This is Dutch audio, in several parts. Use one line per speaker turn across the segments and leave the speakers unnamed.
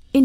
verscheen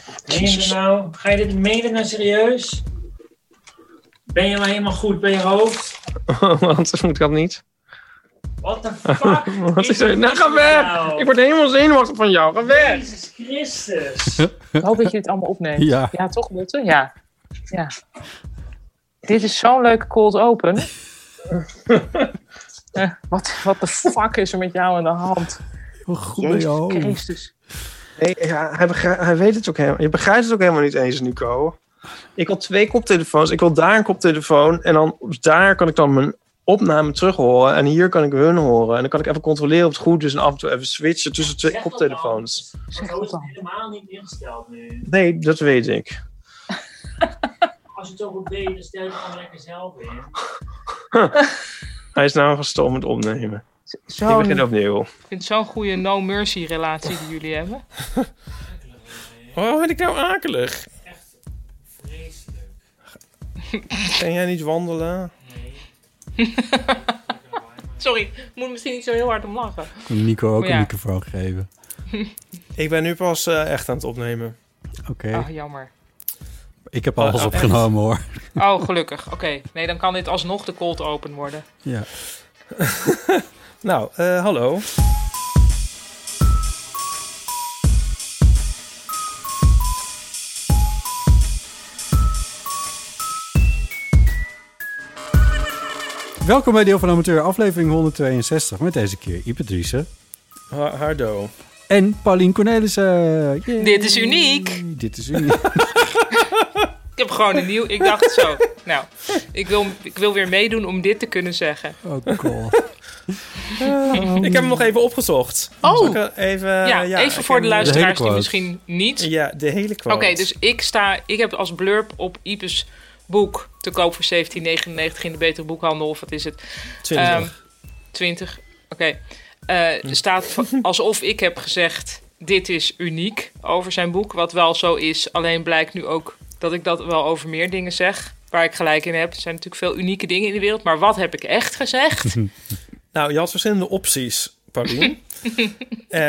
Meen je dit nou? Ga je dit menen nou serieus? Ben je nou helemaal goed bij je hoofd?
Want moet dat niet?
What the fuck?
Wat is er?
dit
Nou, ga weg!
nou?
Ik word helemaal zenuwachtig van jou. Ga weg!
Jezus Christus.
Ik hoop dat je dit allemaal opneemt.
Ja.
toch, Botte? Ja. ja. Dit is zo'n leuke cold open. Eh, wat, wat de fuck is er met jou aan de hand?
Hoe Oh, goed ben je
Jezus
hoofd.
Christus.
Nee, ja, hij, begrij- hij weet het ook helemaal. Je begrijpt het ook helemaal niet eens, Nico. Ik wil twee koptelefoons. Ik wil daar een koptelefoon. En dan op- daar kan ik dan mijn opname terug horen. En hier kan ik hun horen. En dan kan ik even controleren of het goed is. En af en toe even switchen tussen twee
Zeg dat
koptelefoons.
Want
Zeg
zo is
het
het
dan.
helemaal niet ingesteld nu.
Nee, dat weet ik.
Als je het zo goed weet, dan stel je het gewoon lekker zelf in.
Hij is nou gestopt met opnemen. Ik
Zo'n,
begin opnieuw.
ik vind zo'n goede no-mercy relatie die jullie hebben.
Oh, ben ik nou akelig?
Vreselijk.
Kan jij niet wandelen?
Nee.
Sorry, ik moet misschien niet zo heel hard om lachen.
Kan Nico ook
Ja.
Oh,
een microfoon geven.
Ik ben nu pas eh, echt aan het opnemen.
Oké,
Ah, jammer.
ik heb alles
oh, echt?
opgenomen hoor.
Oh, gelukkig. Oké. Nee, dan kan dit alsnog de cold open worden.
Ja.
Nou, eh, hallo.
Welkom bij Deel van Amateur, aflevering 162. Met deze keer Ipatrice
Ha- Hardo.
en Paulien Cornelissen. Yay.
Dit is uniek.
Dit is uniek.
Ik heb gewoon een nieuw... Ik dacht zo. Nou, ik wil, ik wil weer meedoen om dit te kunnen zeggen.
Oh god.
Ik heb hem nog even opgezocht.
Oh.
Zal ik er even, eh,
ja,
ja,
even
ik
voor
heb-
de luisteraars die
quote.
misschien niet.
Ja, de hele
Oké,
quote.
dus ik sta, ik heb als blurb op Ipes boek te koop voor 17,99 in de betere boekhandel of wat is het?
20.
Ehm, 20. Oké. Eh, er staat van- alsof ik heb gezegd: dit is uniek over zijn boek. Wat wel zo is. Alleen blijkt nu ook dat ik dat wel over meer dingen zeg. Waar ik gelijk in heb. Er zijn natuurlijk veel unieke dingen in de wereld. Maar wat heb ik echt gezegd?
Nou, je had verschillende opties, Paulien. Eh,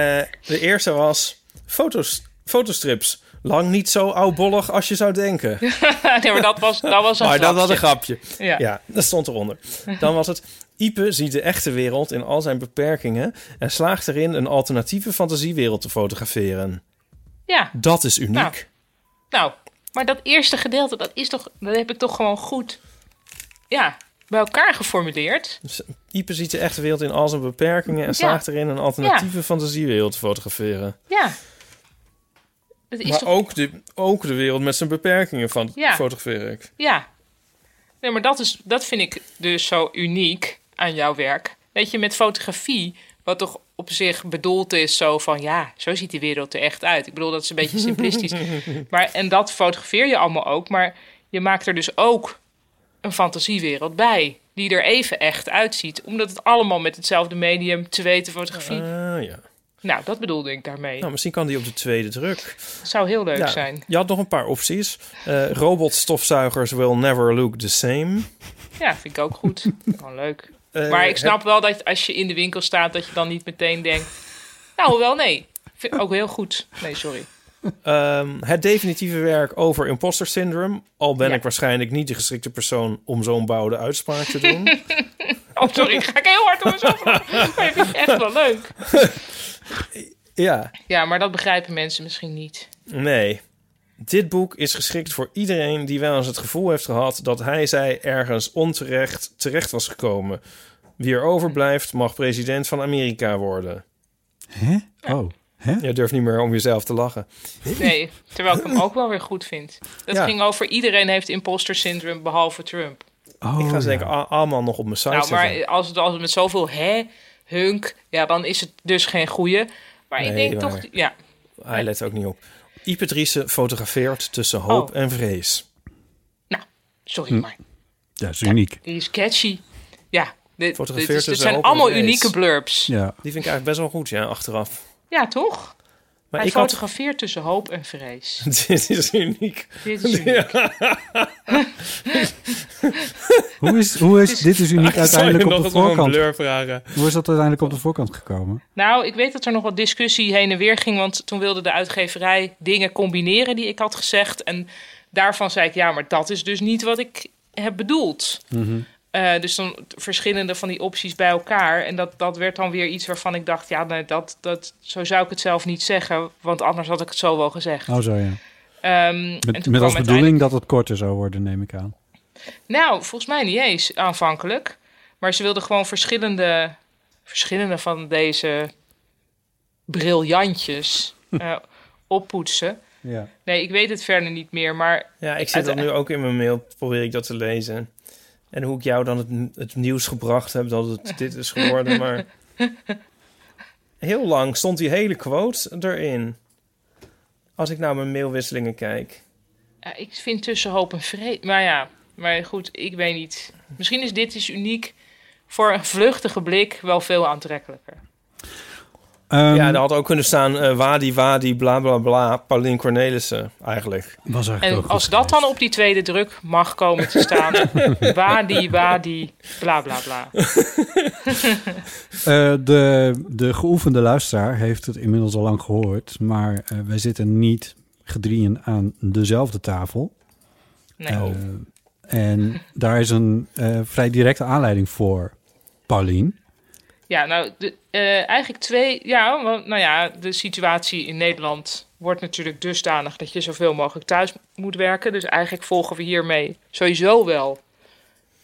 de eerste was foto's, fotostrips. Lang niet zo oudbollig als je zou denken.
nee, maar dat was, dat was een
maar dat was
grapje.
een grapje.
Ja.
Ja, dat stond eronder. Dan was het... Ipe ziet de echte wereld in al zijn beperkingen... en slaagt erin een alternatieve fantasiewereld te fotograferen.
ja,
Dat is uniek.
Nou. Nou, maar dat eerste gedeelte, dat, is toch, dat heb ik toch gewoon goed ja, bij elkaar geformuleerd.
Ipe Dus, eh, ziet de echte wereld in al zijn beperkingen... en slaagt erin een alternatieve fantasiewereld te fotograferen.
Ja. Dat is
maar
toch,
ook, de, ook de wereld met zijn beperkingen van
Ja.
fotografeer ik.
Ja. Nee, maar dat, is, dat vind ik dus zo uniek aan jouw werk. Weet je, met fotografie, wat toch op zich bedoeld is zo van... ja, zo ziet die wereld er echt uit. Ik bedoel, dat is een beetje simplistisch. maar, en dat fotografeer je allemaal ook. Maar je maakt er dus ook een fantasiewereld bij... die er even echt uitziet. Omdat het allemaal met hetzelfde medium te weten fotografie...
Ah ja.
Nou, dat bedoelde ik daarmee.
Nou, misschien kan die op de tweede druk.
zou heel leuk
Ja,
zijn.
Je had nog een paar opties. Eh, robotstofzuigers will never look the same.
Ja, vind ik ook goed. Gewoon leuk.
Eh,
Maar ik snap wel dat als je in de winkel staat, dat je dan niet meteen denkt. Nou, wel nee. Ik vind het ook heel goed. Nee, sorry.
Het, ehm, het definitieve werk over imposter syndrome. Al ben
Ja.
ik waarschijnlijk niet de geschikte persoon om zo'n bouwde uitspraak te doen.
Oh, sorry. Ik ga ik heel hard om mezelf. lachen. Maar ik vind het echt wel leuk.
ja,
Ja, maar dat begrijpen mensen misschien niet.
nee. Dit boek is geschikt voor iedereen die wel eens het gevoel heeft gehad dat hij zij ergens onterecht terecht was gekomen. Wie er overblijft mag president van Amerika worden.
Hè? Oh, hè?
Je durft niet meer om jezelf te lachen.
Nee, terwijl ik hem ook wel weer goed vind. Dat
Ja.
ging over iedereen heeft imposter syndrome behalve Trump.
Oh,
ik ga ze
ja.
denk ik a- allemaal nog op mijn site
Nou,
zetten.
maar als het, als het met zoveel hè, hunk, ja, dan is het dus geen goeie. Maar ik
Nee,
denk
waar.
toch, ja,
Hij let ook niet op. Ipatrice fotografeert tussen hoop
Oh.
en vrees. Hm.
sorry, maar
Ja, is uniek.
die is catchy. Ja, dit, dit,
Fotografeert dus
is- dit
een
zijn
open
allemaal
race.
unieke blurbs. Ja,
Ja.
Die vind ik eigenlijk best wel goed, ja, achteraf.
toch?
Maar
Hij
ik had...
fotografeert tussen hoop en vrees.
Dit is uniek.
Dit is uniek.
Hoe is, hoe is dit is uniek uiteindelijk
Zou je
op de
nog eens om een
voorkant?
blur vragen?
Hoe is dat uiteindelijk op de voorkant gekomen?
Nou, ik weet dat er nog wat discussie heen en weer ging. Want toen wilde de uitgeverij dingen combineren die ik had gezegd. En daarvan zei ik, ja, maar dat is dus niet wat ik heb bedoeld.
Mhm.
Eh, dus dan t- verschillende van die opties bij elkaar. En dat, dat werd dan weer iets waarvan ik dacht, ja, nee, dat, dat, zo zou ik het zelf niet zeggen. Want anders had ik het zo wel gezegd.
Oh, zo ja.
Ehm, en
Met,
toen
met
kwam
als
uiteindelijk-
bedoeling dat het korter zou worden, neem ik aan.
Nou, volgens mij niet eens aanvankelijk. Maar ze wilden gewoon verschillende, verschillende van deze briljantjes eh, oppoetsen.
Ja.
Nee, ik weet het verder niet meer, maar
Ja, ik zit dat nu ook in mijn mail, probeer ik dat te lezen. En hoe ik jou dan het, het nieuws gebracht heb dat het dit is geworden, maar... Heel lang stond die hele quote erin. Als ik naar mijn mailwisselingen kijk.
ja, eh, ik vind tussen hoop en vrees. Maar ja, maar goed, ik weet niet. Misschien is dit is uniek voor een vluchtige blik wel veel aantrekkelijker.
Ehm,
ja, daar had ook kunnen staan eh, Wadi Wadi bla bla bla, Pauline Cornelissen eigenlijk.
was eigenlijk
En
ook goed
als dat
geweest.
dan op die tweede druk mag komen te staan, wadi, wadi, bla bla bla.
Eh, de, de geoefende luisteraar heeft het inmiddels al lang gehoord, maar eh, wij zitten niet gedrieën aan dezelfde tafel.
Nee.
Eh, en daar is een eh, vrij directe aanleiding voor, Paulien.
Ja, nou, de, eh, eigenlijk twee. Ja, want, nou ja, de situatie in Nederland wordt natuurlijk dusdanig dat je zoveel mogelijk thuis moet werken. Dus eigenlijk volgen we hiermee sowieso wel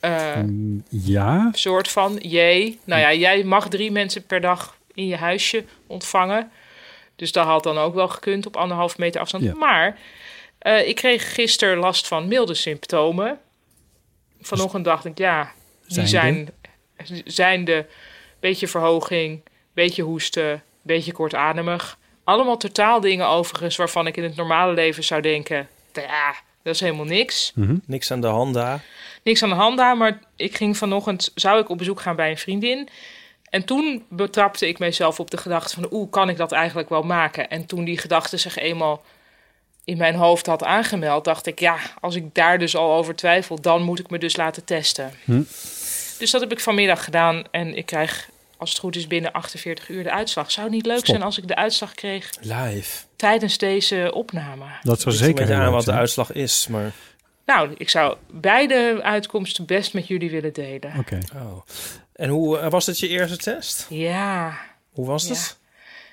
eh, een
Mm, Ja,
soort van jee. Nou ja, jij mag drie mensen per dag in je huisje ontvangen. Dus dat had dan ook wel gekund op anderhalf meter afstand.
Ja.
Maar eh, ik kreeg gisteren last van milde symptomen. Vanochtend dacht ik, ja, die
Zijnde?
zijn, zijn de beetje verhoging, beetje hoesten, beetje kortademig. Allemaal totaal dingen overigens waarvan ik in het normale leven zou denken, ja, dat is helemaal niks.
Niks aan de hand daar.
Niks aan de hand daar, maar ik ging vanochtend, zou ik op bezoek gaan bij een vriendin. En toen betrapte ik mezelf op de gedachte van, oeh, kan ik dat eigenlijk wel maken? En toen die gedachte zich eenmaal in mijn hoofd had aangemeld, dacht ik, ja, als ik daar dus al over twijfel, dan moet ik me dus laten testen.
Hm.
Dus dat heb ik vanmiddag gedaan en ik krijg, als het goed is, binnen 48 uur de uitslag. Zou het niet leuk
Stop.
zijn als ik de uitslag kreeg
Live.
tijdens deze opname?
dat zou
Ik zeker
zeker
weet
heel
aan
leuk
wat de
zijn.
uitslag is, maar...
Nou, ik zou beide uitkomsten best met jullie willen delen.
Oké,
Oh. En hoe eh, was het je eerste test?
Ja.
Hoe was
Ja.
het?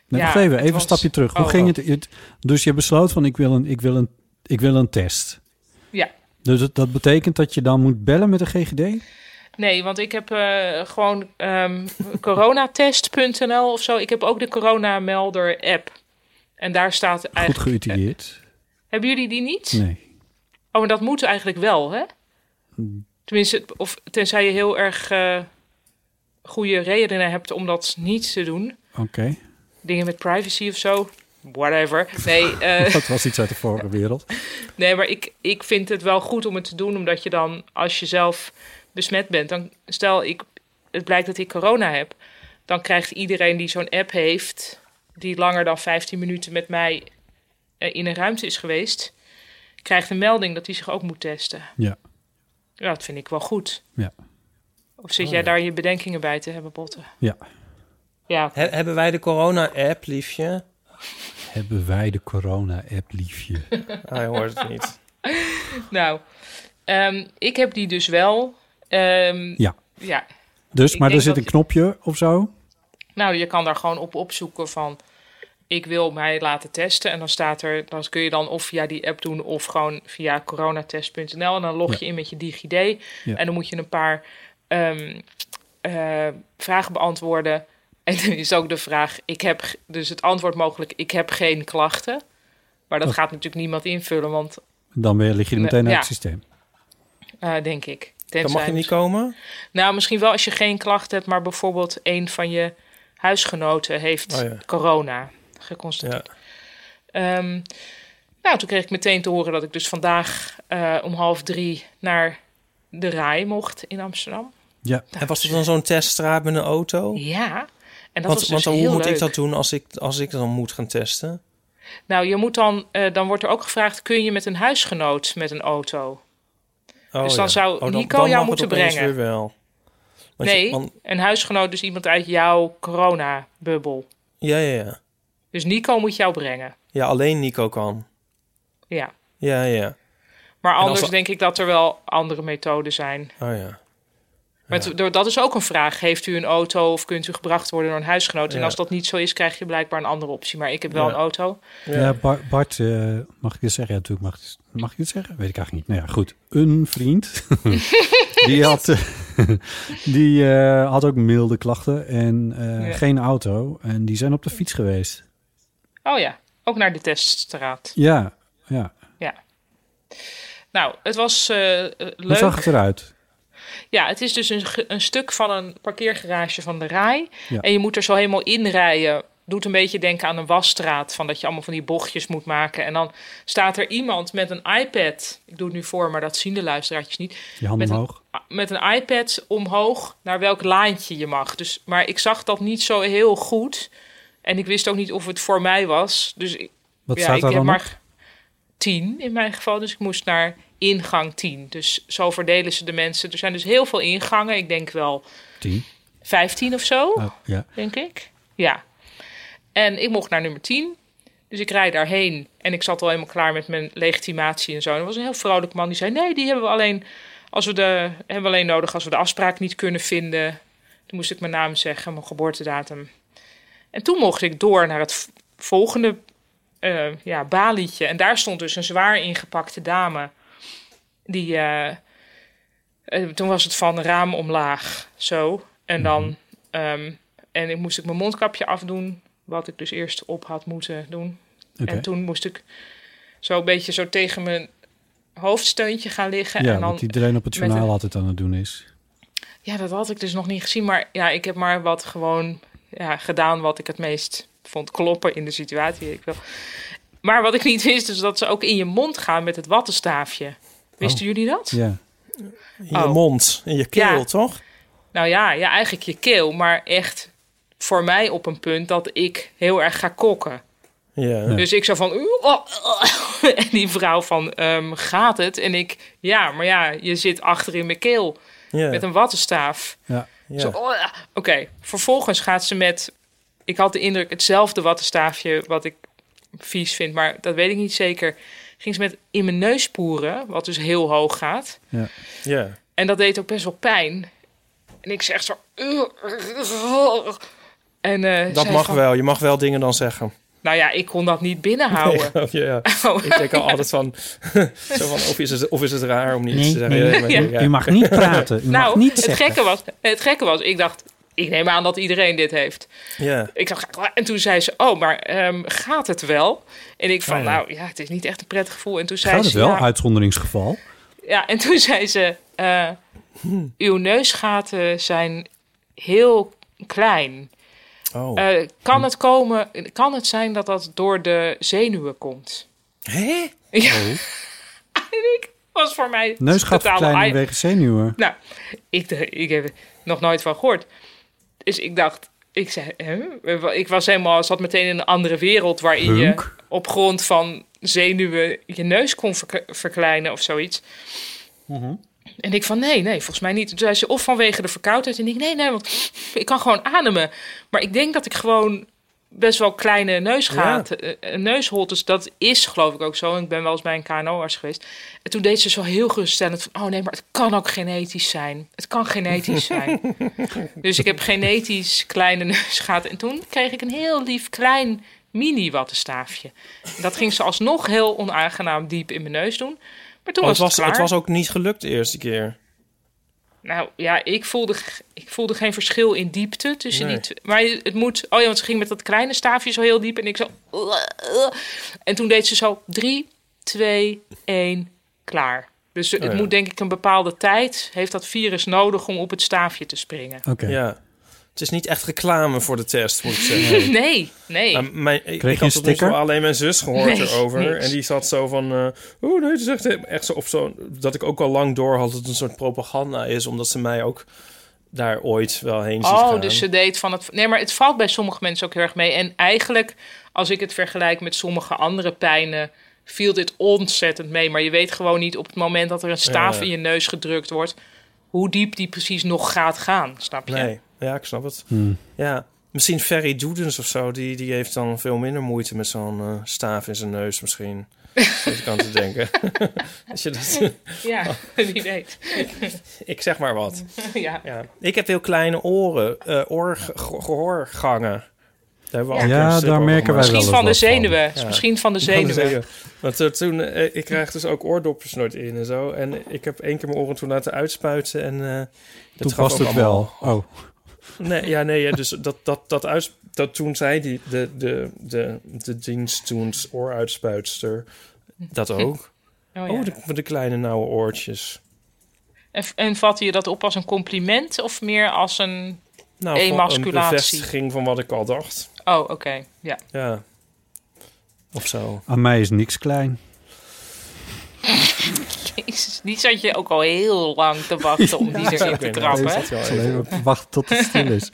Nee,
Ja,
wacht even,
het
even een
was-
stapje terug. Hoe
oh,
ging
oh.
het? Het- Dus je besloot van ik wil een, ik wil een, ik wil een test.
Ja.
Dus dat, dat betekent dat je dan moet bellen met de GGD?
Nee, want ik heb eh, gewoon ehm, coronatest.nl of zo. Ik heb ook de coronamelder app. En daar staat
Goed
eigenlijk...
geütiliseerd?
Hebben jullie die niet?
Nee.
Oh, maar dat moet eigenlijk wel, hè?
Hmm.
Tenminste, het- of tenzij je heel erg eh, goede redenen hebt om dat niet te doen.
Oké,
Dingen met privacy of zo. Whatever. Nee, eh,
dat was iets uit de vorige wereld.
Nee, maar ik, ik vind het wel goed om het te doen, omdat je dan, als je zelf besmet bent, dan stel ik, het blijkt dat ik corona heb, dan krijgt iedereen die zo'n app heeft, die langer dan 15 minuten met mij eh, in een ruimte is geweest, krijgt een melding dat hij zich ook moet testen.
Ja.
Ja, dat vind ik wel goed.
Ja.
Of zit jij daar je bedenkingen bij te hebben, Botte?
Ja.
Ja,
He- hebben wij de corona-app, liefje?
Hebben wij de corona-app, liefje?
Hij hoort het niet.
nou, ehm, ik heb die dus wel. Ehm,
Ja.
Ja,
Dus,
Ik
maar er
denk
zit een
dat-
knopje of zo?
Nou, je kan daar gewoon op opzoeken van... ik wil mij laten testen. En dan staat er, dan kun je dan of via die app doen of gewoon via coronatest.nl. En dan log je in met je DigiD.
Ja.
En dan moet je een paar ehm, eh, vragen beantwoorden. En dan is ook de vraag, ik heb, g- dus het antwoord mogelijk, ik heb geen klachten. Maar dat
Oh.
gaat natuurlijk niemand invullen, want
Dan weer lig je er meteen uit
Ja.
het systeem.
eh, denk ik.
Dan mag je
Tenzij-
niet komen?
Nou, misschien wel als je geen klachten hebt, maar bijvoorbeeld een van je huisgenoten heeft
Oh ja.
corona
Ja.
geconstateerd. Ehm, nou, toen kreeg ik meteen te horen dat ik dus vandaag eh, om half drie naar de RAI mocht in Amsterdam.
Ja,
En was er dan zo'n teststraat met een auto?
Ja, en dat
want
was dus
want dan, hoe
heel
moet
leuk.
ik dat doen als ik, als ik dan moet gaan testen?
Nou, je moet dan, eh, dan wordt er ook gevraagd, kun je met een huisgenoot met een auto?
Oh,
Dus dan zou Nico
mag
jou
het
moeten
opeens
brengen.
Weer wel. Want je-
nee,
want-
een huisgenoot, dus iemand uit jouw corona-bubbel.
ja, ja, ja.
Dus Nico moet jou brengen,
Ja, alleen Nico kan.
ja.
Ja, ja.
Maar
als
anders
we-
denk ik dat er wel andere methoden zijn.
Oh ja.
Maar het- door- dat is ook een vraag. Heeft u een auto of kunt u gebracht worden door een huisgenoot? En
Ja.
als dat niet zo is, krijg je blijkbaar een andere optie. Maar ik heb wel
Ja.
een auto.
ja. Bar- Bart, eh, mag ik dit zeggen? Ja, natuurlijk mag, ik- mag ik dit zeggen? Weet ik eigenlijk niet. Nou ja, goed. Een vriend, die, had, eh, die eh, had ook milde klachten en eh,
Ja.
geen auto. En die zijn op de fiets geweest.
Oh ja, ook naar de teststraat.
Ja, ja.
Nou, het was eh, eh,
Hoe
leuk.
zag het eruit?
Ja, het is dus een, ge- een stuk van een parkeergarage van de RAI.
Ja.
En je moet er zo helemaal in rijden. Doet een beetje denken aan een wasstraat. Van dat je allemaal van die bochtjes moet maken. En dan staat er iemand met een iPad. Ik doe het nu voor, maar dat zien de luisteraartjes niet.
Je handen
Met een-
omhoog.
met een iPad omhoog naar welk laantje je mag. Dus, maar ik zag dat niet zo heel goed. En ik wist ook niet of het voor mij was. Dus ik-
Wat
ja,
staat
ik
daar
heb
dan op?
maar tien in mijn geval. Dus ik moest naar ingang 10. Dus zo verdelen ze de mensen. Er zijn dus heel veel ingangen. Ik denk wel
Tien.
15 of zo,
Oh, ja.
denk ik. Ja. En ik mocht naar nummer 10. Dus ik rijd daarheen. En ik zat al helemaal klaar met mijn legitimatie en zo. En er was een heel vrolijk man die zei: Nee, die hebben we alleen, als we de, hebben we alleen nodig als we de afspraak niet kunnen vinden. Toen moest ik mijn naam zeggen, mijn geboortedatum. En toen mocht ik door naar het v- volgende eh ja, balietje. En daar stond dus een zwaar ingepakte dame. Die, eh, eh, toen was het van raam omlaag, zo. En dan ehm, en ik moest ik mijn mondkapje afdoen, wat ik dus eerst op had moeten doen.
Oké.
En toen moest ik zo een beetje zo tegen mijn hoofdsteuntje gaan liggen.
Ja,
en dan
want iedereen op het
met
journaal
een-
altijd aan het doen is.
ja, dat had ik dus nog niet gezien. Maar ja, ik heb maar wat gewoon ja, gedaan wat ik het meest vond kloppen in de situatie. weet Ik wel. Maar wat ik niet wist, is dat ze ook in je mond gaan met het wattenstaafje. Wisten jullie dat?
Oh. Ja.
In je
Oh.
mond, in je keel,
Ja.
toch?
Nou ja, ja, eigenlijk je keel. Maar echt voor mij op een punt dat ik heel erg ga kokken.
Ja.
Dus ik zo van... "Oeh, oh, oh." en die vrouw van, "Ehm, gaat het? En ik, ja, maar ja, je zit achter in mijn keel
ja.
met een wattenstaaf.
ja.
ja.
Zo, oh, ja. Oké, vervolgens gaat ze met... Ik had de indruk, hetzelfde wattenstaafje wat ik vies vind, maar dat weet ik niet zeker. Ging ze met in mijn neus poeren, wat dus heel hoog gaat.
ja.
En dat deed ook best wel pijn. En ik zeg zo... En, eh,
Dat
zij
mag
van,
wel. Je mag wel dingen dan zeggen.
Nou ja, ik kon dat niet binnenhouden.
Ja, ja.
Oh,
Ik denk al altijd van, zo van of, is het, of is het raar om niet
Nee,
te zeggen.
nee.
Ja, maar- ja.
U mag niet praten. U mag
nou,
niet
het
zeggen.
gekke, was, het gekke was, ik dacht... Ik neem aan dat iedereen dit heeft.
Ja.
Ik dacht, en toen zei ze, oh, maar ehm, gaat het wel? En ik van,
Oh, ja.
nou ja, het is niet echt een prettig gevoel. En toen zei
Gaat het
ze,
wel?
ja,
Uitzonderingsgeval.
ja, en toen zei ze, eh, uw neusgaten zijn heel klein.
Oh.
Eh, kan, het komen, kan het zijn dat dat door de zenuwen komt?
Hé?
Ja. en ik was voor mij
Neus gaat
totaal
verkleinen
ei-
wegen zenuwen.
Nou, ik, d- ik heb er nog nooit van gehoord. Dus ik dacht, ik zei, hè? ik was helemaal, zat meteen in een andere wereld waarin je
Hunk.
op grond van zenuwen je neus kon verk- verkleinen of zoiets. En ik van, nee, nee, volgens mij niet. Toen zei ze, of vanwege de verkoudheid. En ik, nee, nee, want ik kan gewoon ademen. Maar ik denk dat ik gewoon best wel kleine neusgaten, eh, eh, neusholtes, dat is geloof ik ook zo. En ik ben wel eens bij een KNO-arts geweest. En toen deed ze zo heel geruststellend van, oh nee, maar het kan ook genetisch zijn. Het kan genetisch zijn. dus ik heb genetisch kleine neusgaten. En toen kreeg ik een heel lief klein mini-wattenstaafje. Dat ging ze alsnog heel onaangenaam diep in mijn neus doen. Maar toen
Oh,
was
het, was,
het, klaar.
het was ook niet gelukt de eerste keer.
Nou ja, ik voelde, g- ik voelde geen verschil in diepte tussen
Nee.
die twee. Maar het moet... Oh ja, want ze ging met dat kleine staafje zo heel diep. En ik zo... En toen deed ze zo... Drie, twee, één, klaar. Dus het
Oh ja.
moet denk ik een bepaalde tijd... heeft dat virus nodig om op het staafje te springen.
Oké.
Ja. Het is niet echt reclame voor de test, moet ik zeggen.
Nee, nee.
Maar mijn, ik
je
ik had
een
tot nog toe
sticker?
alleen mijn zus gehoord
Nee,
erover.
niks.
En die zat zo van... eh oh nee, het is echt, echt zo, op zo'n... Dat ik ook al lang door had dat het een soort propaganda is. Omdat ze mij ook daar ooit wel heen ziet
Oh,
gaan.
dus ze deed van het. Nee, maar het valt bij sommige mensen ook heel erg mee. En eigenlijk, als ik het vergelijk met sommige andere pijnen, viel dit ontzettend mee. Maar je weet gewoon niet op het moment dat er een staaf
Ja.
in je neus gedrukt wordt, hoe diep die precies nog gaat gaan. Snap je?
Nee, ja, ik snap het.
Hmm.
Ja, misschien Ferry Doedens of zo. Die, die heeft dan veel minder moeite met zo'n eh, staaf in zijn neus misschien. Dat ik aan te denken. Als je dat,
Ja, wie weet.
ik zeg maar wat.
ja.
Ja. Ik heb heel kleine oren, eh oor, ge- gehoorgangen. Daar hebben we al
Ja,
een keer een
daar
strip over
merken wij
gemaakt.
wel.
Misschien
eens
van de zenuwen.
wat van.
Ja.
Misschien van de
Van de
zenuwen.
zenuwen. Want eh, toen, eh, ik krijg dus ook oordopjes nooit in en zo. En ik heb één keer mijn oren toen laten uitspuiten. En eh, dat
Toen
gaf
past
ook
het
allemaal-
wel. Oh,
Nee, ja, nee, ja, dus dat, dat, dat, uits, dat toen zei die, de, de, de, de dienst toen ooruitspuitster dat ook.
Oh, ja.
Oh, de, de kleine nauwe oortjes.
En, en vatte je dat op als een compliment of meer als een.
Nou, van- een
Emasculatie.
bevestiging van wat ik al dacht.
Oh, oké. Ja.
Ja. Of zo.
aan mij is niks klein.
Oh,
Jezus, die zat je ook al heel lang te wachten om die erin te trappen. hè?
Ik zal even wachten tot het stil is.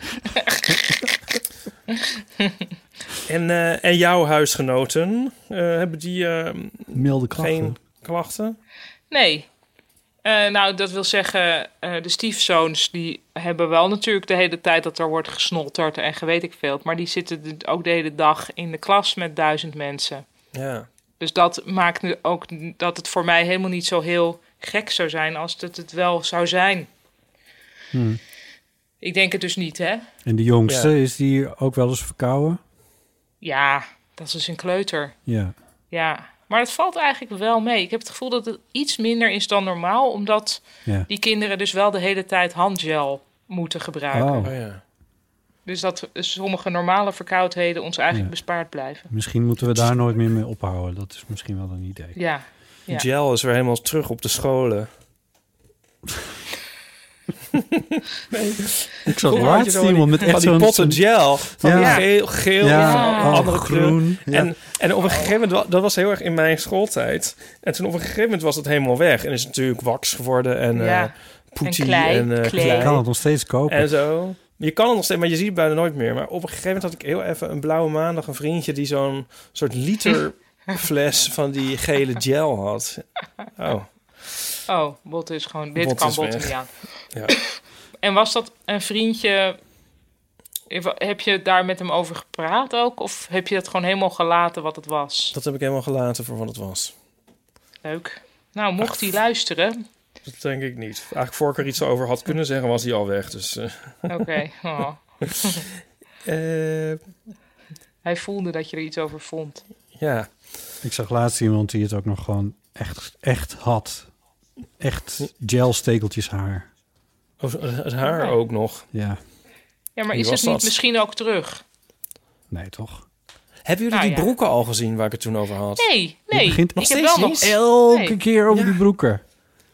En, eh, en jouw huisgenoten, eh, hebben die eh,
Milde klachten.
geen klachten?
Nee. Eh, nou, dat wil zeggen, eh, de stiefzoons die hebben wel natuurlijk de hele tijd dat er wordt gesnotterd en gewet ik veel. Maar die zitten de- ook de hele dag in de klas met duizend mensen.
Ja.
Dus dat maakt nu ook n- dat het voor mij helemaal niet zo heel gek zou zijn als dat het wel zou zijn.
Hmm.
Ik denk het dus niet, hè?
En de jongste,
Ja.
is die ook wel eens verkouden?
Ja, dat is dus een kleuter.
Ja.
Ja, maar het valt eigenlijk wel mee. Ik heb het gevoel dat het iets minder is dan normaal, omdat
ja.
die kinderen dus wel de hele tijd handgel moeten gebruiken.
Oh,
Oh ja.
Dus dat sommige normale verkoudheden ons eigenlijk
Ja.
bespaard blijven.
misschien moeten we daar nooit meer mee ophouden. Dat is misschien wel een idee.
Ja, Ja.
Gel is weer helemaal terug op de scholen.
Ik
Vroeger
zag
had je
laatst
zo
iemand met
Van
echt
die
zo'n...
potten gel. Van die
Ja.
geel, geel,
Ja,
Ja.
oh,
andere kleur.
groen. Ja.
En, en op een gegeven moment, wa- dat was heel erg in mijn schooltijd. En toen op een gegeven moment was het helemaal weg. En is het natuurlijk wax geworden en eh
ja.
poetie
En klei,
en, eh,
klei.
Je kan het nog steeds kopen.
En zo. Je kan het nog steeds, maar je ziet het bijna nooit meer. Maar op een gegeven moment had ik heel even een blauwe maandag een vriendje die zo'n soort liter fles van die gele gel had. Oh,
Oh, bot is gewoon. Dit
Bot
kan
is
bot
weg.
niet aan.
Ja.
en was dat een vriendje? Heb je daar met hem over gepraat ook? Of heb je dat gewoon helemaal gelaten wat het was?
dat heb ik helemaal gelaten voor wat het was.
Leuk. Nou, mocht hij luisteren.
Dat denk ik niet. Eigenlijk voor ik er iets over had kunnen zeggen, was hij al weg. Dus eh,
Oké. oh.
eh,
Hij voelde dat je er iets over vond.
ja.
Ik zag laatst iemand die het ook nog gewoon echt, echt had. Echt gelstekeltjes haar.
Oh, het haar ook nog.
Ja,
Ja, maar
Wie
is
was
het niet
dat?
misschien ook terug?
nee toch?
Hebben jullie
Nou
die
ja.
broeken al gezien waar ik het toen over had?
Nee,
Je
nee.
begint nog
ik heb
steeds
wel nog.
niet elke
Nee.
keer over die broeken.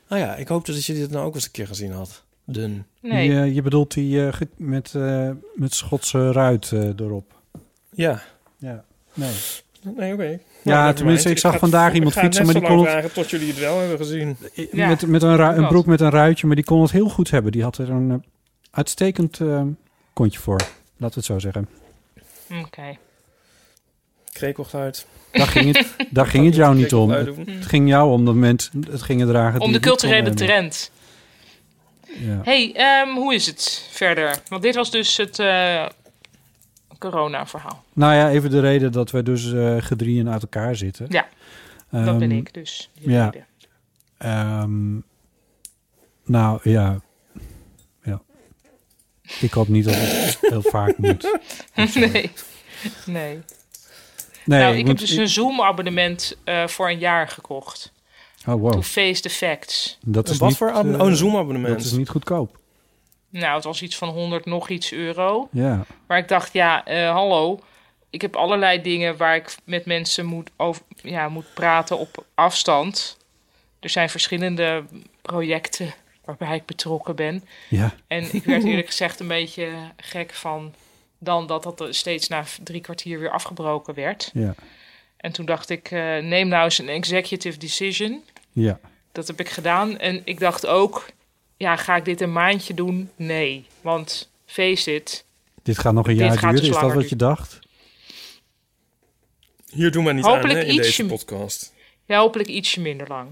Nou ja, ik hoopte dat je dit nou ook eens een keer gezien had. Dun.
Nee.
Die, eh, je bedoelt die eh, ge- met, eh, met Schotse ruit eh, erop.
Ja.
Ja, nee.
Nee, oké.
Ja, tenminste, ik zag vandaag iemand fietsen, maar die
Ik
kon eh,
ga het net zo lang vragen tot jullie het wel hebben gezien.
eh, Ja,
met, met een, ru- een
dat.
broek met een ruitje, maar die kon het heel goed hebben. Die had er een eh, uitstekend eh, kontje voor, laten we het zo zeggen. eh,
Oké.
Krekelgeluid.
Daar ging het, daar ging het jou niet om.
Krekelgeluid
Het
doen.
ging jou om dat mensen het gingen dragen.
Om
die
de
het niet
culturele
konden
trend.
hebben. Ja.
hey, ehm, hoe is het verder? Want dit was dus het eh, corona-verhaal.
Nou ja, even de reden dat wij dus eh gedrieën uit elkaar zitten.
Ja, dat
Ehm,
ben ik dus. die
ja.
reden.
ehm, nou ja. ja.
Nou,
Oh, Ik hoop niet dat het heel vaak moet.
nee. nee.
Nee,
nou, ik
moet-
heb dus een Zoom-abonnement eh, voor een jaar gekocht.
Oh, wow.
To face the facts.
Dat is
Wat
niet,
voor abonnement?
eh,
oh, een Zoom-abonnement.
Dat is niet goedkoop.
Nou, het was iets van 100 nog iets euro.
Ja.
Maar ik dacht, ja, eh, hallo. Ik heb allerlei dingen waar ik met mensen moet, over, ja, moet praten op afstand. Er zijn verschillende projecten waarbij ik betrokken ben.
Ja.
En ik werd eerlijk gezegd een beetje gek van... dan dat dat steeds na drie kwartier weer afgebroken werd.
Ja.
En toen dacht ik, eh, neem nou eens een executive decision.
Ja.
Dat heb ik gedaan. En ik dacht ook, ja, ga ik dit een maandje doen? Nee, want face it...
Dit gaat nog een
Dit
jaar
gaat
duren.
dus
Is dat
langer
wat je dacht?
Hier doen we niet
Hopelijk
aan hè, in
ietsje-
deze podcast.
Ja, hopelijk ietsje minder lang.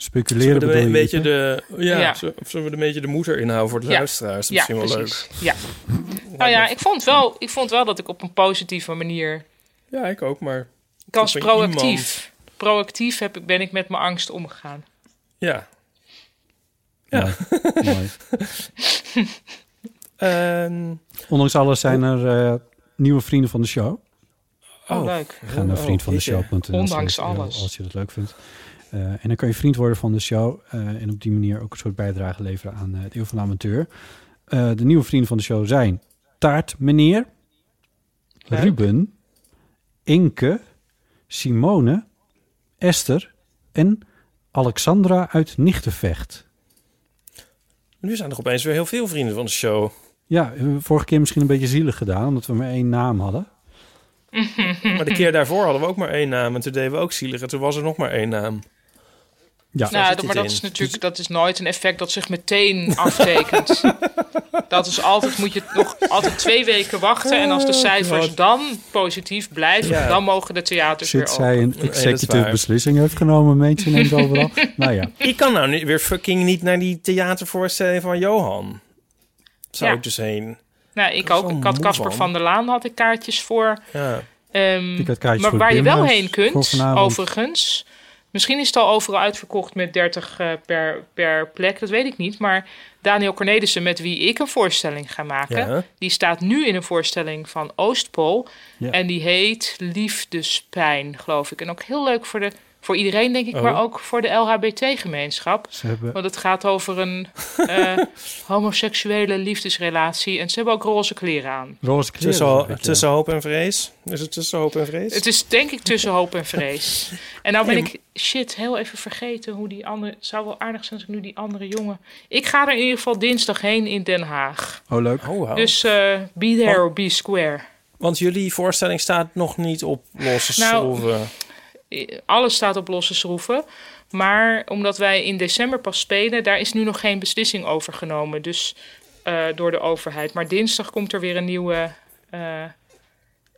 Speculeren
Zullen we er
bedoel je?
een beetje
Ipe?
de, ja,
Ja.
zullen- of zullen we er een beetje de moeder inhouden voor de
Ja.
luisteraars? Dat is
ja,
misschien wel
precies. Ja. Nou ja, ik vond, wel, ik vond wel dat ik op een positieve manier...
leuk. Ja, ik ook, maar
Ik was
ben
proactief. Proactief heb ik, ben ik met mijn angst omgegaan.
ja.
Mooi. Mooi.
Ehm,
Ondanks alles zijn er eh, nieuwe vrienden van de show.
Oh,
Oh.
leuk.
Ga naar
Oh,
vriendvandeshow.nl.
Ondanks
slash euro,
alles.
Als je dat leuk vindt. Eh, en dan kan je vriend worden van de show. eh, en op die manier ook een soort bijdrage leveren aan eh, het Eeuw van de Amateur. Eh, de nieuwe vrienden van de show zijn Taart Meneer,
Leuk.
Ruben, Inke, Simone, Esther en Alexandra uit Nichtenvecht.
nu zijn er opeens weer heel veel vrienden van de show.
Ja, eh, vorige keer misschien een beetje zielig gedaan, omdat we maar één naam hadden.
Maar de keer daarvoor hadden we ook maar één naam. En toen deden we ook zielig. En toen was er nog maar één naam.
Nou,
Ja,
zit
dat-
dit
maar dat
in?
is natuurlijk dat is nooit een effect dat zich meteen aftekent. dat is altijd, moet je nog altijd twee weken wachten. En als de cijfers dan positief blijven,
Oh, Ja.
dan mogen de theaters
zit
weer open.
zij een
dat is
executive
waar.
beslissing heeft genomen, mensen neemt overal. nou ja,
Ik kan nou niet, weer fucking niet naar die theatervoorstelling van Johan. Zou
Ja.
ik dus heen.
Nou, ik
Dat is
ook.
wel
Ik had
moe
Casper
van.
van der Laan had ik kaartjes voor.
Ja.
Ehm,
Ik had kaartjes
maar
voor
waar je wel
Bimhuis
heen
voor
kunt,
vanavond.
overigens. Misschien is het al overal uitverkocht met 30 eh, per, per plek, dat weet ik niet. Maar Daniel Cornelissen, met wie ik een voorstelling ga maken,
Ja.
die staat nu in een voorstelling van Oostpol.
Ja.
En die heet Liefdespijn, geloof ik. En ook heel leuk voor, de, voor iedereen, denk ik,
Oh.
maar ook voor de LHBT-gemeenschap.
ze hebben
Want het gaat over een eh, homoseksuele liefdesrelatie. En ze hebben ook roze kleren aan.
roze kleren.
Tussen,
zag ik, ja.
tussen hoop en vrees. Is het tussen hoop en vrees?
Het is denk ik tussen hoop en vrees. En nou ben ik, shit, heel even vergeten hoe die andere... Het zou wel aardig zijn als ik nu die andere jongen... Ik ga er in ieder geval dinsdag heen in Den Haag.
Oh, leuk.
Oh, wauw.
Dus eh, be there or be square.
Want jullie voorstelling staat nog niet op losse
Nou,
schroeven.
Eh, Alles staat op losse schroeven. Maar omdat wij in december pas spelen... daar is nu nog geen beslissing over genomen. Dus eh, door de overheid. Maar dinsdag komt er weer een nieuwe, eh,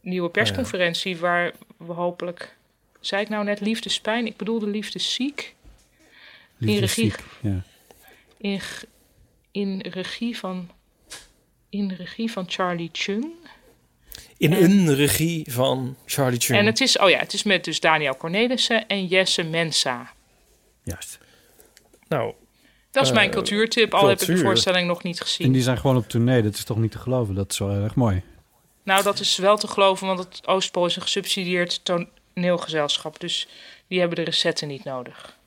nieuwe persconferentie... waar we hopelijk... Zei ik nou net liefdespijn? Ik bedoelde liefdesziek...
Liefde
regie.
is ziek, Ja.
in, g- in, regie, van, in regie van Charlie Chung.
In een regie van Charlie Chung.
eh, En het is, oh ja, het is met dus Daniel Cornelissen en Jesse Mensa.
Juist.
Nou,
Dat is
Eh,
mijn cultuurtip, al heb ik de
cultuur.
voorstelling nog niet
En
gezien.
die zijn gewoon op tournee. Dat is toch niet te geloven. Dat is wel erg mooi.
Nou, dat is wel te geloven, want het Oostpool is een gesubsidieerd toneelgezelschap. Dus die hebben de recetten niet nodig.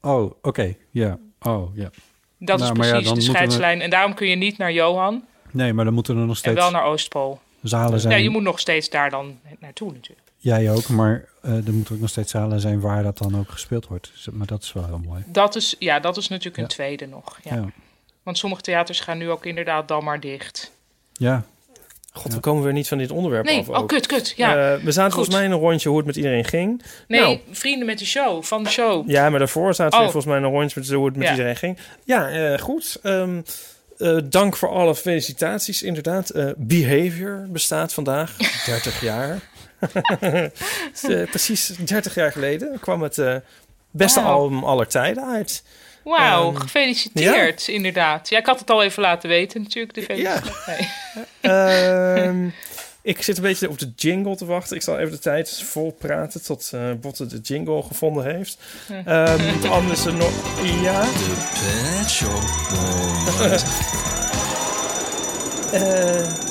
Oh, oké. Ja. Oh, ja.
Dat
Nou,
is
maar
precies
ja, dan
de
moeten we-
scheidslijn. En daarom kun je niet naar Johan
Nee, maar dan moeten er nog
en
steeds
wel naar Oostpool.
zalen zijn.
Ja, je moet nog steeds daar dan naartoe natuurlijk.
Jij ook, maar eh er moeten ook nog steeds zalen zijn waar dat dan ook gespeeld wordt. Dus- Maar dat is wel heel mooi.
Dat is, ja, dat is natuurlijk
Ja.
een tweede nog. Ja.
Ja.
Want sommige theaters gaan nu ook inderdaad dan maar dicht.
Ja.
god, we komen weer niet van dit onderwerp af.
Nee, oh
ook.
kut, kut. Ja.
Eh, we zaten
goed.
volgens mij in een rondje hoe het met iedereen ging.
nee,
nou.
vrienden met de show, van de show.
Ja, maar daarvoor zaten we
Oh.
volgens mij in een rondje met hoe het met
Ja.
iedereen ging. Ja, eh, goed. Ehm, eh, dank voor alle felicitaties. Inderdaad, eh, Behavior bestaat vandaag 30 jaar. Dus, eh, precies 30 jaar geleden kwam het eh, beste
Wauw.
album aller tijden uit.
Wauw,
Ehm,
gefeliciteerd, inderdaad. Ja, ik had het al even laten weten natuurlijk. De felicitatie. Nee.
Ehm, ik zit een beetje op de jingle te wachten. Ik zal even de tijd vol praten tot eh Botte de jingle gevonden heeft. Ehm, want anders er nog... Ja. Oh, Eh,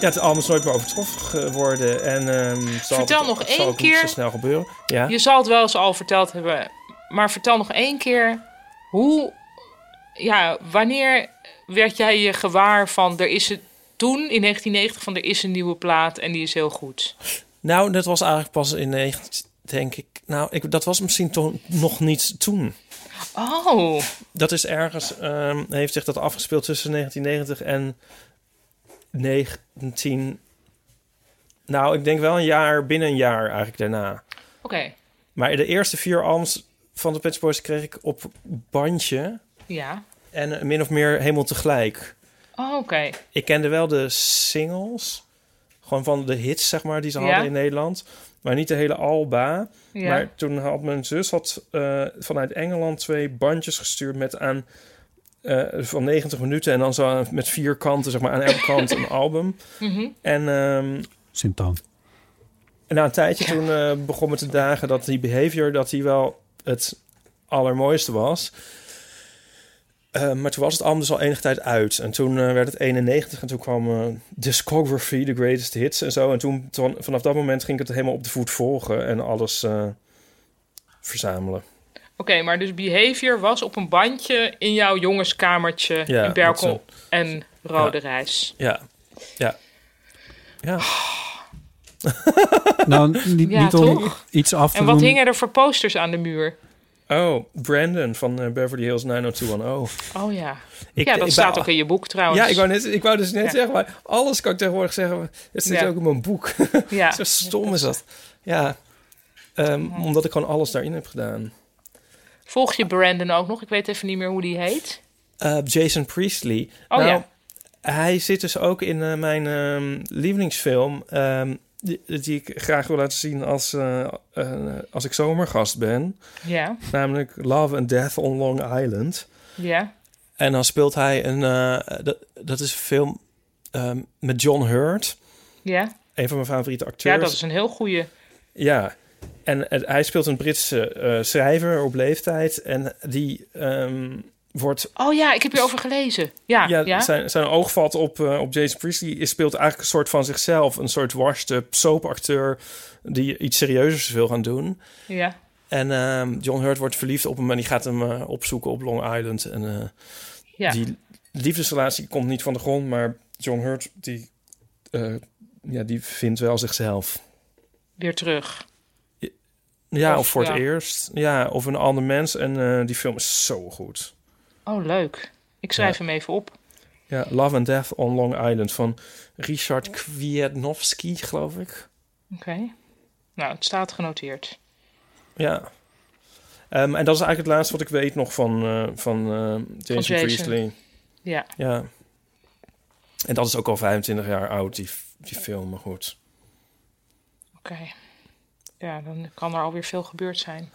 Ja, het album is nooit meer overtroffen geworden. En, ehm, het zal,
Vertel nog
het zal
één
ook niet
keer.
zo snel gebeuren. Ja.
Je zal het wel eens al verteld hebben. Maar vertel nog één keer. Hoe, ja, wanneer werd jij je gewaar van... Er is het toen, in 1990, van er is een nieuwe plaat en die is heel goed.
Nou, dat was eigenlijk pas in 19, denk ik. Nou, ik, dat was misschien toen nog niet toen.
Oh,
Dat is ergens, ehm, heeft zich dat afgespeeld tussen 1990 en 19. Nou, ik denk wel een jaar, binnen een jaar eigenlijk daarna.
oké.
Maar de eerste vier albums van de Pet Shop Boys kreeg ik op bandje.
Ja.
En eh, min of meer helemaal tegelijk.
Oh, oké.
Ik kende wel de singles. Gewoon van de hits, zeg maar, die ze
Ja.
hadden in Nederland. Maar niet de hele Alba.
Ja.
Maar toen had mijn zus had, eh, vanuit Engeland twee bandjes gestuurd met aan eh, van 90 minuten en dan zo aan- met vier kanten, zeg maar, aan elke kant een album.
Mhm.
En ehm,
Symptoom.
na een tijdje toen eh, begon me te dagen dat die behavior dat die wel het allermooiste was. Eh, maar toen was het album dus al enige tijd uit. En toen eh, werd het 91 en toen kwam eh, Discography, The Greatest Hits en zo. En toen, toen- vanaf dat moment ging ik het helemaal op de voet volgen en alles eh, verzamelen.
Oké, maar dus Behavior was op een bandje in jouw jongenskamertje
Ja,
in Berkel
dat
en Rode Reis.
Ja. Ja. Ja.
Nou, niet,
Ja,
niet om
toch?
iets af te
En wat
doen.
hingen er voor posters aan de muur?
Oh, Brandon van eh, Beverly Hills 90210.
Oh ja.
Ik,
ja,
ik
dat
ben-
staat ook in je boek trouwens.
Ja, ik wou, net, ik wou dus net
Ja.
zeggen, maar alles kan ik tegenwoordig zeggen. Het zit
Ja.
ook in mijn boek.
Ja.
Zo stom is dat. Ja. Ehm,
Mhm.
Omdat ik gewoon alles daarin heb gedaan.
Volg je Brandon ook nog? Ik weet even niet meer hoe die heet.
Eh, Jason Priestley.
Oh
nou,
ja.
Hij zit dus ook in eh, mijn ehm, lievelingsfilm. ehm, die, die ik graag wil laten zien als, eh, eh, als ik zomergast ben.
Ja,
Namelijk Love and Death on Long Island.
ja.
En dan speelt hij een. eh, dat, dat is een film ehm, met John Hurt.
Ja,
Een van mijn favoriete acteurs.
ja dat is een heel goede.
Ja. En, eh, hij speelt een Britse eh, schrijver op leeftijd. En die ehm, wordt.
Oh ja, ik heb hierover gelezen. Ja,
ja,
ja.
Zijn, zijn oog valt op, eh, op Jason Priestley. Hij speelt eigenlijk een soort van zichzelf. Een soort washed-up soapacteur. Die iets serieuzers wil gaan doen.
ja.
En ehm, John Hurt wordt verliefd op hem. En die gaat hem eh, opzoeken op Long Island. En. eh,
ja.
Die liefdesrelatie komt niet van de grond, maar John Hurt die, eh, ja, die vindt wel zichzelf.
Weer terug.
Ja, of,
Of,
voor het
ja.
eerst. Ja, of een ander mens. En eh, die film is zo goed.
Oh, leuk. Ik schrijf hem even op.
Ja, Love and Death on Long Island van Richard Kwiatkowski, geloof ik.
Oké. Nou, het staat genoteerd.
Ja. Ehm, en dat is eigenlijk het laatste wat ik weet nog van, eh, van, eh, Jason,
Jason.
Priestley.
Ja.
Ja. En dat is ook al 25 jaar oud, die, die film. Maar goed.
Oké. Ja, dan kan er alweer veel gebeurd zijn.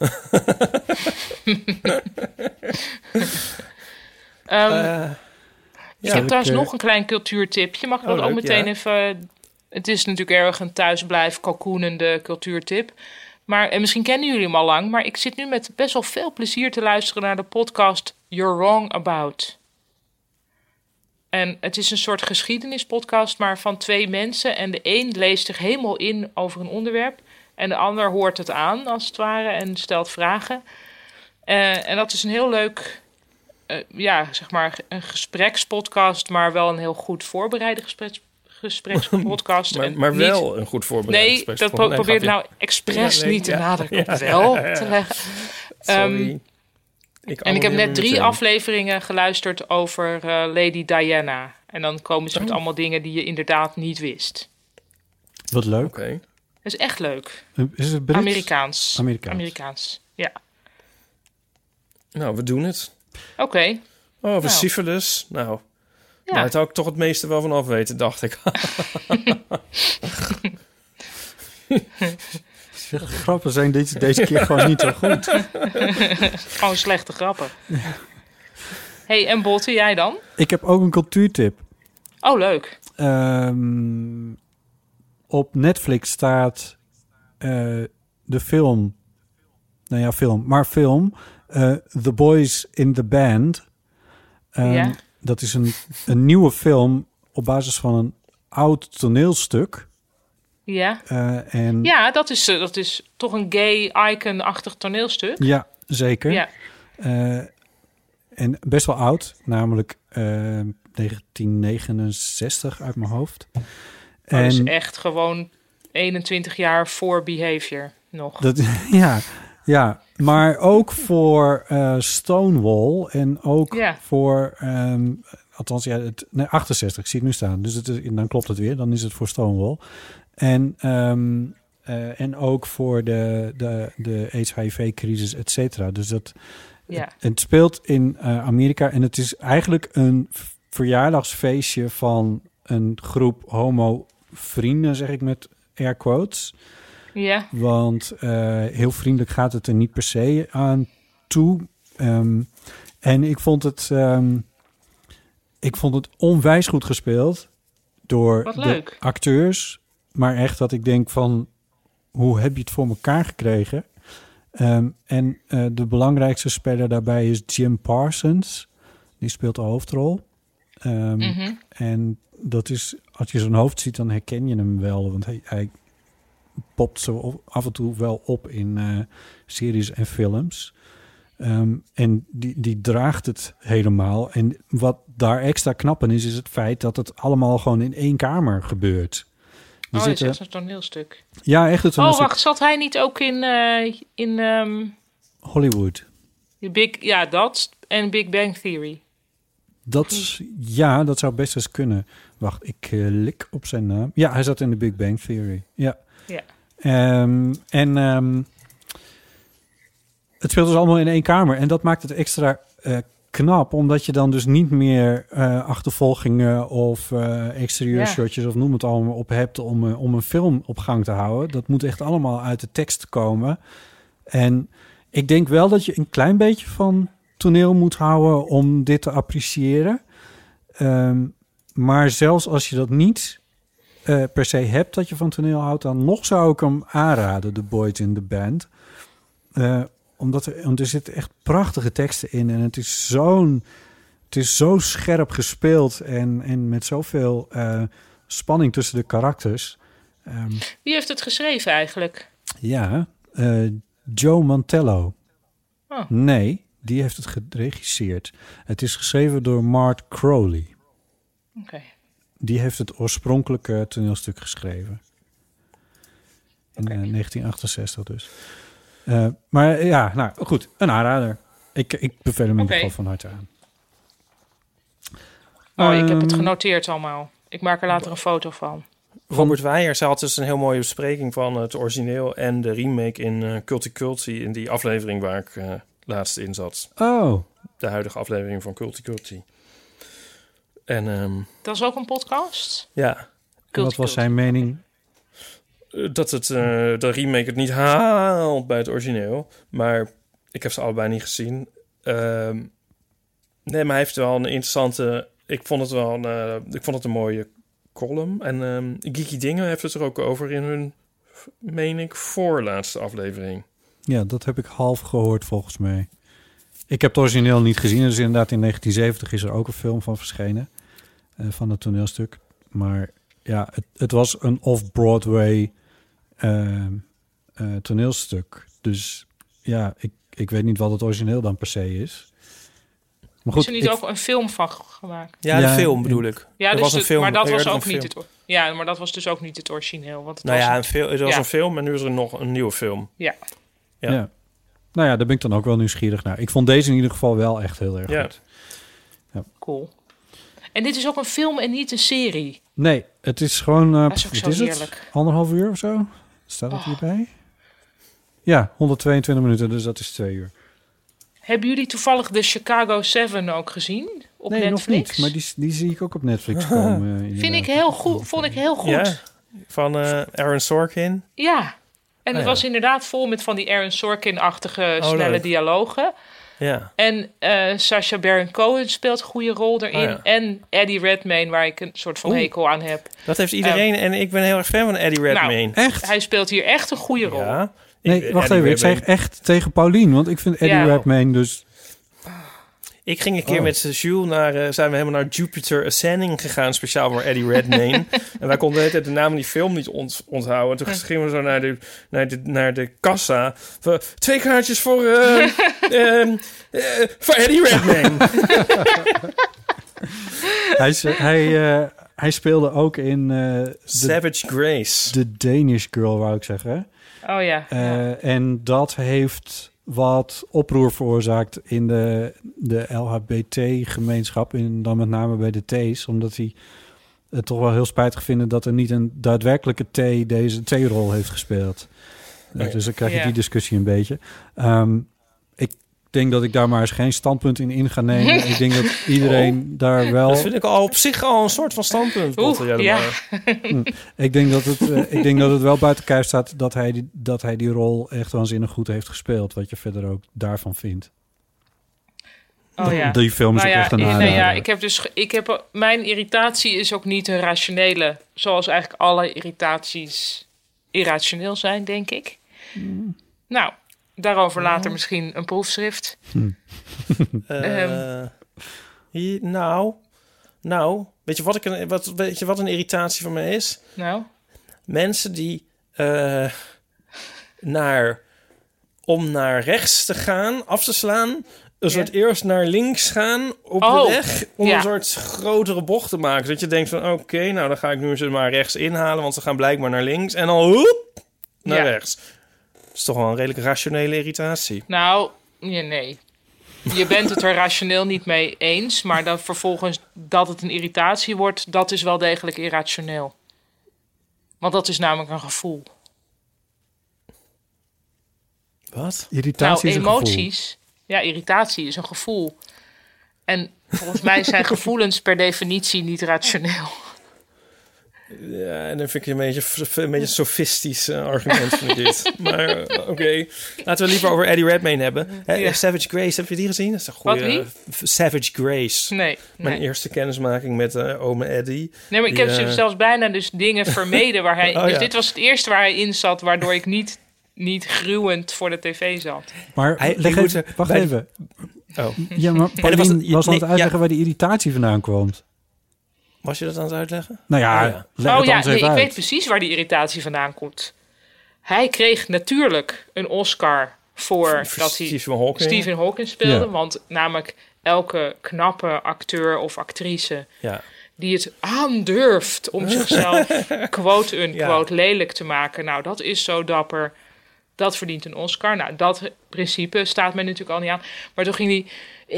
Ehm,
Eh,
ik heb trouwens
ik, eh,
nog een klein cultuurtipje. Mag ik
Oh,
dat ook
leuk,
meteen
ja.
even... Het is natuurlijk erg een thuisblijf, kalkoenende cultuurtip. Maar, en misschien kennen jullie hem al lang... maar ik zit nu met best wel veel plezier te luisteren naar de podcast You're Wrong About. En het is een soort geschiedenispodcast, maar van twee mensen. En de een leest zich helemaal in over een onderwerp. En de ander hoort het aan, als het ware, en stelt vragen. Eh, en dat is een heel leuk, eh, ja, zeg maar, een gesprekspodcast, maar wel een heel goed voorbereide gespreks, gesprekspodcast.
Maar,
dus En
maar
niet-
wel een goed voorbereid
Nee,
gesprek.
dat pro-
Nee,
probeert
grapje.
nou expres
Ja, nee,
niet te
ja.
nadrukken op wel te leggen.
Sorry.
ehm,
Ik
En ik heb
abonneer
net
me
drie
meteen.
afleveringen geluisterd over eh, Lady Diana. En dan komen
Oh.
ze met allemaal dingen die je inderdaad niet wist.
Wat leuk.
Oké.
Dat is echt leuk.
Is het Brits?
Amerikaans.
Amerikaans.
Amerikaans. Ja.
Nou, we doen het.
Oké.
Oh, we
Nou.
syphilis. Nou,
Ja.
daar zou ik toch het meeste wel van af weten, dacht ik.
Grappen zijn deze, deze keer gewoon niet zo goed.
Gewoon Oh, slechte grappen. hey, en Botte, jij dan?
Ik heb ook een cultuurtip.
Oh, leuk.
Ehm, op Netflix staat eh, de film. Nou ja, film, maar film. eh, the Boys in the Band. Ehm,
Ja.
Dat is een, een nieuwe film op basis van een oud toneelstuk.
Ja.
eh, en ja.
Ja, dat is, eh, dat is toch een gay icon-achtig toneelstuk.
zeker.
Ja.
Eh, en best wel oud, namelijk eh, 1969 uit mijn hoofd.
En... Oh, Dat is
En-
echt gewoon 21 jaar voor behavior nog.
Dat, ja, ja, maar ook voor eh, Stonewall en ook
Ja.
voor, ehm, althans, ja, het, nee, 68 zie ik nu staan. Dus het is- dan klopt het weer, dan is het voor Stonewall. En, ehm, eh, en ook voor de, de, de AIDS-HIV-crisis, et cetera. Dus dat,
Ja.
het speelt in eh, Amerika en het is eigenlijk een v- verjaardagsfeestje van een groep homo-vrienden, zeg ik met air quotes.
Ja.
Want eh, heel vriendelijk gaat het er niet per se aan toe. Ehm, en ik vond het, ehm, ik vond het onwijs goed gespeeld door
Wat
de
leuk.
acteurs. Maar echt dat ik denk van, hoe heb je het voor elkaar gekregen? Ehm, en eh, de belangrijkste speler daarbij is Jim Parsons. Die speelt de hoofdrol. Ehm,
Mhm.
en dat is, als je zijn hoofd ziet, dan herken je hem wel. Want hij, hij popt zo op- af en toe wel op in eh, series en films. Ehm, en die, die draagt het helemaal. En wat daar extra knap aan is, is het feit dat het allemaal gewoon in één kamer gebeurt. Er
Oh, dat is
zitten-
echt een toneelstuk.
ja, echt het een
Oh,
soort
wacht, zat hij niet ook in, eh, in ehm,
Hollywood.
de Big... Ja, dat en Big Bang Theory.
Dat, is- ja, dat zou best eens kunnen. Wacht, ik eh, lik op zijn naam. Ja, hij zat in de Big Bang Theory. Ja.
Ja.
Ehm, en ehm, het speelt dus allemaal in één kamer. En dat maakt het extra eh, knap, omdat je dan dus niet meer eh, achtervolgingen of eh exterieur
Ja.
shotjes of noem het allemaal op hebt om, eh, om een film op gang te houden. Dat moet echt allemaal uit de tekst komen. En ik denk wel dat je een klein beetje van toneel moet houden om dit te appreciëren. Ehm, maar zelfs als je dat niet eh, per se hebt dat je van toneel houdt, dan nog zou ik hem aanraden, The Boys in the Band. Eh, omdat er, want er zitten echt prachtige teksten in en het is zo'n. Het is zo scherp gespeeld en, en met zoveel eh, spanning tussen de karakters. Ehm,
Wie heeft het geschreven eigenlijk?
ja, eh, Joe Mantello.
Oh.
Nee, die heeft het geregisseerd. Het is geschreven door Mart Crowley.
Oké.
Die heeft het oorspronkelijke toneelstuk geschreven. In eh, 1968 dus. Eh, maar ja, nou goed, een aanrader. Ik, ik beveel hem in
Oké.
ieder geval van harte aan.
Oh, ik heb het
Ehm.
genoteerd allemaal. Ik maak er later een foto van.
Robert Weijers had dus een heel mooie bespreking van het origineel en de remake in eh Culti Culti. In die aflevering waar ik eh, laatst in zat.
Oh,
De huidige aflevering van Culti Culti. En ehm,
Dat is ook een podcast?
ja,
en wat
Culti
was
Culti.
zijn mening?
eh, dat het, eh de remake het niet haalt bij het origineel. Maar ik heb ze allebei niet gezien. Ehm, nee, maar hij heeft wel een interessante... Ik vond het wel een, eh, ik vond het een mooie column. En ehm Geeky Dingen heeft het er ook over in hun, meen ik, voorlaatste aflevering.
Ja, dat heb ik half gehoord volgens mij. Ik heb het origineel niet gezien. Dus inderdaad in 1970 is er ook een film van verschenen. eh, van het toneelstuk. Maar ja, het, het was een off-Broadway ehm, eh, toneelstuk. Dus ja, ik, ik weet niet wat het origineel dan per se is. Maar goed,
is er niet
ik-
ook een film van g- gemaakt?
Ja,
Ja,
de film
en-
bedoel ik.
Ja,
Er
dus
was een
het-
film,
maar dat was
eerder
ook
een
niet
film.
het, or- ja, maar dat was dus ook niet het origineel. Want het
Nou
was
ja,
een-
een film, er was
Ja.
een film en nu is er nog een nieuwe film.
ja.
ja.
Nou ja, daar ben ik dan ook wel nieuwsgierig naar. Ik vond deze in ieder geval wel echt heel erg
Ja.
goed.
cool. En dit is ook een film en niet een serie.
Nee, het is gewoon. eh
Dat is ook
pff,
zo
wat is het?
heerlijk. Oh.
Anderhalf uur of zo? Staat het hierbij? Ja, 122 minuten, dus dat is twee uur.
Hebben jullie toevallig de Chicago 7 ook gezien? Op
nee,
Netflix?
nog niet. Maar die, die zie ik ook op Netflix komen. eh,
Vind ik
inderdaad.
heel goed, vond ik heel goed.
Ja,
Ja.
van eh, Aaron Sorkin.
En het
Oh ja.
was inderdaad vol met van die Aaron Sorkin-achtige
Oh,
snelle
leuk.
dialogen.
Ja,
En eh Sasha Baron Cohen speelt een goede rol daarin.
Oh, ja.
En Eddie Redmayne, waar ik een soort van
Oeh.
hekel aan heb.
dat heeft iedereen. en ik ben heel erg fan van Eddie Redmayne.
Echt?
Hij speelt hier echt een goede rol.
ja.
Nee,
Ik-
wacht
Nou, eh, Eddie
even.
Redmayne.
Ik zeg echt tegen Paulien, want ik vind Eddie
Ja.
Redmayne dus...
Ik ging een keer
Oh.
met Jules naar, eh, zijn we helemaal naar Jupiter Ascending gegaan, speciaal voor Eddie Redmayne. en wij konden de hele tijd de naam van die film niet ont- onthouden. Toen gingen we zo naar de, naar de, naar de kassa. Van, Twee kaartjes voor, eh, ehm, eh, voor Eddie Redmayne.
Hij, is- hij, eh, hij speelde ook in eh, de,
Savage Grace.
de Danish Girl, wou ik zeggen.
Oh ja. ja.
Eh, En dat heeft wat oproer veroorzaakt in de, de LHBT-gemeenschap. En dan met name bij de T's. Omdat die het toch wel heel spijtig vinden dat er niet een daadwerkelijke T deze T-rol heeft gespeeld. Eh,
Nee.
Dus dan krijg je
Ja.
die discussie een beetje. Ehm, ik denk dat ik daar maar eens geen standpunt in in ga nemen. ik denk dat iedereen daar wel...
Dat vind ik al op zich al een soort van standpunt.
Oeh,
Botte Jellema.
ja.
Ik denk dat het, eh, ik denk dat het wel buiten kijf staat dat hij, die, dat hij die rol echt waanzinnig goed heeft gespeeld. Wat je verder ook daarvan vindt.
Oh ja.
Die film is
Nou
ook
ja,
echt een
ik- nou
aanrader.
ja, ik heb dus, ge- ik heb, er- mijn irritatie is ook niet een rationele, zoals eigenlijk alle irritaties irrationeel zijn, denk ik. Nou, daarover later misschien een proefschrift.
Hm.
Ehm,
Eh, hier- nou, nou, weet je wat, ik een, wat, weet je wat een irritatie van me is?
Nou,
Mensen die eh, naar, om naar rechts te gaan, af te slaan, een soort eerst naar links gaan op
Oh,
de weg, om
ja.
een soort grotere bocht te maken. Dat je denkt van, oké, nou dan ga ik nu ze maar rechts inhalen, want ze gaan blijkbaar naar links. En dan hoep, naar
Ja.
rechts. Dat is toch wel een redelijk rationele irritatie.
nou, ja, nee. Je bent het er rationeel niet mee eens, maar dan vervolgens dat het een irritatie wordt, dat is wel degelijk irrationeel. Want dat is namelijk een gevoel.
Wat?
Irritatie is een
nou,
gevoel.
emoties. Ja, irritatie is een gevoel. En volgens mij zijn gevoelens per definitie niet rationeel.
Ja, en dan vind ik je een beetje een beetje een sofistisch eh, argument vind ik dit. Maar eh, oké, laten we liever over Eddie Redmayne hebben. Hè, eh,
Ja.
Savage Grace, heb je die gezien? Dat is een
Wat,
goede
wie?
Savage Grace.
Nee,
Mijn
nee.
eerste kennismaking met eh ome Eddie.
nee maar ik
die,
heb
eh,
zelfs bijna dus dingen vermeden waar hij...
Oh,
dus
ja.
dit was het eerste waar hij in zat, waardoor ik niet, niet gruwend voor de tv zat.
Maar
Hij-
leg
die
even,
moeten
wacht
bij-
even.
Oh,
Ja, maar
was
Paulien
het- je-
was aan het
nee,
uitleggen waar die irritatie vandaan kwam.
was je dat aan het uitleggen?
Nou ja,
Oh ja.
leg
oh
het
ja,
anders
nee,
even
ik
uit.
weet precies waar die irritatie vandaan komt. Hij kreeg natuurlijk een Oscar voor dat hij
Stephen Hawking.
Stephen Hawking speelde.
Ja.
Want namelijk elke knappe acteur of actrice
Ja.
die het aandurft om zichzelf quote unquote lelijk te maken. Nou, dat is zo dapper. Dat verdient een Oscar. Nou, dat principe staat mij natuurlijk al niet aan. Maar toen ging hij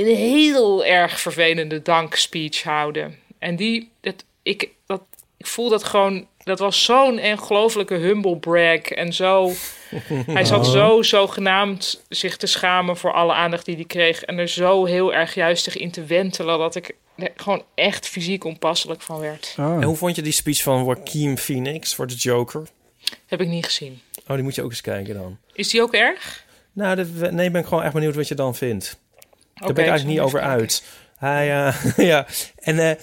een heel erg vervelende dankspeech houden. En die, dat, ik, dat, ik voel dat gewoon. Dat was zo'n ongelofelijke humble brag. En zo. Hij zat
Oh.
zo zogenaamd zich te schamen voor alle aandacht die hij kreeg. En er zo heel erg juistig in te wentelen. Dat ik er gewoon echt fysiek onpasselijk van werd.
En
Oh.
hoe vond je die speech van Joaquin Phoenix voor de Joker?
Heb ik niet gezien.
Oh, die moet je ook eens kijken dan.
Is die ook erg?
Nou, dat- nee, ben ik gewoon echt benieuwd wat je dan vindt.
Daar
Daar ben ik eigenlijk niet over uit. Hij, eh, ja, en eh,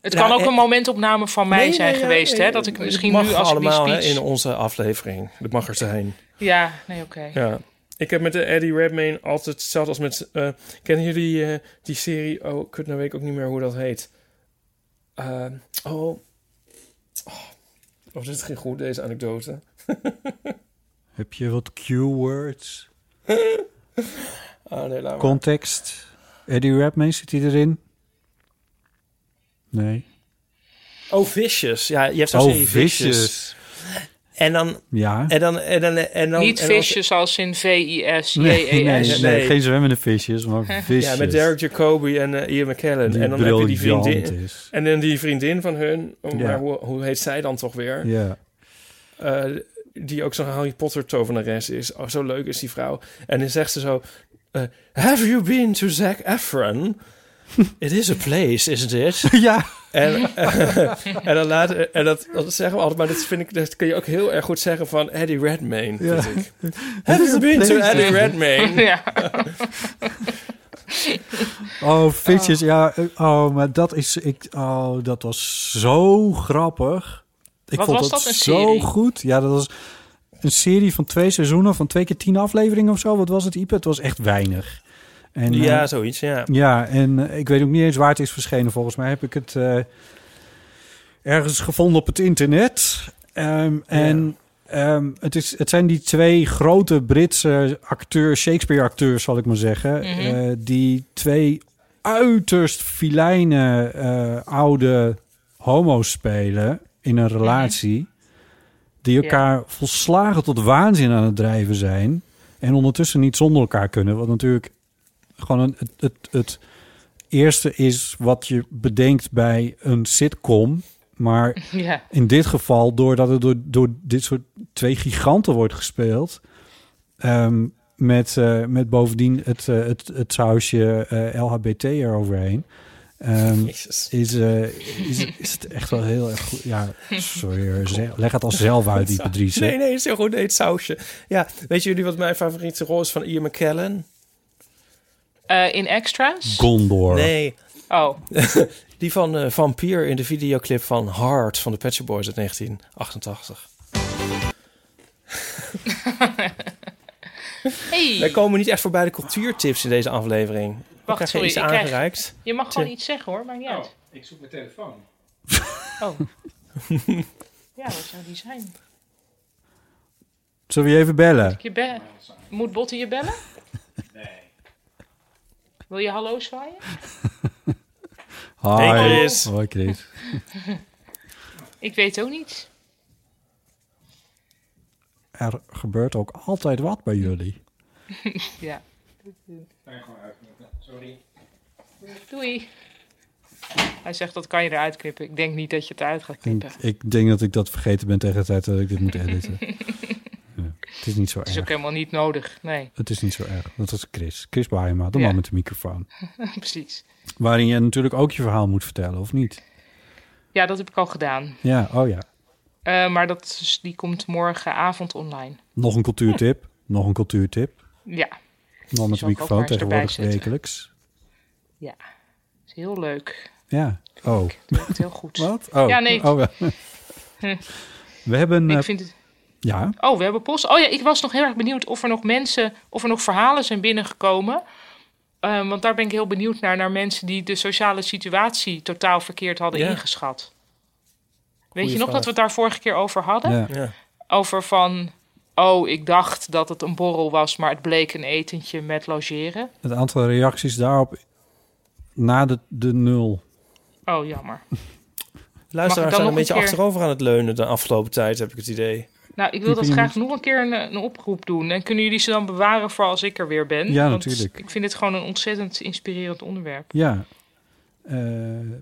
Het
Nou,
kan ook
eh,
een momentopname van mij
Nee,
zijn
nee, ja,
geweest,
nee,
hè? Dat ik
het
misschien
mag
nu als ik die
allemaal hè,
speech...
in onze aflevering. Dat mag er zijn.
Ja, nee, oké.
Ja. Ik heb met de Eddie Redmayne altijd hetzelfde als met... eh, kennen jullie eh, die serie? Oh, kut, nou weet ik ook niet meer hoe dat heet. Eh, oh. oh. Oh, dit ging goed, deze anekdote.
Heb je wat Q-words?
Ah, nee, laat maar.
Context? Eddie Redmayne, zit hij erin? Nee.
Oh, Vicious. Ja, je hebt zo'n
Oh,
serie Vicious.
visjes.
En dan...
Ja.
E
En dan, en dan, en dan
niet
en als-
visjes als in V-I-S-J-E-S.
Nee, nee, nee,
Nee.
geen zwemmende visjes, maar visjes.
Ja, E met Derek Jacobi en eh, Ian McKellen.
Die
en dan heb je die
briljant
vriendin...
is.
En dan die vriendin van hun, oh,
Ja.
maar hoe, hoe heet zij dan toch weer?
Ja.
Eh, die ook zo'n Harry Potter tovenares is. Oh, zo leuk is die vrouw. En dan zegt ze zo... eh, Have you been to Zac Efron? It is a place, isn't it?
ja.
En, eh, en, dan later, en dat, dat zeggen we altijd, maar dat, vind ik, dat kun je ook heel erg goed zeggen van Eddie Redmayne.
Ja.
Vind ik. Have you been to
place,
Eddie
isn't it?
Redmayne?
Ja.
Oh, visjes, ja. eh, Oh, maar dat is... Ik, oh, dat was zo grappig. Ik
Wat
vond
was
dat,
dat, een
zo
serie?
goed. Ja, dat was een serie van twee seizoenen van twee keer tien afleveringen of zo. Wat was het, Ipe? Het was echt weinig. En, eh,
ja, zoiets, ja.
ja, en eh, ik weet ook niet eens waar het is verschenen. Volgens mij heb ik het eh, ergens gevonden op het internet. Ehm, En ehm, het, is, het zijn die twee grote Britse acteurs, Shakespeare-acteurs zal ik maar zeggen.
Mhm.
eh, die twee uiterst filijne eh, oude homo's spelen in een relatie. Die elkaar volslagen tot waanzin aan het drijven zijn. En ondertussen niet zonder elkaar kunnen. Wat natuurlijk gewoon een, het, het, het eerste is wat je bedenkt bij een sitcom. Maar
Ja.
in dit geval, doordat het door, door dit soort twee giganten wordt gespeeld. ehm, met, eh, met bovendien het, eh, het, het sausje eh, LHBT eroverheen. ehm,
Jezus.
is, eh, is, is het echt wel heel erg goed. Ja, sorry. hoor. Ze- Leg het al zelf uit, die Patrice.
Nee, nee, is heel goed. Nee, het sausje. Ja, weet jullie wat mijn favoriete rol is van Ian McKellen?
Eh, in extras?
Gondor.
Nee,
Oh,
die van eh, Vampier in de videoclip van Heart van de Pet Shop Boys uit 1988. Wij
hey,
komen niet echt voorbij de cultuurtips in deze aflevering. We
Wacht,
krijgen
sorry,
iets
ik krijg-
aangereikt.
je mag gewoon iets zeggen hoor, maakt niet uit.
Oh, ik zoek mijn telefoon.
Oh. ja, wat zou die zijn?
Zullen we je even bellen?
Je be- Moet Botte je bellen? Nee. Wil je hallo zwaaien?
Hi.
Hey, Chris.
Hoi Chris.
Ik weet ook niet.
Er gebeurt ook altijd wat bij jullie.
Ja. Doei. Hij zegt dat kan je eruit knippen. Ik denk niet dat je het eruit gaat knippen.
Ik, ik denk dat ik dat vergeten ben tegen de tijd dat ik dit moet editen. ja, het is niet zo
Het is ook
erg.
helemaal niet nodig. Nee,
Het is niet zo erg. Dat was Chris. Chris Baaienma, de
Ja.
man met de microfoon.
precies.
Waarin je natuurlijk ook je verhaal moet vertellen, of niet?
Ja, dat heb ik al gedaan.
Ja, oh ja.
Eh, maar dat is- die komt morgenavond online.
Nog een cultuurtip. Nog een cultuurtip.
Ja,
Man met
Zal ik
de
ook maar
microfoon
eens erbij
tegenwoordig
zetten.
wekelijks.
is heel leuk.
Ja. Oh.
Doe het heel goed.
Wat? Oh.
Ja, nee.
Oh, ja. We hebben... eh,
Ik vind het...
Ja.
Oh, we hebben post. Oh ja, ik was nog heel erg benieuwd of er nog mensen, of er nog verhalen zijn binnengekomen. Eh, want daar ben ik heel benieuwd naar, naar mensen die de sociale situatie totaal verkeerd hadden
Ja.
ingeschat. Weet
Goeie
je nog
vraag.
dat we het daar vorige keer over hadden?
ja.
Ja.
Over van, oh, ik dacht dat het een borrel was, maar het bleek een etentje met logeren.
Het aantal reacties daarop na de, de nul.
Oh, jammer.
Luisteraars
Mag ik dan
zijn
nog
een
een
beetje
keer-
achterover aan het leunen de afgelopen tijd, heb ik het idee.
Nou, ik wil dat
Typen
graag nog een keer een, een oproep doen. En kunnen jullie ze dan bewaren voor als ik er weer ben?
Ja,
Want
natuurlijk.
Ik vind het gewoon een ontzettend inspirerend onderwerp.
Ja. Eh,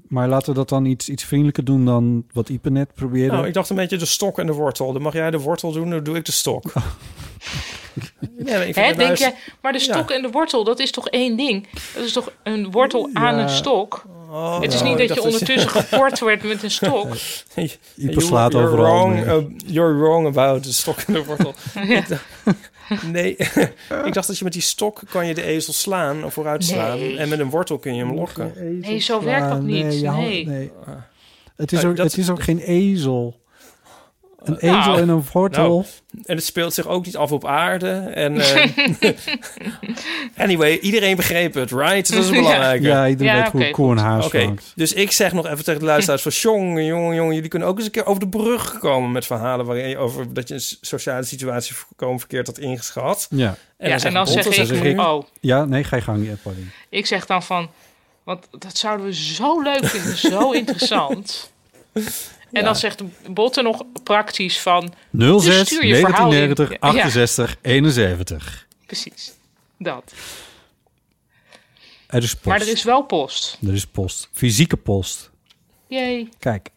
maar laten we dat dan iets, iets vriendelijker doen dan wat Ipe net probeerde.
Nou, ik dacht een beetje de stok en de wortel. Dan mag jij de wortel doen, dan doe ik de stok. nee, maar ik vind
Hè,
het
denk
juist-
jij, maar de stok en de wortel, dat is toch één ding? Dat is toch een wortel aan een stok?
Oh,
het is
ik
niet dat
dacht
je ondertussen geport werd met een stok.
Ipe
You-
slaat
you're
overal
Wrong,
mee.
ab- you're wrong about de stok en de wortel. Ik dacht- nee, ik dacht dat je met die stok kan je de ezel slaan of vooruit slaan.
Nee.
En met een wortel kun je hem lokken.
Nee, zo werkt dat niet.
je houdt-
Nee.
Het, is
Nou,
ook,
dat-
het is ook geen ezel. Een
nou,
ezel en een
nou,
wortel.
En het speelt zich ook niet af op aarde. En, eh, anyway, iedereen begreep het, right? Dat is het belangrijke.
ja, iedereen
Ja,
weet hoe
oké,
een koe een haas
eh, Oké,
vangt.
dus ik zeg nog even tegen de luisteraars van... jongen, jongen, jongen, jullie kunnen ook eens een keer over de brug komen... met verhalen waarin je over dat je een s- sociale situatie voorkomen verkeerd had ingeschat.
Ja.
Ja, en, dan
Botte,
zeg
zeg
ik,
ik-
oh,
ja, nee, ga je gang, ja, Pauline.
ik zeg dan van, want dat zouden we zo leuk vinden, zo interessant. En dan zegt Botte nog praktisch van,
06
Dus stuur je verhaal in.
1990 68 71.
precies, dat.
Er is post.
Maar er is wel post.
er is post. Fysieke post.
Jee.
Kijk,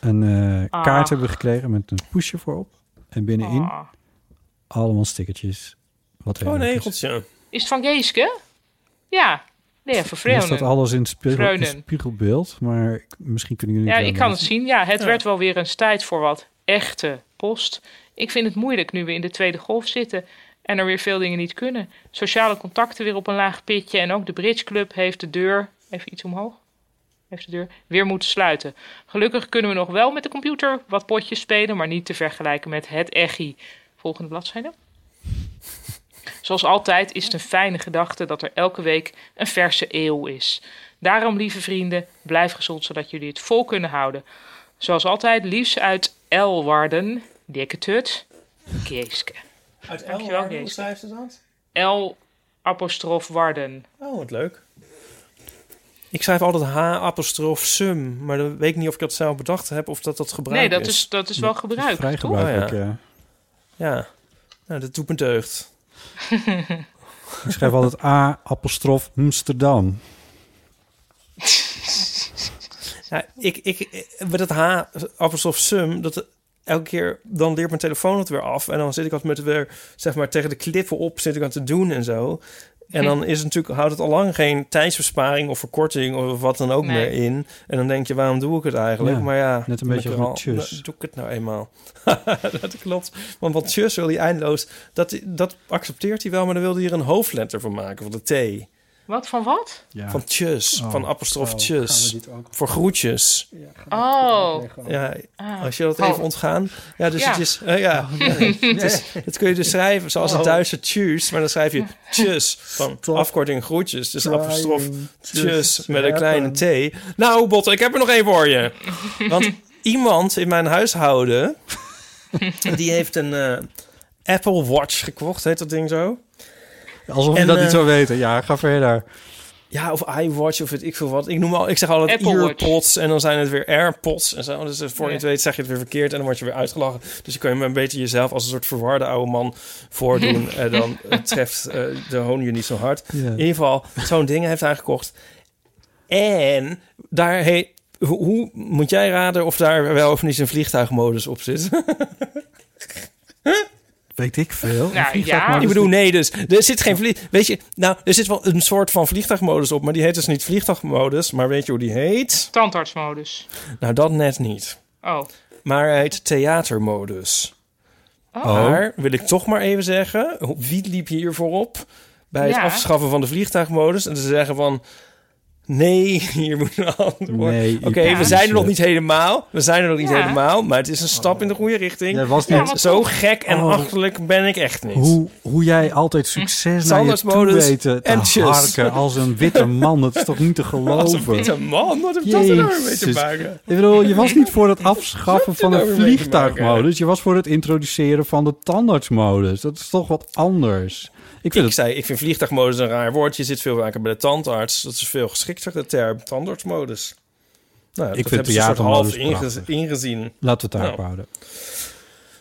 een eh,
Ah.
kaart hebben we gekregen met een poesje voorop. En binnenin
Ah.
allemaal stickertjes. Wat heel
Oh, een
leuk is.
hegeltje.
Is het van Geeske? Ja. Nee, van
Er staat
Vreeuwen.
alles in het spiegel- in het
Vreunen.
spiegelbeeld, maar ik- misschien kunnen jullie
Ja,
wel
ik kan het
lezen.
zien. Ja, het werd wel weer eens tijd voor wat echte post. Ik vind het moeilijk nu we in de tweede golf zitten en er weer veel dingen niet kunnen. Sociale contacten weer op een laag pitje en ook de Bridge Club heeft de deur, even iets omhoog, heeft de deur weer moeten sluiten. Gelukkig kunnen we nog wel met de computer wat potjes spelen, maar niet te vergelijken met het Echi. Volgende bladzijde. Zoals altijd is het een fijne gedachte dat er elke week een verse eeuw is. Daarom, lieve vrienden, blijf gezond zodat jullie het vol kunnen houden. Zoals altijd, liefst uit Elwarden, dikke tut, Geeske.
Uit
Dankjewel,
Elwarden, hoe
Kees.
schrijft ze dat?
El apostrof Warden.
Oh, wat leuk. Ik schrijf altijd H-apostrof-sum, maar dan weet ik niet of ik dat zelf bedacht heb of dat dat gebruikt
Nee, dat is, dat is wel gebruikt.
Vrij
toch?
gebruikelijk.
Oh,
eh.
Ja, nou, dat doet me deugd.
eh, Ik schrijf altijd A, apostrof, Amsterdam.
Ja, Nou, ik, ik, ik- met dat H-apostrof-sum, dat elke keer, dan leert mijn telefoon het weer af. En dan zit ik altijd met weer, zeg maar, tegen de klippen op, zit ik aan te doen en zo. En dan is het natuurlijk, houdt het al lang geen tijdsbesparing of verkorting of wat dan ook
Nee.
meer in. En dan denk je, waarom doe ik het eigenlijk?
Ja,
maar ja,
net een
dan
beetje
ben ik
als
er
met
al-
tjus.
Doe ik het nou eenmaal? dat klopt. Want wat tjus wil hij eindeloos, dat, dat accepteert hij wel, maar dan wilde hij er een hoofdletter van maken, van de T.
Wat van wat?
Ja.
Van tjus,
Oh,
van apostrof
oh, gaan we
tjus.
dit ook-
Voor groetjes.
Oh,
Ja,
ah.
als je dat
Oh.
even ontgaan. Ja, dus
Ja.
het is... eh, ja.
Oh,
het is- dat kun je dus schrijven zoals het Duitse tjus. Maar dan schrijf je tjus van afkorting groetjes. Dus apostrof tjus met een kleine t. Nou, Botte, ik heb er nog één voor je. Want iemand in mijn huishouden... die heeft een eh, Apple Watch gekocht. Heet dat ding zo?
Alsof je
En,
dat
eh,
niet zou weten. Ja, ga verder.
Ja, of iWatch of weet ik veel wat. Ik, noem al, ik zeg altijd
Apple Watch.
earpods en dan zijn het weer AirPods en zo. Dus voor je het
Ja.
weet zeg je het weer verkeerd en dan word je weer uitgelachen. Dus je kan je een beetje jezelf als een soort verwarde oude man voordoen. en dan eh, treft eh, de hoon je niet zo hard.
Ja.
In ieder geval, zo'n ding heeft hij gekocht. En daar heet... Hoe, hoe moet jij raden of daar wel of niet een vliegtuigmodus op zit?
Weet ik veel.
Nou, ja.
ik bedoel, nee, dus er zit geen vlieg. Weet je, nou, er zit wel een soort van vliegtuigmodus op, maar die heet dus niet vliegtuigmodus. Maar weet je hoe die heet?
Tandartsmodus.
Nou, dat net niet.
Oh.
Maar hij heet theatermodus.
Oh.
Maar wil ik toch maar even zeggen, ho- wie liep hier voorop bij het
Ja.
afschaffen van de vliegtuigmodus en te zeggen van nee, hier moet een ander worden.
Nee,
Oké,
je
we
kunt
zijn er
niet.
nog niet helemaal. We zijn er nog niet
Ja.
helemaal, maar het is een stap in de goede richting.
Jij was
Ja,
niet
want-
Zo gek en
Oh.
achterlijk ben ik echt niet.
hoe, hoe jij altijd
Hm.
succes naar je toe
Standaardmodus
weet te
en tjus.
harken als een witte man. Dat is toch niet te
Als een witte
geloven?
man, wat heeft dat er nou mee te
Jezus.
maken?
Ik bedoel, je was niet voor het afschaffen van
nou
de
weer mee te maken?
vliegtuigmodus. Je was voor het introduceren van de tandartsmodus. Dat is toch wat anders. Ik vind
Ik
het
zei, ik vind vliegtuigmodus een raar woord. Je zit veel vaker bij de tandarts. Dat is veel geschikter, de term tandartsmodus. Nou,
vind
hebben ze een soort half
theatermodus
inge
prachtig.
ingezien.
Laten we het daarop
Nou.
houden.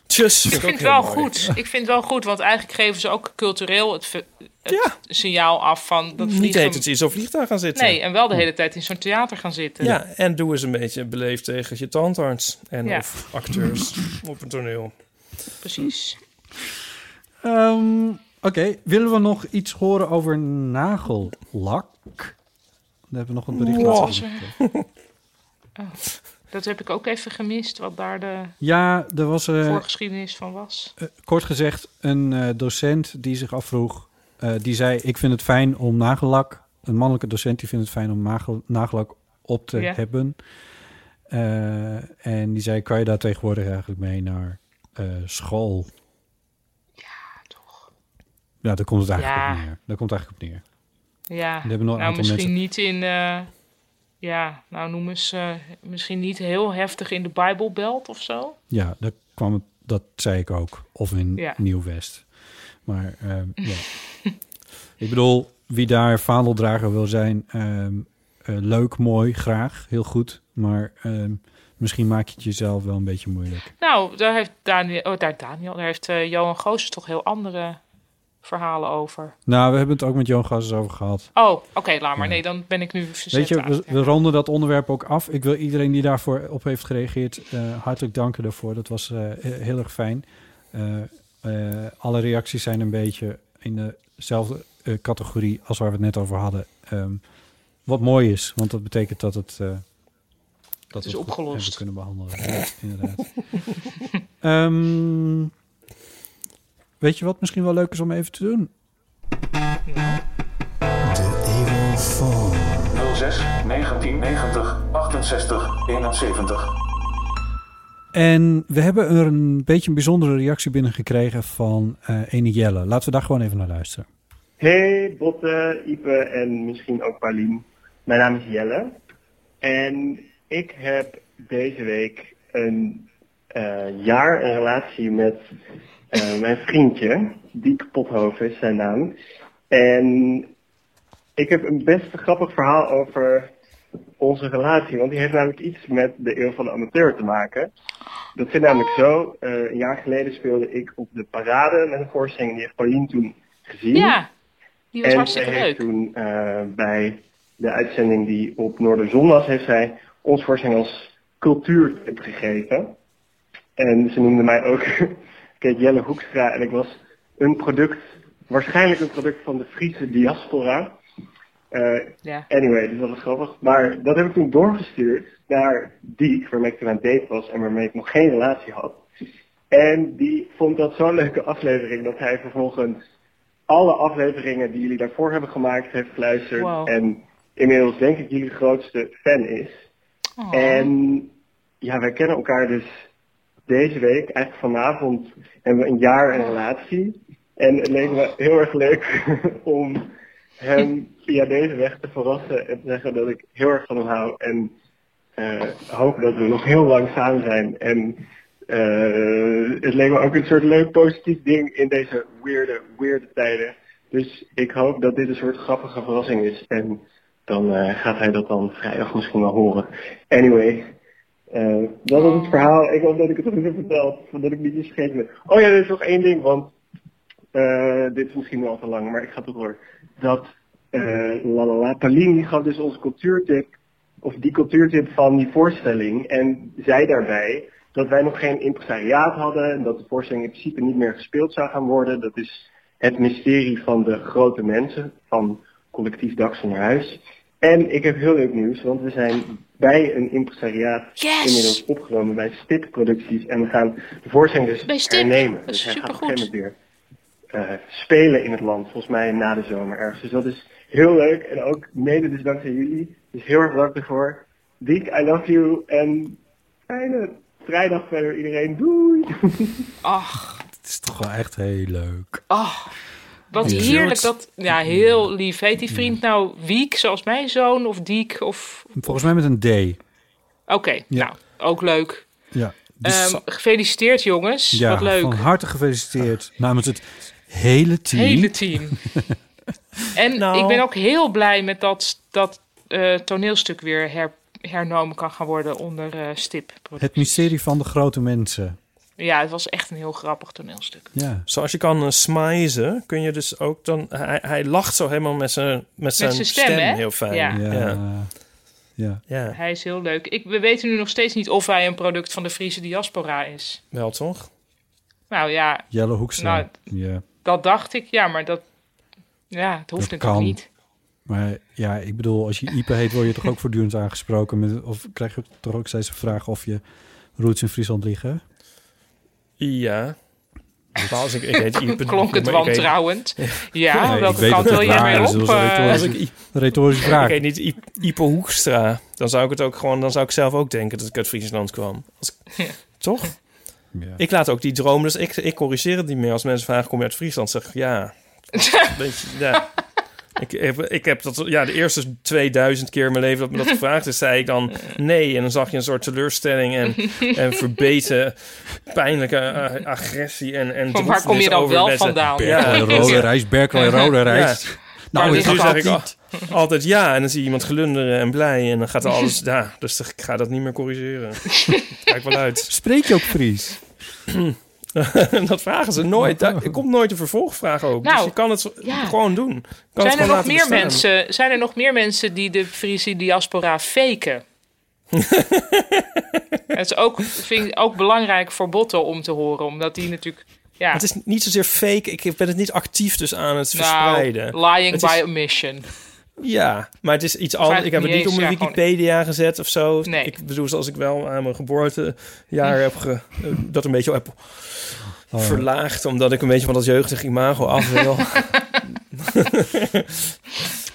Tjus.
Dus Ik vind het wel goed. Ik vind het wel goed, want eigenlijk geven ze ook cultureel het, ver- het
Ja.
signaal af van dat
Niet
vliegen...
heet het in zo'n vliegtuig gaan zitten.
Nee, en wel de hele tijd in zo'n theater gaan zitten.
Ja, en doe eens een beetje beleefd tegen je tandarts en
Ja.
of acteurs op een toneel.
Precies.
Ehm, Oké, willen we nog iets horen over nagellak? Dan hebben we nog een bericht
Wow.
laten zien.
Dat heb ik ook even gemist, wat daar de
Ja, er was eh,
voorgeschiedenis van was.
eh, kort gezegd een eh, docent die zich afvroeg. eh, die zei: Ik vind het fijn om nagellak. Een mannelijke docent die vindt het fijn om nagel- nagellak op te
Ja.
hebben. Eh, en die zei: Kan je daar tegenwoordig eigenlijk mee naar eh, school? Ja, toch. Ja, daar komt het eigenlijk
Ja.
op neer. Daar komt het eigenlijk op neer.
Ja,
hebben nog
nou
een aantal
misschien
mensen-
niet in... eh, ja, nou noem eens... eh, misschien niet heel heftig in de Bijbelbelt of zo.
Ja, dat, kwam het, dat zei ik ook. Of in
Ja.
Nieuw-West. Maar ehm, ja. ik bedoel, wie daar vaandeldrager wil zijn, ehm, eh, leuk, mooi, graag, heel goed. Maar ehm, misschien maak je het jezelf wel een beetje moeilijk.
Nou, daar heeft Daniel... Oh, daar, Daniel, daar heeft eh, Johan Goossens toch heel andere verhalen over.
Nou, we hebben het ook met Johan Gassens over gehad.
Oh, oké, laat maar.
Ja.
Nee, dan ben ik nu verzet
Weet je,
aan het
we, we ronden dat onderwerp ook af. Ik wil iedereen die daarvoor op heeft gereageerd eh, hartelijk danken daarvoor. Dat was eh, he- heel erg fijn. Eh, eh, alle reacties zijn een beetje in dezelfde eh, categorie als waar we het net over hadden. Ehm, wat mooi is, want dat betekent dat het... eh, dat
is
we het goed
opgelost.
hebben kunnen behandelen. Ja, inderdaad. Ehm, weet je wat misschien wel leuk is om even te doen?
06 1990 68 71.
En we hebben er een beetje een bijzondere reactie binnengekregen van eh Ene Jelle. Laten we daar gewoon even naar luisteren.
Hey Botte, Ipe en misschien ook Paulien. Mijn naam is Jelle. En ik heb deze week een eh, jaar een relatie met eh, mijn vriendje. Diek Pothoven is zijn naam. En ik heb een best grappig verhaal over onze relatie. Want die heeft namelijk iets met de eeuw van de amateur te maken. Dat zit namelijk zo. eh, een jaar geleden speelde ik op de parade met een voorstelling. Die heeft Paulien toen gezien.
Ja, die was
En
hartstikke
zij heeft
leuk.
toen eh, bij de uitzending die op Noorderzon was, heeft zij ons voorstelling als cultuurtip gegeven. En ze noemde mij ook Kate Jelle Hoekstra en ik was een product, waarschijnlijk een product van de Friese diaspora. Eh,
Ja.
Anyway, dus dat was grappig. Maar dat heb ik toen doorgestuurd naar die, waarmee ik toen aan het date was en waarmee ik nog geen relatie had. En die vond dat zo'n leuke aflevering dat hij vervolgens alle afleveringen die jullie daarvoor hebben gemaakt heeft geluisterd.
Wow.
En inmiddels denk ik jullie grootste fan is.
Oh.
En ja, wij kennen elkaar dus deze week, eigenlijk vanavond, hebben we een jaar een relatie. En het leek me heel erg leuk om hem via deze weg te verrassen en te zeggen dat ik heel erg van hem hou. En eh, hoop dat we nog heel lang samen zijn. En eh, het leek me ook een soort leuk positief ding in deze weirde, weirde tijden. Dus ik hoop dat dit een soort grappige verrassing is. En dan eh, gaat hij dat dan vrijdag misschien wel horen. Anyway, eh, dat was het verhaal. Ik hoop dat ik het goed heb verteld. Dat ik niet is vergeten ben. Oh ja, er is nog één ding, want eh, dit is misschien wel te lang, maar ik ga toch door. Dat eh la la la, Paulien die gaf dus onze cultuurtip, of die cultuurtip van die voorstelling. En zei daarbij dat wij nog geen impresariaat hadden en dat de voorstelling in principe niet meer gespeeld zou gaan worden. Dat is het mysterie van de grote mensen, van collectief Dags van Huis. En ik heb heel leuk nieuws, want we zijn bij een impresariaat
Yes!
inmiddels opgenomen bij Stip Producties. En we gaan de voorstelling dus
Bij Stip.
hernemen.
Dat is
dus hij gaat op een
supergoed.
gegeven moment weer eh, spelen in het land. Volgens mij na de zomer ergens. Dus dat is heel leuk. En ook mede dus dankzij jullie. Dus heel erg bedankt daarvoor. Diek, I love you. En fijne vrijdag verder iedereen. Doei!
Ach,
Het is toch wel echt heel leuk.
ach. Oh, Wat
Cute.
heerlijk dat... Ja, heel lief. Heet die vriend nou Wiek, zoals mijn zoon? Of Diek? Of...
Volgens mij met een D.
Oké,
Ja.
nou, ook leuk.
Ja. Dus-
Ehm, gefeliciteerd jongens,
ja,
wat leuk.
van harte gefeliciteerd namens het hele team.
Hele team. en
Nou.
ik ben ook heel blij met dat dat eh, toneelstuk weer her- hernomen kan gaan worden onder eh, stip.
Het mysterie van de grote mensen.
Ja, het was echt een heel grappig toneelstuk.
Ja.
Zoals je kan eh, smijzen, kun je dus ook dan... Hij, hij lacht zo helemaal met zijn, met zijn,
zijn
stem,
stem, hè?
heel fijn.
Ja.
Ja.
Ja.
ja. ja.
Ja,
Hij is heel leuk. Ik, we weten nu nog steeds niet of hij een product van de Friese diaspora is.
wel toch?
Nou ja,
Jelle Hoekstra.
Nou,
ja.
dat dacht ik. Ja, maar dat, ja, het hoeft
Dat
natuurlijk
kan.
niet.
Maar ja, ik bedoel, als je Ipe heet, word je toch ook voortdurend aangesproken? Met, of krijg je toch ook steeds de vraag of je roots in Friesland liggen?
Ja. Maar Als ik, ik heet Ipe,
Klonk het
maar ik heet-
wantrouwend. Ja,
Nee, ik
welke
weet
kant
dat
wil
het
jij
waar
mee
is,
op?
dat is
eh?
Als ik, I-
Retorische
ik
vraag.
heet niet I- Ipe Hoekstra, dan zou ik het ook gewoon... Dan zou ik zelf ook denken dat ik uit Friesland kwam. Als ik- Toch?
Ja.
Ik laat ook die droom, dus ik, ik corrigeer het niet meer. Als mensen vragen, kom je uit Friesland? Zeg ik, ja. Weet je, ja. Ik, heb, ik heb dat, ja, de eerste 2000 keer in mijn leven dat me dat gevraagd is, zei ik dan nee. En dan zag je een soort teleurstelling en, en verbeten, pijnlijke eh, agressie en, en
Van waar kom
droefenis
je dan
over
wel
mensen.
vandaan?
Ja.
Berkel en rode rijst, Berkel en rode rijst. Nou,
Maar
ik
Dus nu
ligt
had
zeg ik
altijd...
al- altijd ja. En dan zie je iemand glunderen en blij. En dan gaat er alles, ja. Dus ik ga dat niet meer corrigeren. Kijk wel uit.
Spreek je ook Fries?
dat vragen ze nooit. Daar, er komt nooit een vervolgvraag ook.
Nou,
dus je kan het zo-
ja.
gewoon doen. Je Kan het
Zijn er,
gewoon
nog
laten
meer
bestaan.
mensen, zijn er nog meer mensen die de Friese diaspora faken? Het is ook, vind ik ook belangrijk voor Botten om te horen, omdat die natuurlijk. Ja,
Het is niet zozeer fake. Ik ben het niet actief dus aan het
nou,
verspreiden.
lying
Het
by
is-
omission.
ja, maar het is iets
Vraag
anders. Ik heb
niet
het niet
eens,
op mijn
ja, gewoon-
Wikipedia gezet of zo.
Nee.
Ik bedoel, zoals ik wel aan mijn geboortejaar heb ge, eh, dat een beetje heb
Oh,
verlaagd. Omdat ik een beetje van dat jeugdige imago af wil. maar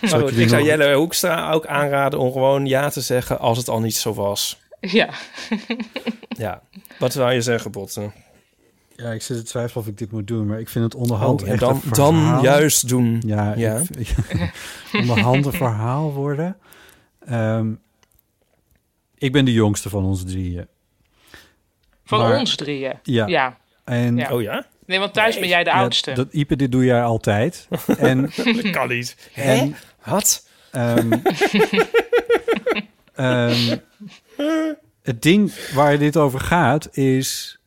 Zou ik
goed,
jullie
ik zou
nog-
Oh, Jelle Hoekstra ook aanraden om gewoon ja te zeggen als het al niet zo was.
Ja.
Ja, wat zou je zeggen, Botten?
Ja, ik zit te twijfelen of ik dit moet doen, maar ik vind het onderhand
Oh, en
echt
dan,
een verhaal.
dan juist doen.
Ja,
Ja.
ik- ik- onderhand een verhaal worden. Ehm, ik ben de jongste van ons drieën.
Van
Maar-
ons drieën.
Ja.
Ja.
en
Ja.
Oh ja?
Nee, want thuis ben jij de
ja,
oudste.
dat Ipe, dit doe jij altijd. En,
Dat kan niet. Hè?
en
Wat?
ehm, ehm, het ding waar dit over gaat is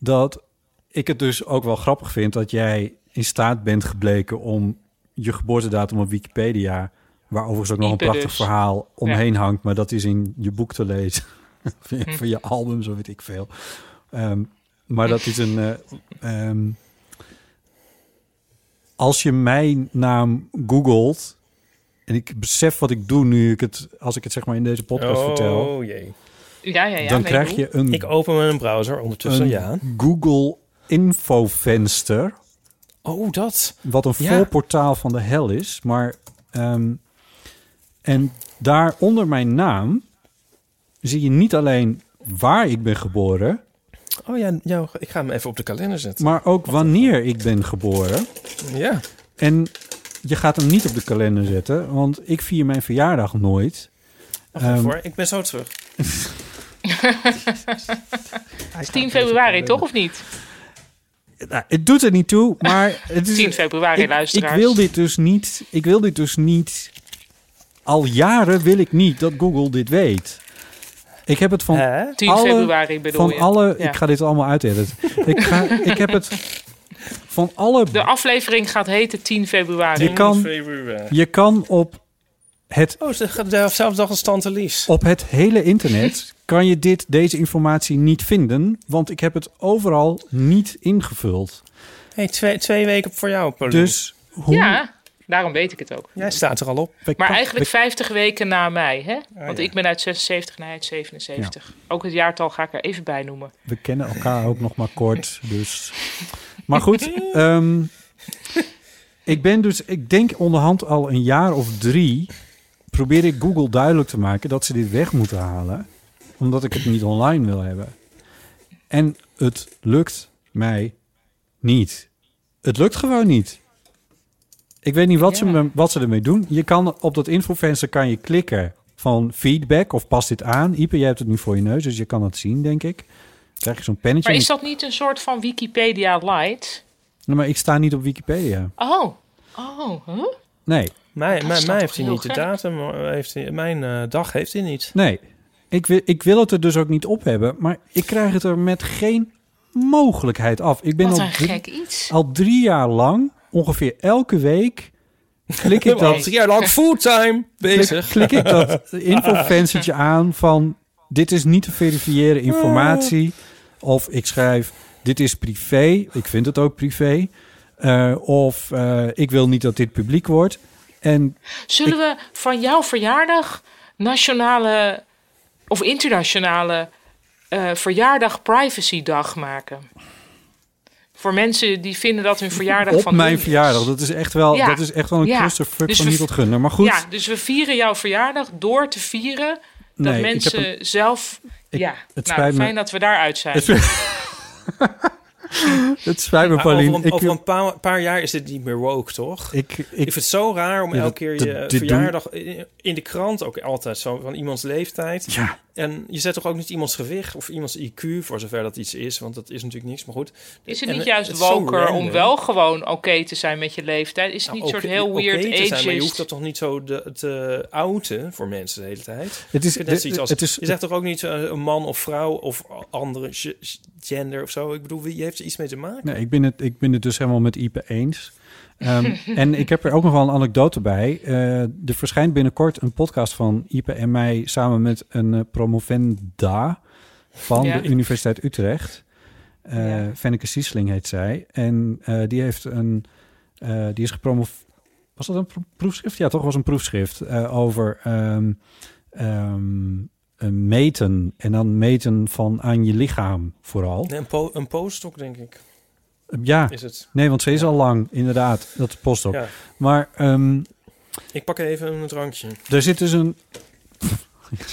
dat ik het dus ook wel grappig vind dat jij in staat bent gebleken om je geboortedatum op Wikipedia, waar overigens ook nog een
Ipe
prachtig
dus.
verhaal omheen hangt, maar dat is in je boek te lezen, van je album, zo weet ik veel. Ehm, maar dat is een. eh, ehm, als je mijn naam googelt. En ik besef wat ik doe nu ik het, als ik het zeg maar in deze podcast vertel.
Oh jee.
ja, ja, ja.
dan
nee,
krijg
doe.
je een,
Ik open mijn browser ondertussen,
een
ja.
Google infovenster.
Oh, dat.
Wat een
Ja.
voorportaal van de hel is. Maar, ehm, en daar onder mijn naam zie je niet alleen waar ik ben geboren,
Oh ja, jou, ik ga hem even op de kalender zetten.
maar ook wanneer ik ben geboren. Ehm,
Ja.
En je gaat hem niet op de kalender zetten, want ik vier mijn verjaardag nooit.
Wacht even
Ehm,
hoor, ik ben zo terug.
10 februari, toch of niet?
Nou, het doet er niet toe, maar het is
10 februari,
ik, ik
luisteraars.
wil dit dus niet. Ik wil dit dus niet. Al jaren wil ik niet dat Google dit weet. Ik heb het van
Hè?
10
alle-
februari bedoel
van
je.
alle.
Ja.
Ik ga dit allemaal uitediten. ik ga. Ik heb het van alle.
De aflevering gaat heten 10 februari.
Je kan.
Februari.
Je kan op het
Oh, ze gaat dezelfde dag als Tante Lies.
Op het hele internet kan je dit, deze informatie niet vinden, want ik heb het overal niet ingevuld.
hey, twee, twee weken voor jou, Pauline.
Dus hoe.
Ja, daarom weet ik het ook.
Jij staat er al op.
we
Maar
kan-
eigenlijk 50 weken na mij, hè?
Ah,
Want
ja.
ik ben uit 76 naar uit 77. Ook het jaartal ga ik er even bij noemen.
we, we kennen elkaar ook nog maar kort, dus. Maar goed, ehm, ik ben dus, ik denk onderhand al een jaar of drie, probeer ik Google duidelijk te maken dat ze dit weg moeten halen, omdat ik het niet online wil hebben. En het lukt mij niet. Het lukt gewoon niet. Ik weet niet wat, ze,
Ja.
me- wat ze ermee doen. Je kan op dat infovenster kan je klikken van feedback of pas dit aan. Ipe, jij hebt het nu voor je neus, dus je kan dat zien, denk ik. Krijg je zo'n pennetje.
Maar is
en
dat niet een soort van Wikipedia light?
ik- Nee, maar ik sta niet op Wikipedia.
Oh, oh, huh?
Nee.
Mij,
Dat
mij,
is
mij
toch
heeft hij
heel
niet. De
gek?
datum eh, heeft hij. Mijn eh, dag heeft hij niet.
Nee, ik wil, ik wil het er dus ook niet op hebben, maar ik krijg het er met geen mogelijkheid af. Ik ben
Wat
al
een
drie,
gek iets.
al drie jaar lang, ongeveer elke week, klik ik
al
dat,
drie jaar lang fulltime bezig.
klik ik dat infovenstertje aan van dit is niet te verifiëren
Ah.
informatie. Of ik schrijf dit is privé, ik vind het ook privé. Eh, of eh, ik wil niet dat dit publiek wordt. En
Zullen we van jouw verjaardag nationale of internationale eh, verjaardag privacydag maken? Voor mensen die vinden dat hun verjaardag
op
van
mijn
hun is.
verjaardag, dat is echt wel,
Ja.
dat is echt wel een
Ja.
clusterfuck
Dus
van
we-
niet tot gunner. Maar goed,
Ja, dus we vieren jouw verjaardag door te vieren dat
Nee, ik heb
mensen
hem-
zelf.
ik-
ja,
het
nou,
spijt me.
fijn dat we daaruit zijn.
Het spijt- Het spijt me,
Maar over,
Paulien.
een, over
Ik,
een paar, paar jaar is dit niet meer woke, toch? Ik,
ik, ik,
vind het zo raar om
Ja,
elke
dat-
keer
dat-
je
dit doen-
verjaardag in- in de krant ook altijd zo van iemands leeftijd.
ja,
En je zet toch ook niet iemands gewicht of iemands IQ, voor zover dat iets is, want dat is natuurlijk niks. Maar goed.
Is
En
het
eh,
niet juist
het is zo
woker om
random.
wel gewoon oké te zijn met je leeftijd? Is het
Nou,
niet een soort
oké-
heel
oké
weird
te zijn, maar je hoeft
ageist?
dat toch niet zo de, te outen voor mensen de hele tijd?
het is,
Ik vind net zoiets als-
het is,
je zegt toch ook niet eh, een man of vrouw of andere ge- gender of zo? Ik bedoel, wie heeft er iets mee te maken?
nee, ik, ben het, ik ben het dus helemaal met Ipe eens. Ehm, en ik heb er ook nog wel een anekdote bij. Eh, er verschijnt binnenkort een podcast van Ipe en mij samen met een eh, promovenda van
Ja.
de Universiteit Utrecht. Eh
Ja.
Fenneke Siesling heet zij. En eh, die heeft een, eh, die is gepromoveerd. Was dat een pro- proefschrift? Ja, toch was een proefschrift eh, over ehm, ehm, eh, meten. En dan meten van aan je lichaam vooral.
Nee, een, po een postdoc, denk ik,
Ja,
is het.
nee, want ze is
Ja.
al lang, inderdaad. Dat is postdoc.
Ja.
Maar ehm
Ik pak even een drankje.
er zit dus een...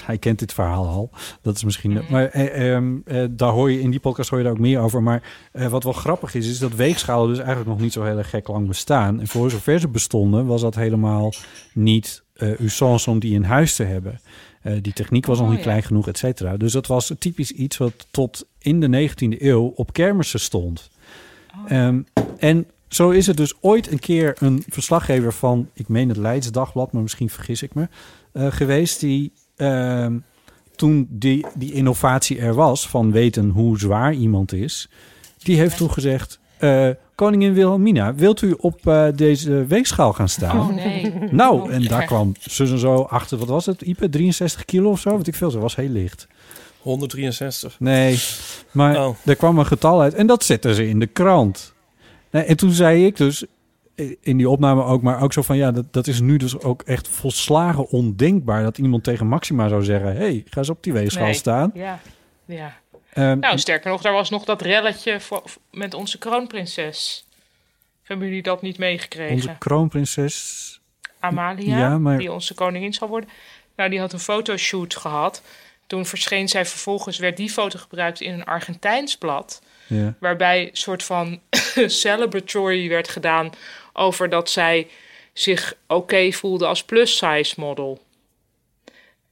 Hij kent dit verhaal al. Dat is misschien.
Mhm.
Maar eh, ehm, eh, daar hoor je in die podcast hoor je daar ook meer over. Maar eh, wat wel grappig is, is dat weegschalen dus eigenlijk nog niet zo heel erg gek lang bestaan. En voor zover ze bestonden, was dat helemaal niet eh usance om die in huis te hebben. Eh, die techniek was nog
Oh,
niet
ja.
klein genoeg, et cetera. Dus dat was typisch iets wat tot in de 19e eeuw op kermissen stond.
Oh.
Ehm, en zo is er dus ooit een keer een verslaggever van, ik meen het Leids Dagblad, maar misschien vergis ik me, eh, geweest die ehm, toen die, die innovatie er was van weten hoe zwaar iemand is, die heeft toen gezegd, eh, koningin Wilhelmina, wilt u op eh, deze weegschaal gaan staan?
Oh nee.
Nou, en daar kwam zus en zo achter, wat was het, Ipe? 63 kilo of zo? Weet ik veel, ze was heel licht.
163.
Nee, maar
Oh.
er kwam een getal uit en dat zetten ze in de krant. Nee, en toen zei ik dus eh, in die opname ook, maar ook zo van ja, dat, dat is nu dus ook echt volslagen ondenkbaar dat iemand tegen Maxima zou zeggen: hey, ga eens op die weegschaal
Nee.
staan.
Ja. ja.
Ehm,
Nou, sterker nog, daar was nog dat relletje voor, met onze kroonprinses. Hebben jullie dat niet meegekregen?
onze kroonprinses.
Amalia,
Ja, maar-
die onze koningin zal worden. Nou, die had een fotoshoot gehad. Toen verscheen zij vervolgens, werd die foto gebruikt in een Argentijns blad.
Ja.
Waarbij een soort van celebratory werd gedaan over dat zij zich oké voelde als plus size model.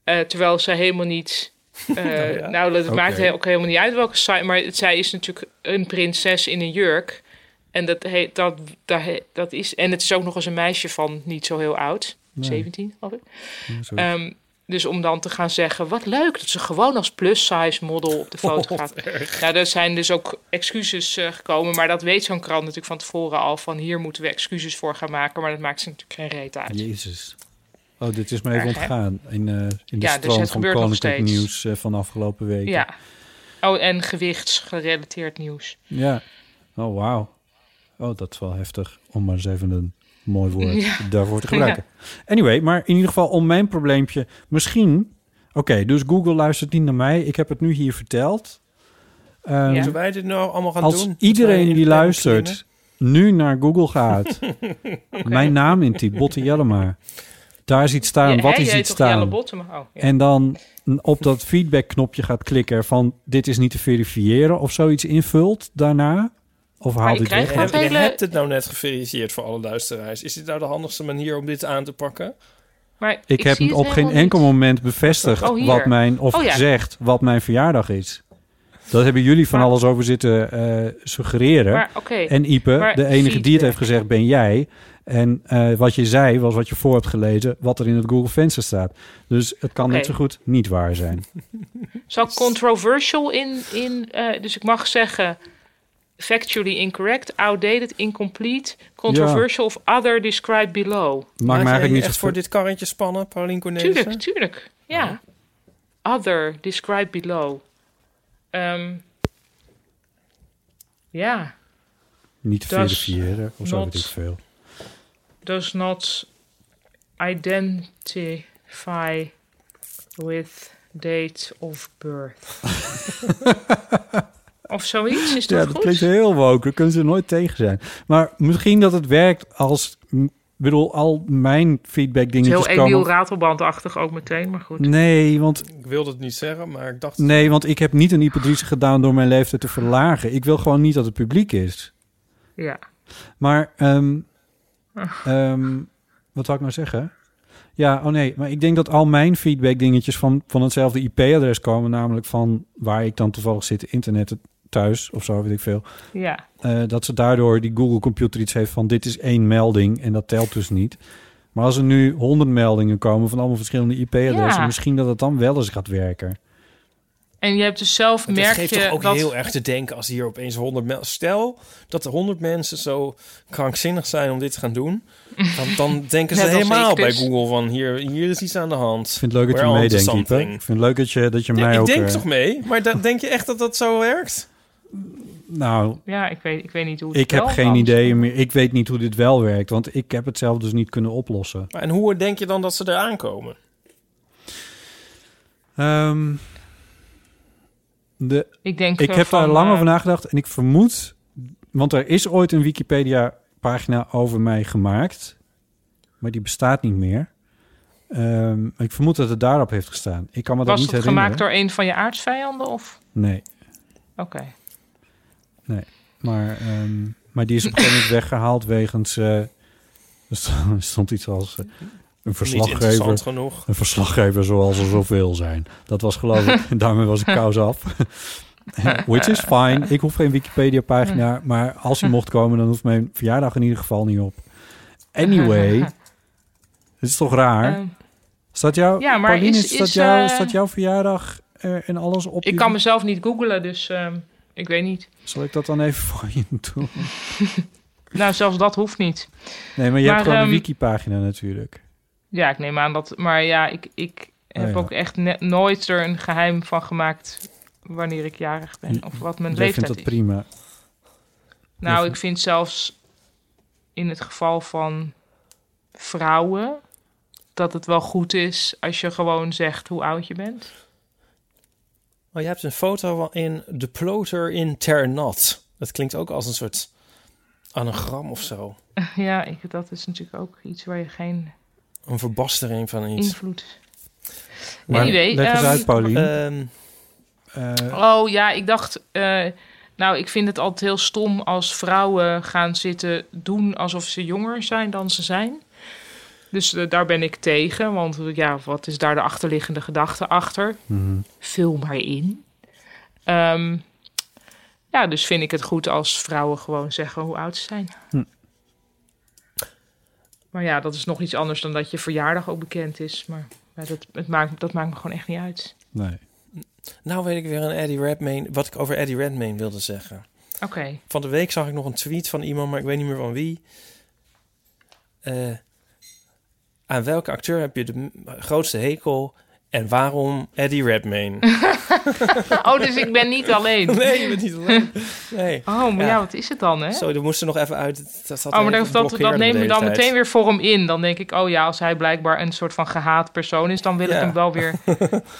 Eh, terwijl zij helemaal niet. eh, Nou, dat maakt he- ook helemaal niet uit welke size. Maar het- zij is natuurlijk een prinses in een jurk. En dat, he- dat, dat, he- dat is. En het is ook nog eens een meisje van niet zo heel oud. 17, geloof ik.
zo.
Ehm, dus om dan te gaan zeggen, wat leuk dat ze gewoon als plus size model op de foto gaat. Nou, er zijn dus ook excuses eh, gekomen, maar dat weet zo'n krant natuurlijk van tevoren al. Van hier moeten we excuses voor gaan maken, maar dat maakt ze natuurlijk geen reet uit.
Jezus. Oh, dit is me even
Erg, hè?
ontgaan in, eh, in de
Ja, dus
stroom
het
van
gebeurt nog
koninklijk
steeds.
nieuws eh, van de afgelopen week.
Ja. Oh, en gewichtsgerelateerd nieuws.
Ja. Oh, wauw. Oh, dat is wel heftig. Om maar eens even een mooi woord daarvoor te gebruiken. Anyway, maar in ieder geval om mijn probleempje. Misschien... Oké, dus Google luistert niet naar mij. Ik heb het nu hier verteld. Ehm,
Ja.
Moeten wij dit nou allemaal gaan
Als
doen? Moeten wij
iedereen
in
die
de pen
luistert nu naar Google gaat... mijn naam intypt, Botte Jellema. Daar ziet staan,
Ja,
wat
hè,
is
jij
iets
toch
staan?
Jelle Bottema? Oh, ja.
En dan op dat feedback-knopje gaat klikken van... dit is niet te verifiëren of zoiets invult daarna. Of haal
je
dit
krijgt
weg.
Je,
Gewoon
hebt- je
hele-
hebt het nou net geverifieerd voor alle luisteraars. Is dit nou de handigste manier om dit aan te pakken?
Maar
Ik, heb
zie
het op geen
helemaal
enkel
niet.
moment bevestigd
Oh, hier.
wat mijn, of
Oh, ja.
gezegd wat mijn verjaardag is. Dat hebben jullie van
Maar-
alles over zitten eh, suggereren.
Maar oké,
en Ipe,
maar
de enige die het
feedback.
heeft gezegd, ben jij. En eh, wat je zei was wat je voor hebt gelezen, wat er in het Google Venster staat. Dus het kan
Oké.
net zo goed niet waar zijn.
zal ik controversial in, in eh, dus ik mag zeggen factually incorrect, outdated, incomplete, controversial of other described below.
Maakt me
Laat jij
eigenlijk
je
niet
echt
zo
voor dit karretje spannen, Paulien Cornelissen?
Tuurlijk, tuurlijk.
Oh.
Ja. Other, describe below. Ehm, ja,
niet te
Dat is
verifiëren of zo
not-
weet ik veel.
does not identify with date of birth. of zoiets, is dat
Ja,
goed?
dat klinkt heel woke. Daar kunnen ze nooit tegen zijn. Maar misschien dat het werkt als... Ik bedoel, al mijn feedback
Het is
dingetjes
heel Emiel
komen...
Ratelbandachtig ook meteen, maar
Mm.
goed.
Nee want,
Ik wilde het niet zeggen, maar ik dacht...
nee, want ik heb niet een hyperdrice gedaan door mijn leeftijd te verlagen. Ik wil gewoon niet dat het publiek is.
Ja.
Maar, ehm,
Ah.
ehm, wat zou ik nou zeggen? Ja, oh nee, maar ik denk dat al mijn feedback dingetjes van, van hetzelfde IP-adres komen. Namelijk van waar ik dan toevallig zit, internet thuis of zo, weet ik veel.
Ja.
Eh, dat ze daardoor die Google computer iets heeft van dit is één melding en dat telt dus niet. Maar als er nu honderd meldingen komen van allemaal verschillende IP-adressen,
Ja.
misschien dat het dan wel eens gaat werken.
En je hebt dus zelf,
Het
merk
geeft
je...
toch ook
dat...
heel erg te denken als hier opeens 100 mensen... Stel dat er 100 mensen zo krankzinnig zijn om dit te gaan doen. Dan, dan denken ze
Net als
helemaal
ik
bij
dus.
Google van hier, hier is iets aan de hand.
Ik vind het leuk dat je
We're onto
meedenkt, Iep, hè?
something.
Ik vind het leuk dat je, dat je
Ja,
mij
ik
ook...
denk
eh,
toch mee? Maar dan denk je echt dat dat zo werkt?
Nou,
Ja, ik weet, ik weet niet hoe het
ik heb
wel
geen
kan.
idee meer. Ik weet niet hoe dit wel werkt, want ik heb het zelf dus niet kunnen oplossen.
Maar en hoe denk je dan dat ze eraan komen?
Ehm, de
Ik, denk,
Ik
eh,
heb daar
van,
lang
eh,
over nagedacht en ik vermoed, want er is ooit een Wikipedia-pagina over mij gemaakt, maar die bestaat niet meer. Ehm, ik vermoed dat het daarop heeft gestaan. Ik kan me dat
Was
niet
het
herinneren.
gemaakt door een van je aardsvijanden? Of?
Nee,
Oké.
maar, ehm, maar die is op een gegeven moment weggehaald wegens... eh, er stond- er stond iets als eh, een
Niet interessant
verslaggever.
genoeg.
Een verslaggever zoals er zoveel zijn. Dat was geloof ik, daarmee was ik kous af. Which is fine. Ik hoef geen Wikipedia-pagina. Maar als hij mocht komen, dan hoeft mijn verjaardag in ieder geval niet op. Anyway, het is toch raar?
Ehm,
Staat jou,
Ja, maar
Pauline,
is-
staat,
is,
jou,
eh,
staat jouw verjaardag eh, en alles op?
ik
die-
kan mezelf niet googlen, dus ehm, ik weet niet.
Zal ik dat dan even voor je doen?
Nou, zelfs dat hoeft niet.
Nee, maar je hebt
Maar,
gewoon een
ehm,
wikipagina natuurlijk.
Ja, ik neem aan dat. Maar ja, ik, ik
Oh,
heb
ja.
ook echt ne- nooit er een geheim van gemaakt wanneer ik jarig ben. Of wat mijn
Dus Jij
leeftijd
vindt
is.
dat prima.
Nou,
Of-
ik vind zelfs in het geval van vrouwen dat het wel goed is als je gewoon zegt hoe oud je bent.
Oh, je hebt een foto wel in De Ploter in Ternat. Dat klinkt ook als een soort anagram of zo.
ja, ik, dat is natuurlijk ook iets waar je geen
Een verbastering van iets.
invloed.
Maar
Anyway,
leg eens
ehm,
uit, Pauline.
Ehm,
Eh,
Oh ja, ik dacht. eh, nou, ik vind het altijd heel stom als vrouwen gaan zitten doen alsof ze jonger zijn dan ze zijn. Dus eh, daar ben ik tegen, want eh, ja, wat is daar de achterliggende gedachte achter?
mhm.
vul maar in. Ehm, ja, dus vind ik het goed als vrouwen gewoon zeggen hoe oud ze zijn.
Hm.
Maar ja, dat is nog iets anders dan dat je verjaardag ook bekend is. Maar ja, dat, het maakt, dat maakt me gewoon echt niet uit.
Nee.
nou weet ik weer een Eddie Redmayne, wat ik over Eddie Redmayne wilde zeggen.
Oké,
Van de week zag ik nog een tweet van iemand, maar ik weet niet meer van wie. Eh, aan welke acteur heb je de m- grootste hekel en waarom Eddie Redmayne?
oh, dus ik ben niet alleen.
nee, je bent niet alleen. Nee.
Oh, maar ja,
Ja.
wat is het dan, hè?
Zo, dat moest er nog even uit. Dat zat
Oh, maar
even
dat, dat, dat
geblokkeerd
neem
de
je dan
hele tijd.
meteen weer voor hem in. Dan denk ik, oh ja, als hij blijkbaar een soort van gehaat persoon is, dan wil ik
Ja.
hem wel weer,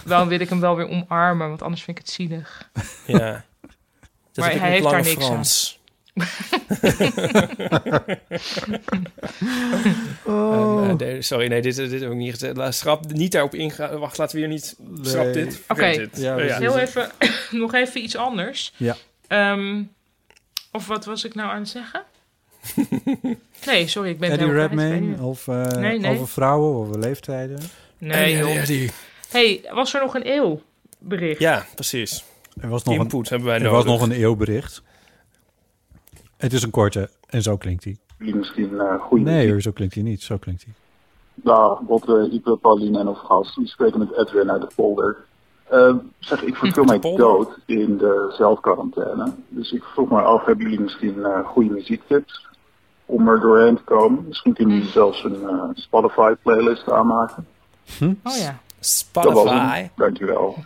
dan wil ik hem wel weer omarmen, want anders vind ik het zielig.
Ja. Dat
Maar
heb ik
hij
met
heeft daar
Lange
niks aan.
Frans.
Oh.
Eh, nee, sorry, nee, dit, dit heb ik niet gezegd. Laat, schrap niet daarop ingaan. Wacht, laten we hier niet... Schrap dit. vergeet
Oké.
dit.
Ja, dus
Eh,
precies.
Heel even, nog even iets anders.
Ja.
Ehm, of wat was ik nou aan het zeggen? nee, sorry, ik ben het
Eddie
helemaal kwijt,
Redmayne
ik weet
of eh,
Nee, nee.
over vrouwen, over leeftijden.
niet meer. Nee,
Eddie,
joh.
Eddie.
Hey, was er nog een eeuw bericht?
Ja, precies.
Er was nog, een,
Input hebben wij
er
nodig.
was nog een eeuwbericht. Het is een korte en zo klinkt hij.
jullie misschien eh goede
Nee
muziek.
hoor, zo klinkt hij niet. Zo klinkt hij.
Dag, Botte, Ipe, Pauline en of Gast. U spreken met Edwin uit de polder. Eh, zeg, ik verveel mij
polder?
dood in de zelfquarantaine. Dus ik vroeg me af, hebben jullie misschien eh, goede muziektips om er doorheen te komen? Misschien kunnen jullie zelfs een eh, Spotify-playlist aanmaken.
Oh ja.
Dat was
Spotify.
hem. Dankjewel.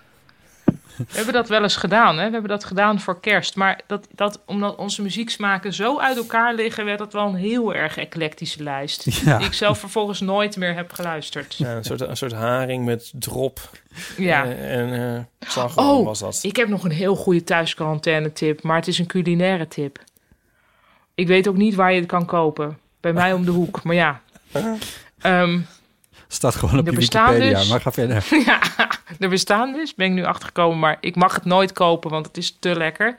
We hebben dat wel eens gedaan, hè? We hebben dat gedaan voor kerst. Maar dat, dat, omdat onze muzieksmaken zo uit elkaar liggen, werd dat wel een heel erg eclectische lijst.
Ja.
Die ik zelf vervolgens nooit meer heb geluisterd.
Ja, een, soort, een soort haring met drop
Ja.
eh, en eh slagroom
Oh,
was dat.
Ik heb nog een heel goede thuisquarantaine tip, maar het is een culinaire tip. Ik weet ook niet waar je het kan kopen. Bij mij om de hoek, maar ja. Ehm,
Staat gewoon op
Er
je
bestaan
Wikipedia,
dus-
maar ga verder.
ja, er bestaan dus, ben ik nu achtergekomen, maar ik mag het nooit kopen, want het is te lekker.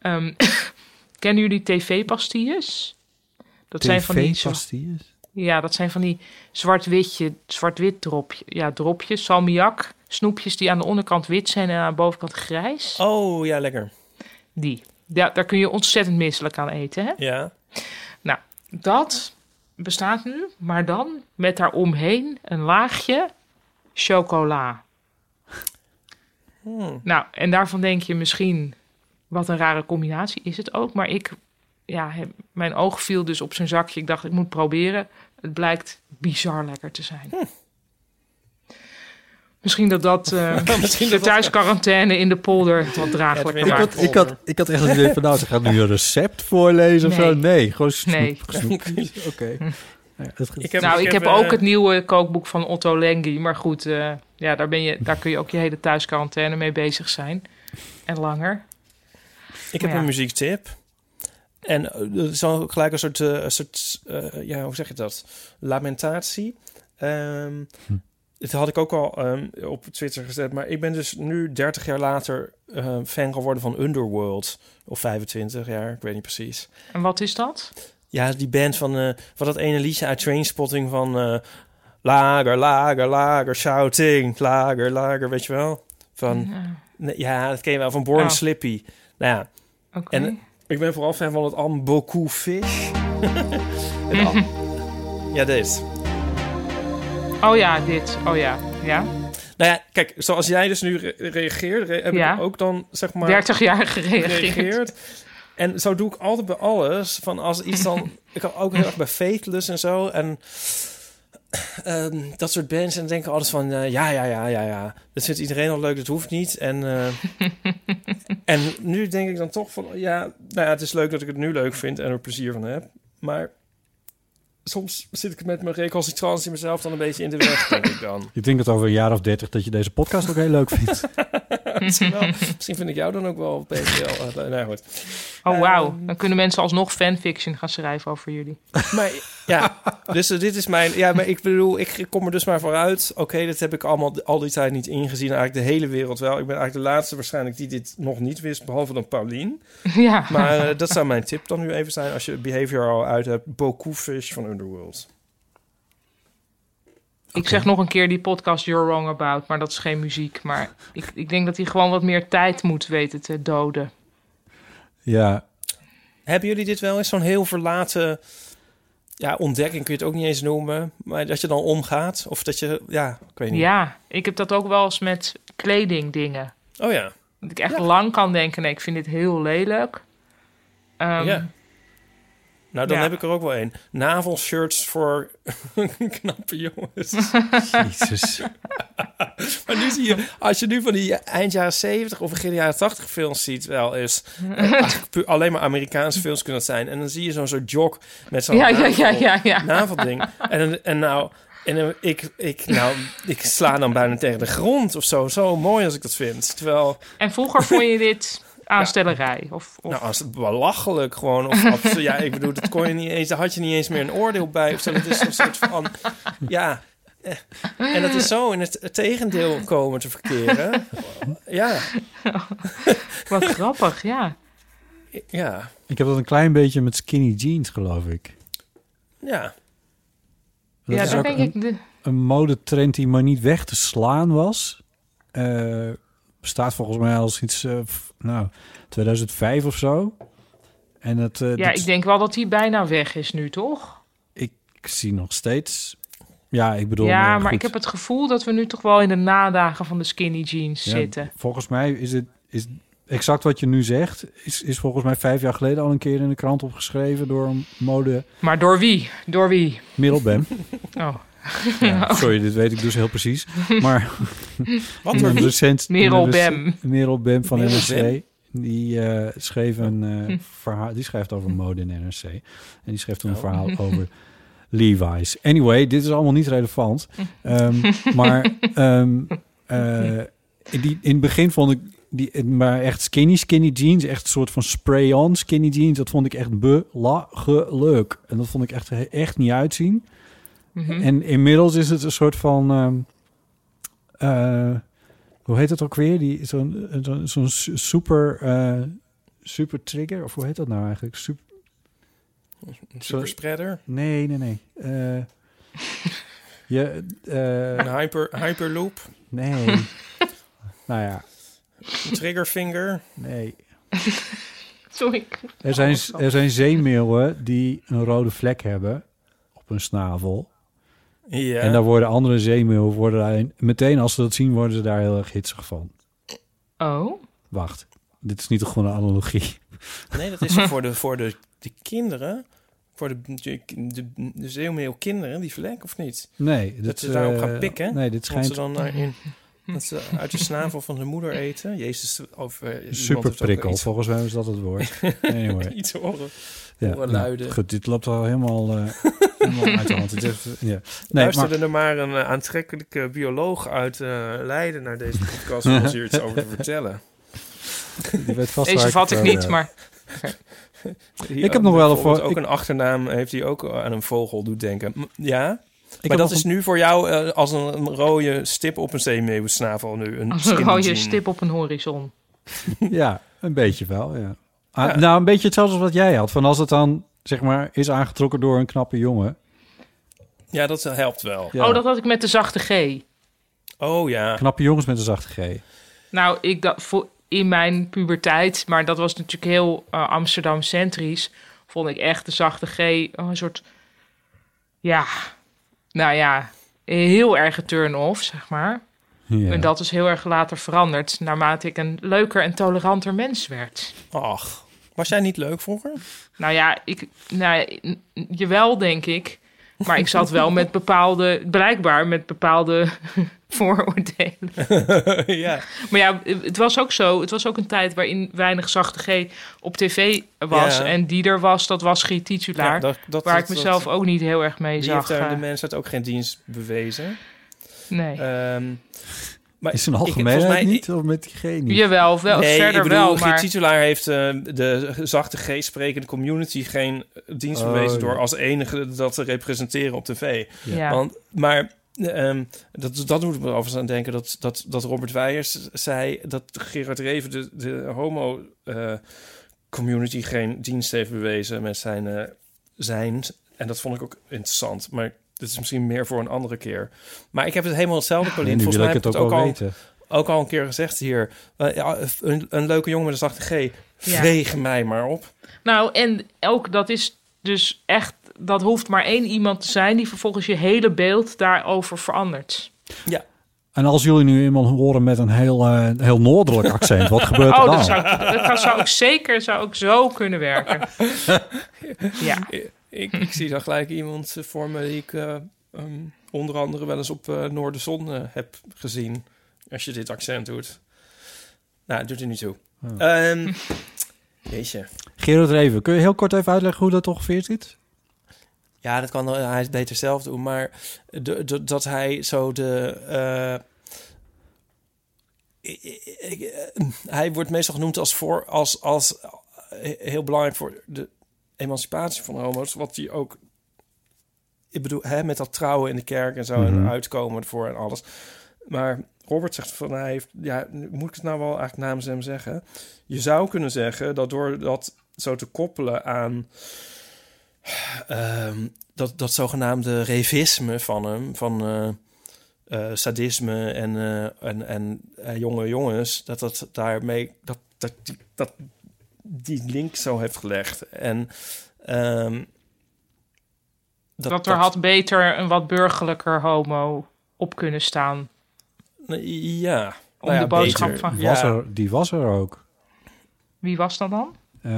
Ehm, kennen jullie tv-pastilles? Dat zijn van die zo-
TV-pastilles?
Ja, dat zijn van die zwart-witje, zwart-wit dropje, ja, dropjes, salmiak, snoepjes die aan de onderkant wit zijn en aan de bovenkant grijs.
Oh, ja, lekker.
Die. Ja, daar kun je ontzettend misselijk aan eten. Hè?
Ja.
Nou, Dat bestaat nu, maar dan met daaromheen een laagje chocola.
Hmm.
Nou, en daarvan denk je misschien, wat een rare combinatie is het ook. Maar ik, ja, heb- mijn oog viel dus op zijn zakje. Ik dacht, ik moet proberen. Het blijkt bizar lekker te zijn.
Hmm.
Misschien dat dat eh
Misschien
de
dat dat-
thuisquarantaine in de polder wat draaglijk
Edwin,
Ik
maakt.
had, ik, had, ik had echt het idee van, nou, ze gaat nu een recept voorlezen of
Nee.
zo. Nee, gewoon snoep,
Nee.
snoep. Oké. Ja, dat ge-
heb,
nou, ik heb
eh,
ook het nieuwe kookboek van Otto Lengi. Maar goed, eh, ja, daar, ben je, daar kun je ook je hele thuisquarantaine mee bezig zijn. En langer.
Ik heb
Ja.
een muziektip. En eh, er is dan ook gelijk een soort, eh, een soort eh, ja, hoe zeg je dat? Lamentatie. Ehm, Dit had ik ook al ehm, op Twitter gezet. Maar ik ben dus nu 30 jaar later eh, fan geworden van Underworld. Of 25 jaar, ik weet niet precies.
En wat is dat?
Ja, die band van, eh, van dat ene liedje uit Trainspotting van... eh, lager, lager, lager, shouting. Lager, lager, weet je wel? Van,
Ja,
nee, ja, dat ken je wel. Van Born
Mhm. Oh.
Slippy. Nou ja,
Oké.
en ik ben vooral fan van het album Boku Fish. Het al- ja, dit.
Oh ja, dit. Oh ja. Ja.
Nou ja, kijk, zoals jij dus nu re- reageert, re- heb
Ja.
ik ook dan zeg maar
30 jaar gereageerd.
gereageerd. En zo doe ik altijd bij alles. Van als iets dan, ik had ook heel erg bij Faithless en zo en ehm, dat soort bands en dan denk ik altijd van eh, ja, ja, ja, ja, ja. Dat vindt iedereen al leuk, dat hoeft niet. En eh, en nu denk ik dan toch van ja, nou ja, het is leuk dat ik het nu leuk vind en er plezier van heb, maar Soms zit ik met mijn recalcitrans in mezelf dan een beetje in de weg, denk ik dan.
Ik denk dat over een jaar of dertig dat je deze podcast ook heel leuk vindt.
misschien, wel. Misschien vind ik jou dan ook wel BTL. eh, nou ja, goed.
Oh wauw. Dan kunnen mensen alsnog fanfiction gaan schrijven over jullie.
Maar ja, dus eh, dit is mijn... Ja, maar ik bedoel, ik kom er dus maar vooruit. Oké, dat heb ik allemaal al die tijd niet ingezien. Eigenlijk de hele wereld wel. Ik ben eigenlijk de laatste waarschijnlijk die dit nog niet wist. Behalve dan Paulien.
ja.
Maar eh, dat zou mijn tip dan nu even zijn. Als je Behavior al uit hebt. Boku Fish van Underworld.
Ik zeg nog een keer die podcast You're Wrong About, maar dat is geen muziek. Maar ik, ik denk dat hij gewoon wat meer tijd moet weten te doden.
ja,
Hebben jullie dit wel eens zo'n heel verlaten... Ja, ontdekking kun je het ook niet eens noemen. Maar dat je dan omgaat. Of dat je... Ja, ik weet niet.
Ja, ik heb dat ook wel eens met kledingdingen.
Oh ja.
Dat ik echt lang kan denken, nee, ik vind dit heel lelijk. Ehm,
ja. Nou, dan
ja.
heb ik er ook wel een. Navelshirts voor knappe jongens.
jezus.
maar nu zie je, als je nu van die eind jaren 70 of begin jaren 80 films ziet, wel eh, is. alleen maar Amerikaanse films kunnen dat zijn. En dan zie je zo'n soort jok met zo'n
Ja, ja,
navel-
ja, ja, ja.
navelding. En, en nou, en, eh, ik, ik, nou, ik sla dan bijna tegen de grond of zo. Zo mooi als ik dat vind. Terwijl,
En vroeger vond je dit aanstellerij. Of, of,
nou, als het belachelijk gewoon. Of, of- ja, ik bedoel, dat kon je niet eens, daar had je niet eens meer een oordeel bij. Of zo, dat is een soort van, ja. eh, En dat is zo in het het tegendeel komen te verkeren. Ja,
Wat grappig, ja.
ja,
Ik heb dat een klein beetje met skinny jeans, geloof ik.
ja.
Dat
ja,
is
dan
ook
denk
een,
ik... De,
een modetrend die maar niet weg te slaan was. Eh, bestaat volgens mij als iets, eh, f- nou, 2005 of zo. En dat, eh,
ja,
dat-
ik denk wel dat hij bijna weg is nu, toch?
ik zie nog steeds. Ja, ik bedoel. eh,
Ja, maar
goed.
ik heb het gevoel dat we nu toch wel in de nadagen van de skinny jeans
Ja,
zitten.
Volgens mij is het is exact wat je nu zegt. Is, is volgens mij vijf jaar geleden al een keer in de krant opgeschreven door een mode
Maar door wie? Door wie?
middelbem.
Oh,
Ja, sorry, dit weet ik dus heel precies. Maar
Wat
een
er
recent
Merel
een recent- Merel Bem van
Merel
NRC. Die eh, schreef een eh, verhaal. Die schrijft over mode in NRC. En die schreef toen een verhaal over Levi's. Anyway, dit is allemaal niet relevant. Ehm, maar ehm, eh, die, in het begin vond ik die, maar echt skinny, skinny jeans. Echt een soort van spray-on skinny jeans. Dat vond ik echt belachelijk. En dat vond ik echt, echt niet uitzien. En inmiddels is het een soort van. ehm, eh, hoe heet dat ook weer? Die, zo'n, eh, zo'n, zo'n su- super, eh, super trigger? Of hoe heet dat nou eigenlijk? Super,
superspreader,
nee, nee, nee. Eh, je, eh,
een hyper, hyperloop,
nee. nou ja,
een triggerfinger.
nee.
sorry.
Er zijn, er zijn zeemeeuwen die een rode vlek hebben op hun snavel.
Ja,
En daar worden andere zeemeeuwen worden daar, meteen als ze dat zien, worden ze daar heel erg hitsig van.
Oh,
Wacht, dit is niet toch gewoon een analogie?
nee, dat is toch voor de, voor de, de kinderen. Voor de, de, de, de zeemeeuw kinderen, die vlek of niet?
Nee, dit,
ze daarop
eh,
gaan pikken,
Nee, dit
Dat ze
schijnt
dan daarin... Dat ze uit de snavel van hun moeder eten. Jezus, of eh, iemand
super
heeft ook
prikkel.
iets-
Volgens mij is dat het woord. Anyway.
Iets horen.
Ja,
horen
nou,
luiden.
goed, dit loopt al helemaal, eh, helemaal uit de hand. Het is echt- ja. nee, maar,
Luisterde er maar een eh, aantrekkelijke bioloog uit eh, Leiden naar deze podcast om ons hier iets over te vertellen.
die werd vast waar eh,
deze vat ik
het
niet,
over
maar...
Die,
Ik heb
eh,
nog wel een
bijvoorbeeld
voor-
ook
ik-
een achternaam heeft die ook aan een vogel doet denken. M- Ja?
heb.
maar
heb
dat
nog
is nu voor jou eh, als een, een rode stip op een zeemeeuwsnavel nu. Een
Als een
skinny
rode
jean.
stip op een horizon.
Ja, een beetje wel, ja. Ah,
Ja.
Nou, een beetje hetzelfde als wat jij had. Van als het dan, zeg maar, is aangetrokken door een knappe jongen.
Ja, dat helpt wel.
Ja.
Oh, dat had ik met de zachte G.
Oh ja.
Knappe jongens met een zachte G.
Nou, ik dacht voor, in mijn puberteit, maar dat was natuurlijk heel eh, Amsterdam-centrisch, vond ik echt de zachte G oh, een soort, ja, nou ja, heel erg een turn-off, zeg maar.
Ja.
En dat is heel erg later veranderd, naarmate ik een leuker en toleranter mens werd.
Ach. Was jij niet leuk vroeger?
Nou ja, ik, nou, ja, n- n- jawel denk ik, maar ik zat wel met bepaalde, blijkbaar met bepaalde vooroordelen.
ja.
Maar ja, het was ook zo. Het was ook een tijd waarin weinig zachte G op tv was.
Ja.
En die er was, dat was G titulaar.
Ja, dat- dat-
waar
dat-
ik mezelf
dat-
ook niet heel erg mee
Die
zag.
heeft daar de
eh,
mens had ook geen dienst bewezen.
nee.
Ehm, maar
Is een
ik-
algemeenheid
volgens mij-
niet? Of met die G niet?
Jawel, wel,
nee,
verder
ik bedoel,
wel.
Geert
Maar
Titulaar heeft eh, de zachte G sprekende community geen eh, dienst
Oh,
bewezen
ja.
door als enige dat te representeren op tv.
ja.
Want, maar ehm, dat, dat moet ik me overigens aan denken dat, dat, dat Robert Weijers zei dat Gerard Reven de, de homo eh, community geen dienst heeft bewezen met zijn, eh, zijn. En dat vond ik ook interessant. Maar dit is misschien meer voor een andere keer. Maar ik heb het helemaal hetzelfde,
En
Pauline.
nu
Volgens
wil
mij
ik
heb
het
ik
ook
het ook
wel
al
weten.
ook al een keer gezegd hier. eh, ja, een, een leuke jongen met een zachte G.
Ja.
Vreeg mij maar op.
Nou, en ook dat is dus echt... Dat hoeft maar één iemand te zijn die vervolgens je hele beeld daarover verandert.
En als jullie nu iemand horen met een heel, eh, heel noordelijk accent, wat gebeurt er
Oh,
dan?
dat zou, dat kan- zou ook zeker zou ook zo kunnen werken. Ja.
Ik, ik zie dan gelijk iemand eh, voor me die ik eh, ehm, onder andere wel eens op eh Noorderzon eh, heb gezien. Als je dit accent doet. Nou, doet er niet toe. Ehm, jeetje.
Gerard Reven, kun je heel kort even uitleggen hoe dat ongeveer zit?
Ja, dat kan eh, hij beter zelf doen. Maar de, de- dat hij zo de. eh, ik- ik- ik- eh, hij wordt meestal genoemd als, voor, als, als eh, heel belangrijk voor de emancipatie van homo's. Wat hij ook. Ik bedoel, hè, met dat trouwen in de kerk en zo en uitkomen ervoor en alles. Maar Robert zegt van hij heeft. Ja, moet ik het nou wel eigenlijk namens hem zeggen? Je zou kunnen zeggen dat door dat zo te koppelen aan ehm, dat, dat zogenaamde revisme van hem, van eh, eh, sadisme en, eh, en, en eh, jonge jongens, dat dat daarmee dat, dat, die- dat die link zo heeft gelegd. En ehm,
Dat, er had beter een wat burgerlijker homo op kunnen staan.
Ja.
Om de boodschap
beter.
van-
Die
Ja.
was er, die was er ook.
Wie was dat dan?
Eh,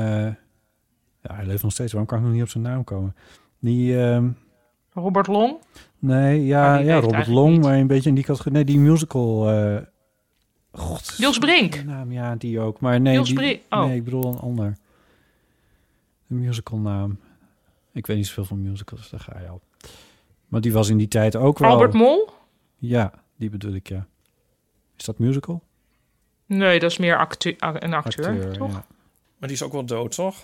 ja, hij leeft nog steeds. Waarom kan ik nog niet op zijn naam komen? Die, ehm,
Robert Long?
nee, ja,
Maar die leeft
ja Robert
eigenlijk
Long,
niet.
maar een beetje in die categorie. Nee, die musical. eh God.
Jos Brink.
de Naam, ja, die ook. Maar nee,
Jos
die,
Brink, oh.
nee, ik bedoel een ander. Een musical naam. Ik weet niet zoveel van musicals, daar ga je al. Maar die was in die tijd ook wel...
Albert Mol?
Ja, die bedoel ik, ja. Is dat musical?
Nee, dat is meer actu- a- een acteur, toch?
ja.
Maar die is ook wel dood, toch?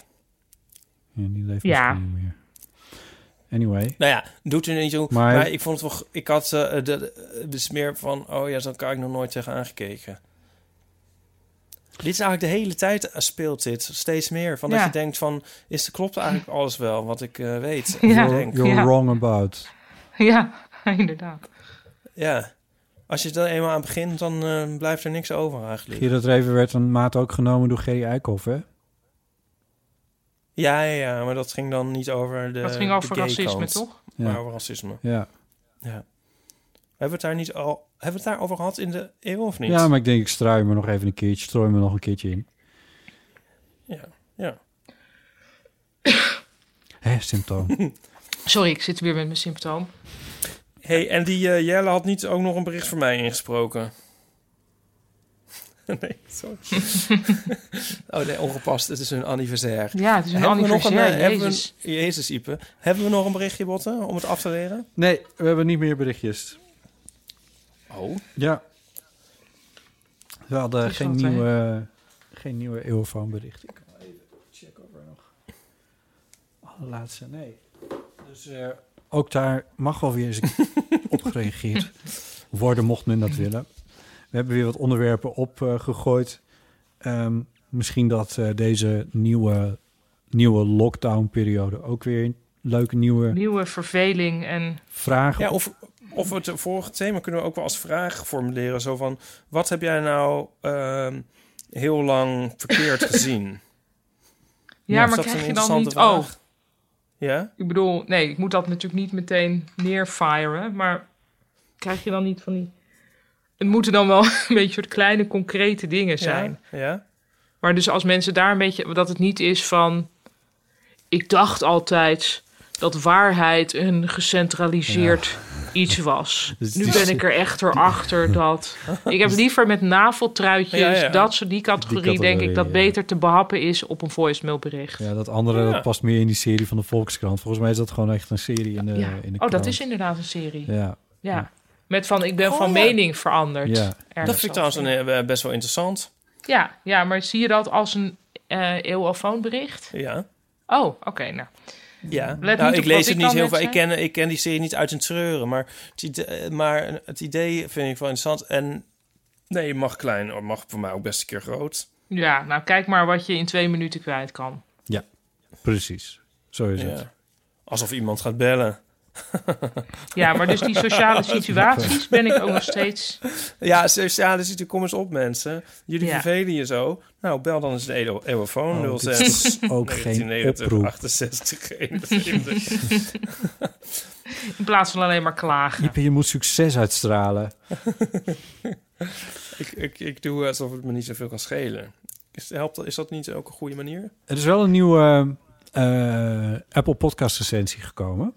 Ja, die leeft
Ja.
misschien niet meer. Anyway.
Nou ja, doet er niet toe. Maar,
Maar-
ik vond het wel... g- Ik had eh, de, de, de smeer van... Oh ja, zo'n kan ik nog nooit tegen aangekeken. Dit is eigenlijk de hele tijd eh, speelt dit. Steeds meer. Van
Ja.
dat je denkt van... Is, klopt eigenlijk alles wel wat ik eh, weet?
Ja.
Ja.
You're,
Denk.
you're
Ja.
wrong about.
Ja, inderdaad.
ja. Als je er eenmaal aan begint, dan eh, blijft er niks over eigenlijk.
Gerard Reven werd een maat ook genomen door Gerry Eikhoff, hè?
Ja, ja, ja. Maar dat ging dan niet over de
dat ging
de
over
gay
racisme,
kant,
toch?
Ja.
Maar over racisme.
Ja.
Ja. Hebben we het daar niet al... Hebben we het daarover gehad in de eeuw of niet?
ja, maar ik denk, ik strui me nog even een keertje. Strooi me nog een keertje in.
Ja, ja.
Hé, symptoom.
Sorry, ik zit weer met mijn symptoom.
hey, en die eh, Jelle had niet ook nog een bericht voor mij ingesproken. nee, sorry. oh nee, ongepast. Het is hun anniversaire.
Ja, het is een
we nog
anniversaire,
eh, hebben we
jezus.
een- Jezus, Ipe. Hebben we nog een berichtje, Botten, om het af te leren?
nee, we hebben niet meer berichtjes.
Oh.
Ja. We hadden
Het is
geen
wat, hè?
nieuwe, geen nieuwe eeuwfoonbericht. Ik kan even checken of er nog... Allerlaatste, nee. Dus eh, ook daar mag wel weer eens op gereageerd worden, mocht men dat willen. We hebben weer wat onderwerpen opgegooid. Ehm, misschien dat eh, deze nieuwe, nieuwe lockdown-periode ook weer leuke nieuwe
Nieuwe verveling en...
vragen
Ja, of, of het vorige thema kunnen we ook wel als vraag formuleren. Zo van, wat heb jij nou ehm, heel lang verkeerd gezien?
Ja,
Is
maar
dat
krijg
een
je dan
interessante
niet... Oh,
vraag? Ja?
ik bedoel, nee, ik moet dat natuurlijk niet meteen neerfiren. Maar krijg je dan niet van die... Het moeten dan wel een beetje soort kleine, concrete dingen zijn.
Ja? ja?
Maar dus als mensen daar een beetje... Dat het niet is van... Ik dacht altijd dat waarheid een gecentraliseerd iets was.
Dus
nu
die-
ben ik er echt erachter dat... Ik heb liever met naveltruitjes,
Ja, ja.
dat soort die categorie, denk
categorie,
ik... dat
ja.
beter te behappen is op een voicemailbericht.
Ja, dat andere
Ja.
dat past meer in die serie van de Volkskrant. Volgens mij is dat gewoon echt een serie in de,
Ja.
in de
oh, dat
krant.
is inderdaad een serie. Ja.
Ja, Ja.
Met van ik ben
Oh,
van
ja.
mening veranderd.
ja.
Ergens
Dat vind ik
zo.
trouwens een, eh, best wel interessant.
Ja, ja, maar zie je dat als een eh eeuwofoonbericht?
Ja.
Oh, oké. nou.
Ja,
Let
nou,
niet
ik
op wat
lees het
ik dan
niet heel
net
veel. Ik
zei.
ken, ik ken die serie niet uit een treuren. Maar het, idee, maar het idee vind ik wel interessant. En nee, je mag klein, of mag voor mij ook best een keer groot.
Ja, nou kijk maar wat je in twee minuten kwijt kan.
precies. Zo is het.
Ja. Alsof iemand gaat bellen.
Ja, maar dus die sociale situaties ben ik ook nog steeds...
Ja, sociale situatie, kom eens op mensen. Jullie
Ja.
vervelen je zo. Nou, bel dan eens de elo-
Oh,
Eeuwofoon
dit
06
is ook geen
1990
oproep.
68 71.
in plaats van alleen maar
Ah.
klagen.
Iep, je moet succes uitstralen.
ik, ik, ik doe alsof het me niet zoveel kan schelen. Is, helpt, dat- is dat niet ook een goede manier?
Er is wel een nieuwe eh, Apple Podcast recensie gekomen.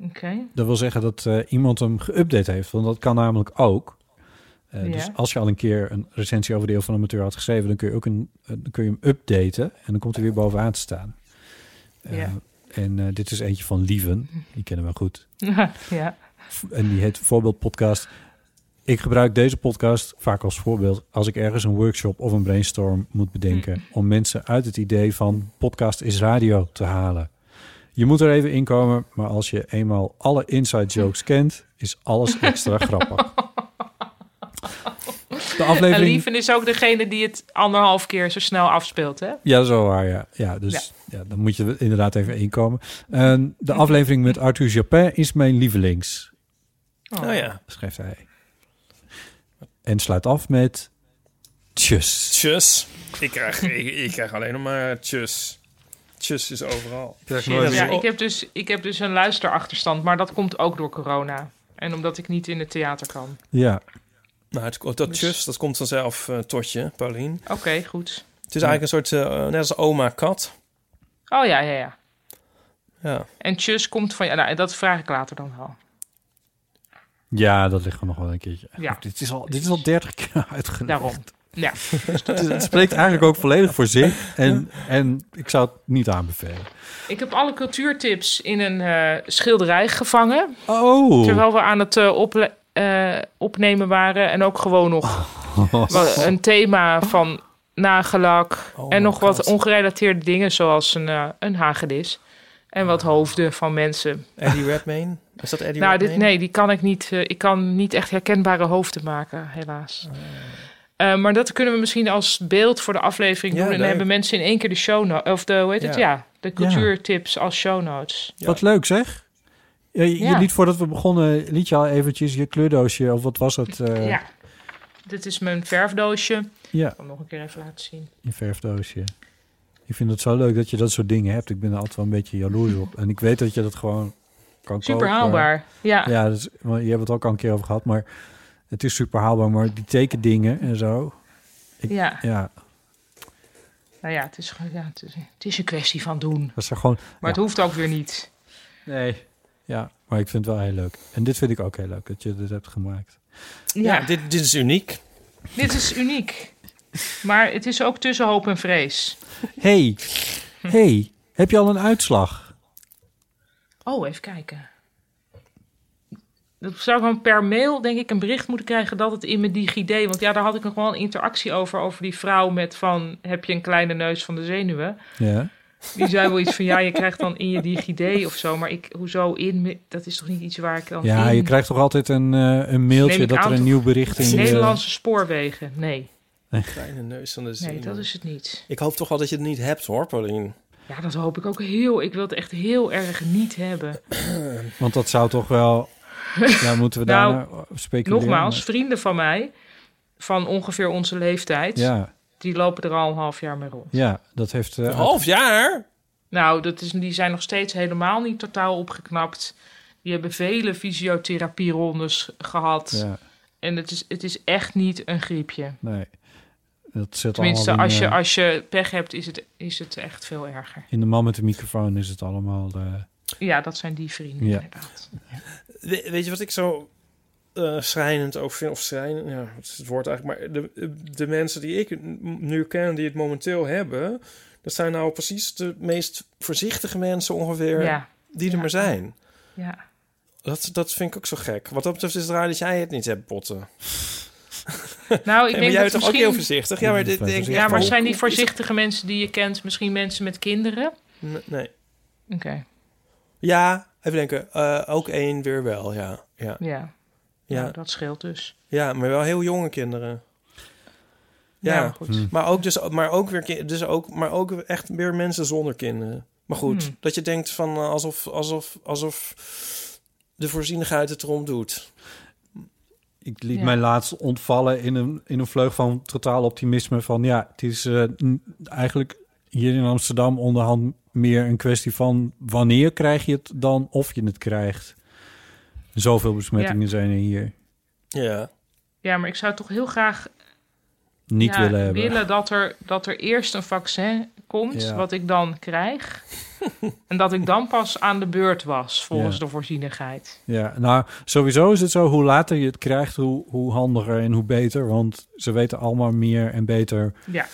Oké,
Dat wil zeggen dat eh, iemand hem geüpdate heeft. Want dat kan namelijk ook. Eh,
Ja.
Dus als je al een keer een recensie over deel van een amateur had geschreven... dan kun je, ook een, eh, dan kun je hem updaten en dan komt hij weer bovenaan te staan. Eh,
Ja. Mhm.
En eh, dit is eentje van Lieven. Die kennen we goed.
ja.
En die heet Voorbeeld Podcast. Ik gebruik deze podcast vaak als voorbeeld als ik ergens een workshop of een brainstorm moet
Mhm.
bedenken. Om mensen uit het idee van podcast is radio te halen. Je moet er even inkomen, maar als je eenmaal alle inside jokes kent, is alles extra grappig. De
En
aflevering.
Lieven is ook degene die het anderhalf keer zo snel afspeelt, hè?
Ja, dat is wel waar, ja. ja dus ja. dan moet je er inderdaad even inkomen. En de aflevering met Arthur Japin is mijn lievelings.
Oh.
Nou ja,
schrijft hij. En sluit af met. Tjus.
tjus. Ik krijg, ik, ik krijg alleen nog maar tjus. Tjus is overal.
Ja, ik heb, dus, ik heb dus een luisterachterstand, maar dat komt ook door corona. En omdat ik niet in het theater kan.
Ja,
Maar Nou, het, oh,
Dus-
dat tjus, dat komt vanzelf eh, tot je, Paulien.
Oké, goed.
Het is eigenlijk een soort, eh, net als oma kat.
Oh ja, ja, ja.
Ja.
En tjus komt van... Ja, nou, dat vraag ik later dan wel.
ja dat ligt er nog wel een keertje.
Ja.
Dit, is al, dit is al 30 keer uitgelegd.
Daarom. Ja.
Het, het spreekt eigenlijk ook volledig voor zich. En, en ik zou het niet aanbevelen.
Ik heb alle cultuurtips in een eh, schilderij gevangen.
Oh!
Terwijl we aan het eh, ople- eh, opnemen waren. En ook
Oh.
gewoon nog
Oh.
wa- een thema van nagelak.
Oh my
en nog
God.
wat ongerelateerde dingen, zoals een, eh, een hagedis. En
Oh.
wat hoofden van mensen.
Eddie Redmayne? Is dat Eddie
nou, dit,
Redmayne?
nee, die kan ik niet. eh, ik kan niet echt herkenbare hoofden maken, helaas.
Oh.
Eh, maar dat kunnen we misschien als beeld voor de aflevering
Ja,
doen. En dan
leuk.
hebben mensen in één keer de show notes. Of de, hoe heet het?
Ja.
Ja, de cultuurtips als show notes.
Wat leuk zeg. Je, je
Ja.
liet voordat we begonnen, liet je al eventjes je kleurdoosje, of wat was het? eh,
Ja. Dit is mijn verfdoosje. Ik
ja,
kan hem nog een keer even laten zien.
je verfdoosje. Ik vind het zo leuk dat je dat soort dingen hebt. Ik ben er altijd wel een beetje jaloers op. En ik weet dat je dat gewoon kan
Super
kopen.
haalbaar. Ja.
eh, Ja, dus, want je hebt het ook al een keer over gehad, maar het is super haalbaar. Maar die tekendingen en zo,
Ja.
ja,
nou ja, het is, gewoon- ja het, is, het is een kwestie van doen.
dat is er gewoon...
Maar het hoeft ook weer niet.
Nee. Ja, maar ik vind het wel heel leuk. En dit vind ik ook heel leuk, dat je dit hebt gemaakt.
Ja,
Ja, dit, dit is uniek.
dit is uniek. Maar het is ook tussen hoop en vrees.
hey, hey, heb je al een uitslag?
Oh, even kijken. Dat zou gewoon per mail, denk ik, een bericht moeten krijgen dat het in mijn DigiD. Want ja, daar had ik nog wel een interactie over. Over die vrouw met van: heb je een kleine neus van de zenuwen?
Ja,
Die zei wel iets van, ja, je krijgt dan in je DigiD of zo. Maar ik, hoezo in? me- Dat is toch niet iets waar ik dan
Ja,
in...
je krijgt toch altijd een, eh, een
Neem
mailtje
ik
dat
aan
er een
toch-
nieuw bericht in... eh,
Nederlandse spoorwegen. Nee,
Kleine neus van de zin.
nee, dat is het niet.
Ik hoop toch wel dat je het niet hebt hoor, Paulien.
Ja, dat hoop ik ook heel. Ik wil het echt heel erg niet hebben.
Want dat zou toch wel... Ja, moeten we daar
Nou,
nou speculeren?
Nogmaals, vrienden van mij, van ongeveer onze leeftijd,
Ja,
die lopen er al een half jaar mee rond.
ja, dat heeft... eh,
Een
Oh.
half jaar?
Nou, dat is, die zijn nog steeds helemaal niet totaal opgeknapt. Die hebben vele fysiotherapie-rondes gehad.
Ja,
En het is, het is echt niet een griepje.
nee. Dat zit
Tenminste,
allemaal in,
als je,
eh,
als je pech hebt, is het, is het echt veel erger.
in de man met de microfoon is het allemaal... eh,
Ja, dat zijn die vrienden
Ja.
inderdaad.
We- weet je wat ik zo eh, schrijnend ook vind? Of schrijnend, ja, dat is het woord eigenlijk. Maar de, de mensen die ik n- nu ken, die het momenteel hebben... dat zijn nou precies de meest voorzichtige mensen ongeveer
Ja,
die er
Ja.
maar zijn.
ja.
Dat, dat vind ik ook zo gek. Wat dat betreft is het raar dat jij het niet hebt, Botten. En
Nou, ik
maar
denk
jij bent
dat
toch ook heel
misschien...
voorzichtig? Ja, maar, dit,
Ja,
denk, ik
Ja,
echt
maar
van,
zijn
hoe-
die voorzichtige mensen die je kent misschien mensen met kinderen?
N- Nee.
Oké,
Ja, even denken. Eh, ook één weer wel, ja. Ja,
ja.
ja.
Nou, dat scheelt dus.
ja, maar wel heel jonge kinderen. Ja.
Nou, goed.
Maar ook, dus, maar ook weer ki- dus ook, maar ook echt weer mensen zonder kinderen. Maar goed,
Hmm.
dat je denkt van eh, alsof, alsof, alsof de voorzienigheid het erom doet.
Ik liet
Ja.
mij laatst ontvallen in een, in een vleug van totaal optimisme. Van ja, het is eh, n- eigenlijk hier in Amsterdam onderhand meer een kwestie van wanneer krijg je het dan of je het krijgt. Zoveel besmettingen zijn er hier
Ja,
Ja, maar ik zou toch heel graag
niet
ja,
willen hebben.
dat, er, dat er eerst een vaccin komt,
Ja.
wat ik dan krijg. en dat ik dan pas aan de beurt was, volgens
Ja.
de voorzienigheid.
Ja, nou sowieso is het zo, hoe later je het krijgt, hoe, hoe handiger en hoe beter. Want ze weten allemaal meer en beter
Ja,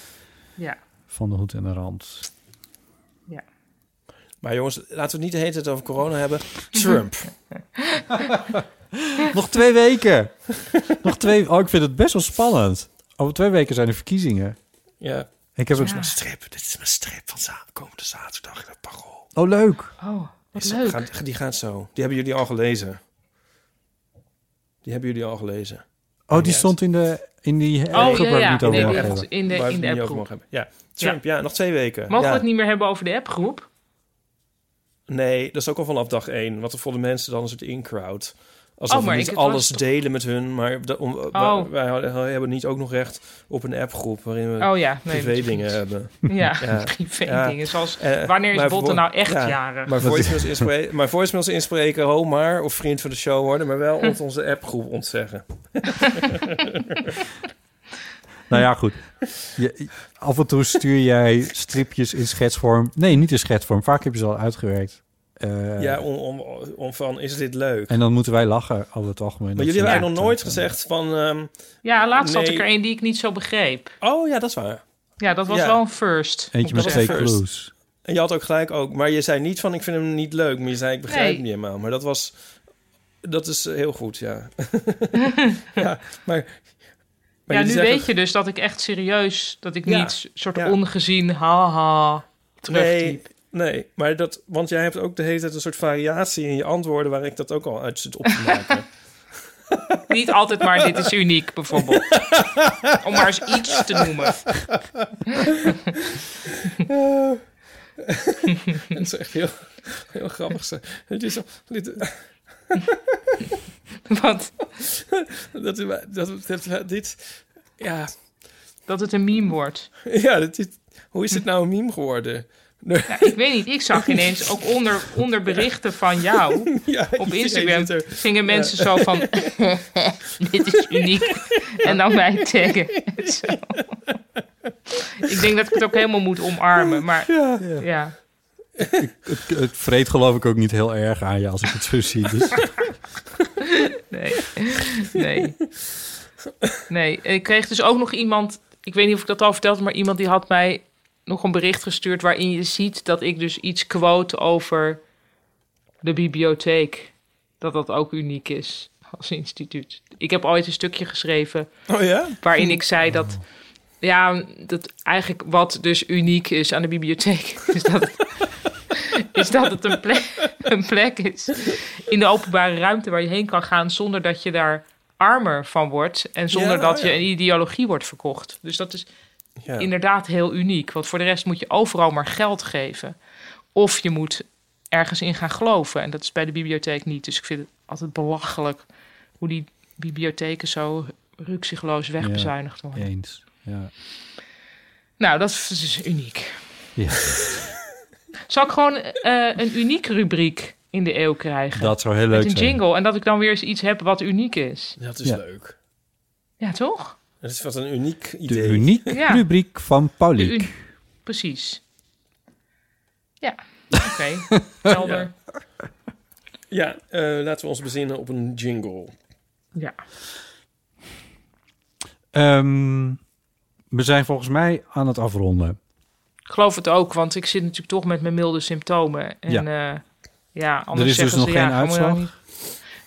ja.
van de hoed en de rand.
maar jongens, laten we het niet de hele tijd over corona hebben.
Mhm.
Trump.
Nog twee weken! Nog twee, oh ik vind het best wel spannend. Over twee weken zijn er verkiezingen.
ja.
Ik heb het
Ja.
Strip, dit is mijn strip van za- komende zaterdag in het parool.
Oh, leuk.
Oh, wat
Is-
leuk.
gaat- die gaat zo. Die hebben jullie al gelezen. Die hebben jullie al gelezen.
Oh, die
Juist.
stond in, de, in die
Oh,
groep
ja,
waar we
ja.
het niet over
In de-
mogen
in
hebben.
de- in
Waar
de,
we
in
het
de
niet over
appgroep.
mogen hebben. Ja, Trump, ja. nog twee weken.
Mogen
ja.
we het niet meer hebben over de appgroep?
Nee, dat is ook al vanaf dag één. Want er vonden mensen dan een soort in-crowd. Alsof
Oh, maar
we
ik-
niet
het was
alles
toch-
delen met hun. Maar da- om-
Oh.
wij, wij hebben niet ook nog recht op een appgroep... waarin we
Oh ja, nee.
privé dingen
natuurlijk
hebben.
niet. Ja,
Ja.
privé
Ja.
dingen. Zoals,
Eh,
wanneer is
maar
Botten
voor-
nou echt
ja,
jarig?
Maar voicemails, inspreken, maar voicemails inspreken, ho maar, of vriend van de show worden... maar wel ons onze appgroep ontzeggen.
Nou ja, goed. Je, af en toe stuur jij stripjes in schetsvorm. Nee, niet in schetsvorm. Vaak heb je ze al uitgewerkt. Eh,
Ja, om, om, om van, is dit leuk?
En dan moeten wij lachen over het algemeen.
Maar
Dat
jullie hebben eigenlijk
ze-
nog nooit gezegd van... ehm,
Ja, laatst had ik
Nee.
er een die ik niet zo begreep.
oh ja, dat is waar.
Ja, dat was
Ja.
wel een first.
Eentje met
Dat
twee
was first.
clues.
En je had ook gelijk ook, maar je zei niet van ik vind hem niet leuk, maar je zei ik begrijp
Nee.
hem niet helemaal. Maar dat was, dat is eh, heel goed, ja. ja, maar, maar
ja,
jullie
nu
zeggen-
weet je dus dat ik echt serieus, dat ik
Ja.
niet soort
Ja.
ongezien haha
nee,
terugtyp.
nee, maar dat, want jij hebt ook de hele tijd een soort variatie in je antwoorden waar ik dat ook al uit zit op te maken.
Niet altijd maar dit is uniek bijvoorbeeld. Om maar eens iets te noemen.
dat is echt heel, heel grappig. zo. Het is, al- dit,
Want
dat, dat, dat, dit, ja,
dat het een meme wordt.
ja dit, dit- hoe is dit nou een meme geworden?
Ik weet niet, ik zag ineens ook onder, onder berichten van jou
Ja,
op
iedereen
Instagram
zit er-
gingen mensen zo van dit is uniek en dan mij taggen. Zo. Ik denk dat ik het ook helemaal moet omarmen, maar ja.
Het, het vreet geloof ik ook niet heel erg aan je als ik het zo zie. Dus
Nee. Nee. Nee. Ik kreeg dus ook nog iemand. Ik weet niet of ik dat al vertelde, maar iemand die had mij nog een bericht gestuurd. waarin je ziet dat ik dus iets quote over de bibliotheek. Dat dat ook uniek is als instituut. Ik heb ooit een stukje geschreven
Oh ja?
waarin ik zei dat ja, dat eigenlijk wat dus uniek is aan de bibliotheek, is dat het, is dat het een, plek, een plek is in de openbare ruimte waar je heen kan gaan zonder dat je daar armer van wordt en zonder
Ja, oh
dat
ja.
je een ideologie wordt verkocht. Dus dat is
Ja.
inderdaad heel uniek, want voor de rest moet je overal maar geld geven. Of je moet ergens in gaan geloven en dat is bij de bibliotheek niet. Dus ik vind het altijd belachelijk hoe die bibliotheken zo rukzichtloos wegbezuinigd worden.
Eens. Ja.
Nou, dat is dus uniek.
Ja.
Zal ik gewoon eh, een uniek rubriek in de eeuw krijgen?
Dat zou heel
Met
leuk
een
zijn.
jingle. En dat ik dan weer eens iets heb wat uniek is.
Dat is
Ja.
leuk.
Ja, toch?
Dat is wat een uniek
De
idee.
unieke
Ja.
rubriek van
De
Pauliek.
uni- Precies. Ja, oké. Helder.
Ja, eh, laten we ons bezinnen op een jingle.
Ja.
Ehm, we zijn volgens mij aan het afronden.
Ik geloof het ook, want ik zit natuurlijk toch met mijn milde symptomen. En ja, ja
Er
anders
is dus
zeggen
nog
ze,
geen
ja, gaan we
uitslag.
nou niet-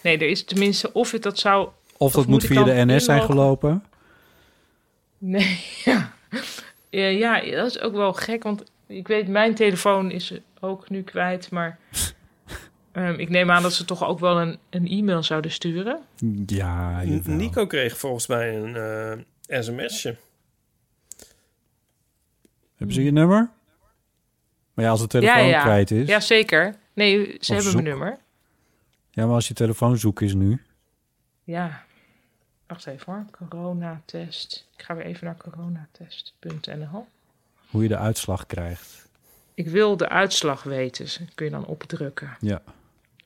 Nee, er is tenminste of het dat zou
Of dat
moet
moet
ik
via
dan
de NS zijn
inloggen?
gelopen.
Nee, ja. Ja, ja, dat is ook wel gek, want ik weet, mijn telefoon is ook nu kwijt, maar ehm, ik neem aan dat ze toch ook wel een, een e-mail zouden sturen.
Ja,
N-
jawel.
Nico kreeg volgens mij een eh, sms'je.
Hebben ze je nummer? Maar ja, als de telefoon
ja.
kwijt is.
Ja, zeker. Nee, ze hebben
zoek.
mijn nummer.
Ja, maar als je telefoon zoek is nu.
Ja. Wacht even hoor, coronatest. Ik ga weer even naar coronatest.nl.
Hoe je de uitslag krijgt.
Ik wil de uitslag weten, dus kun je dan opdrukken.
Ja.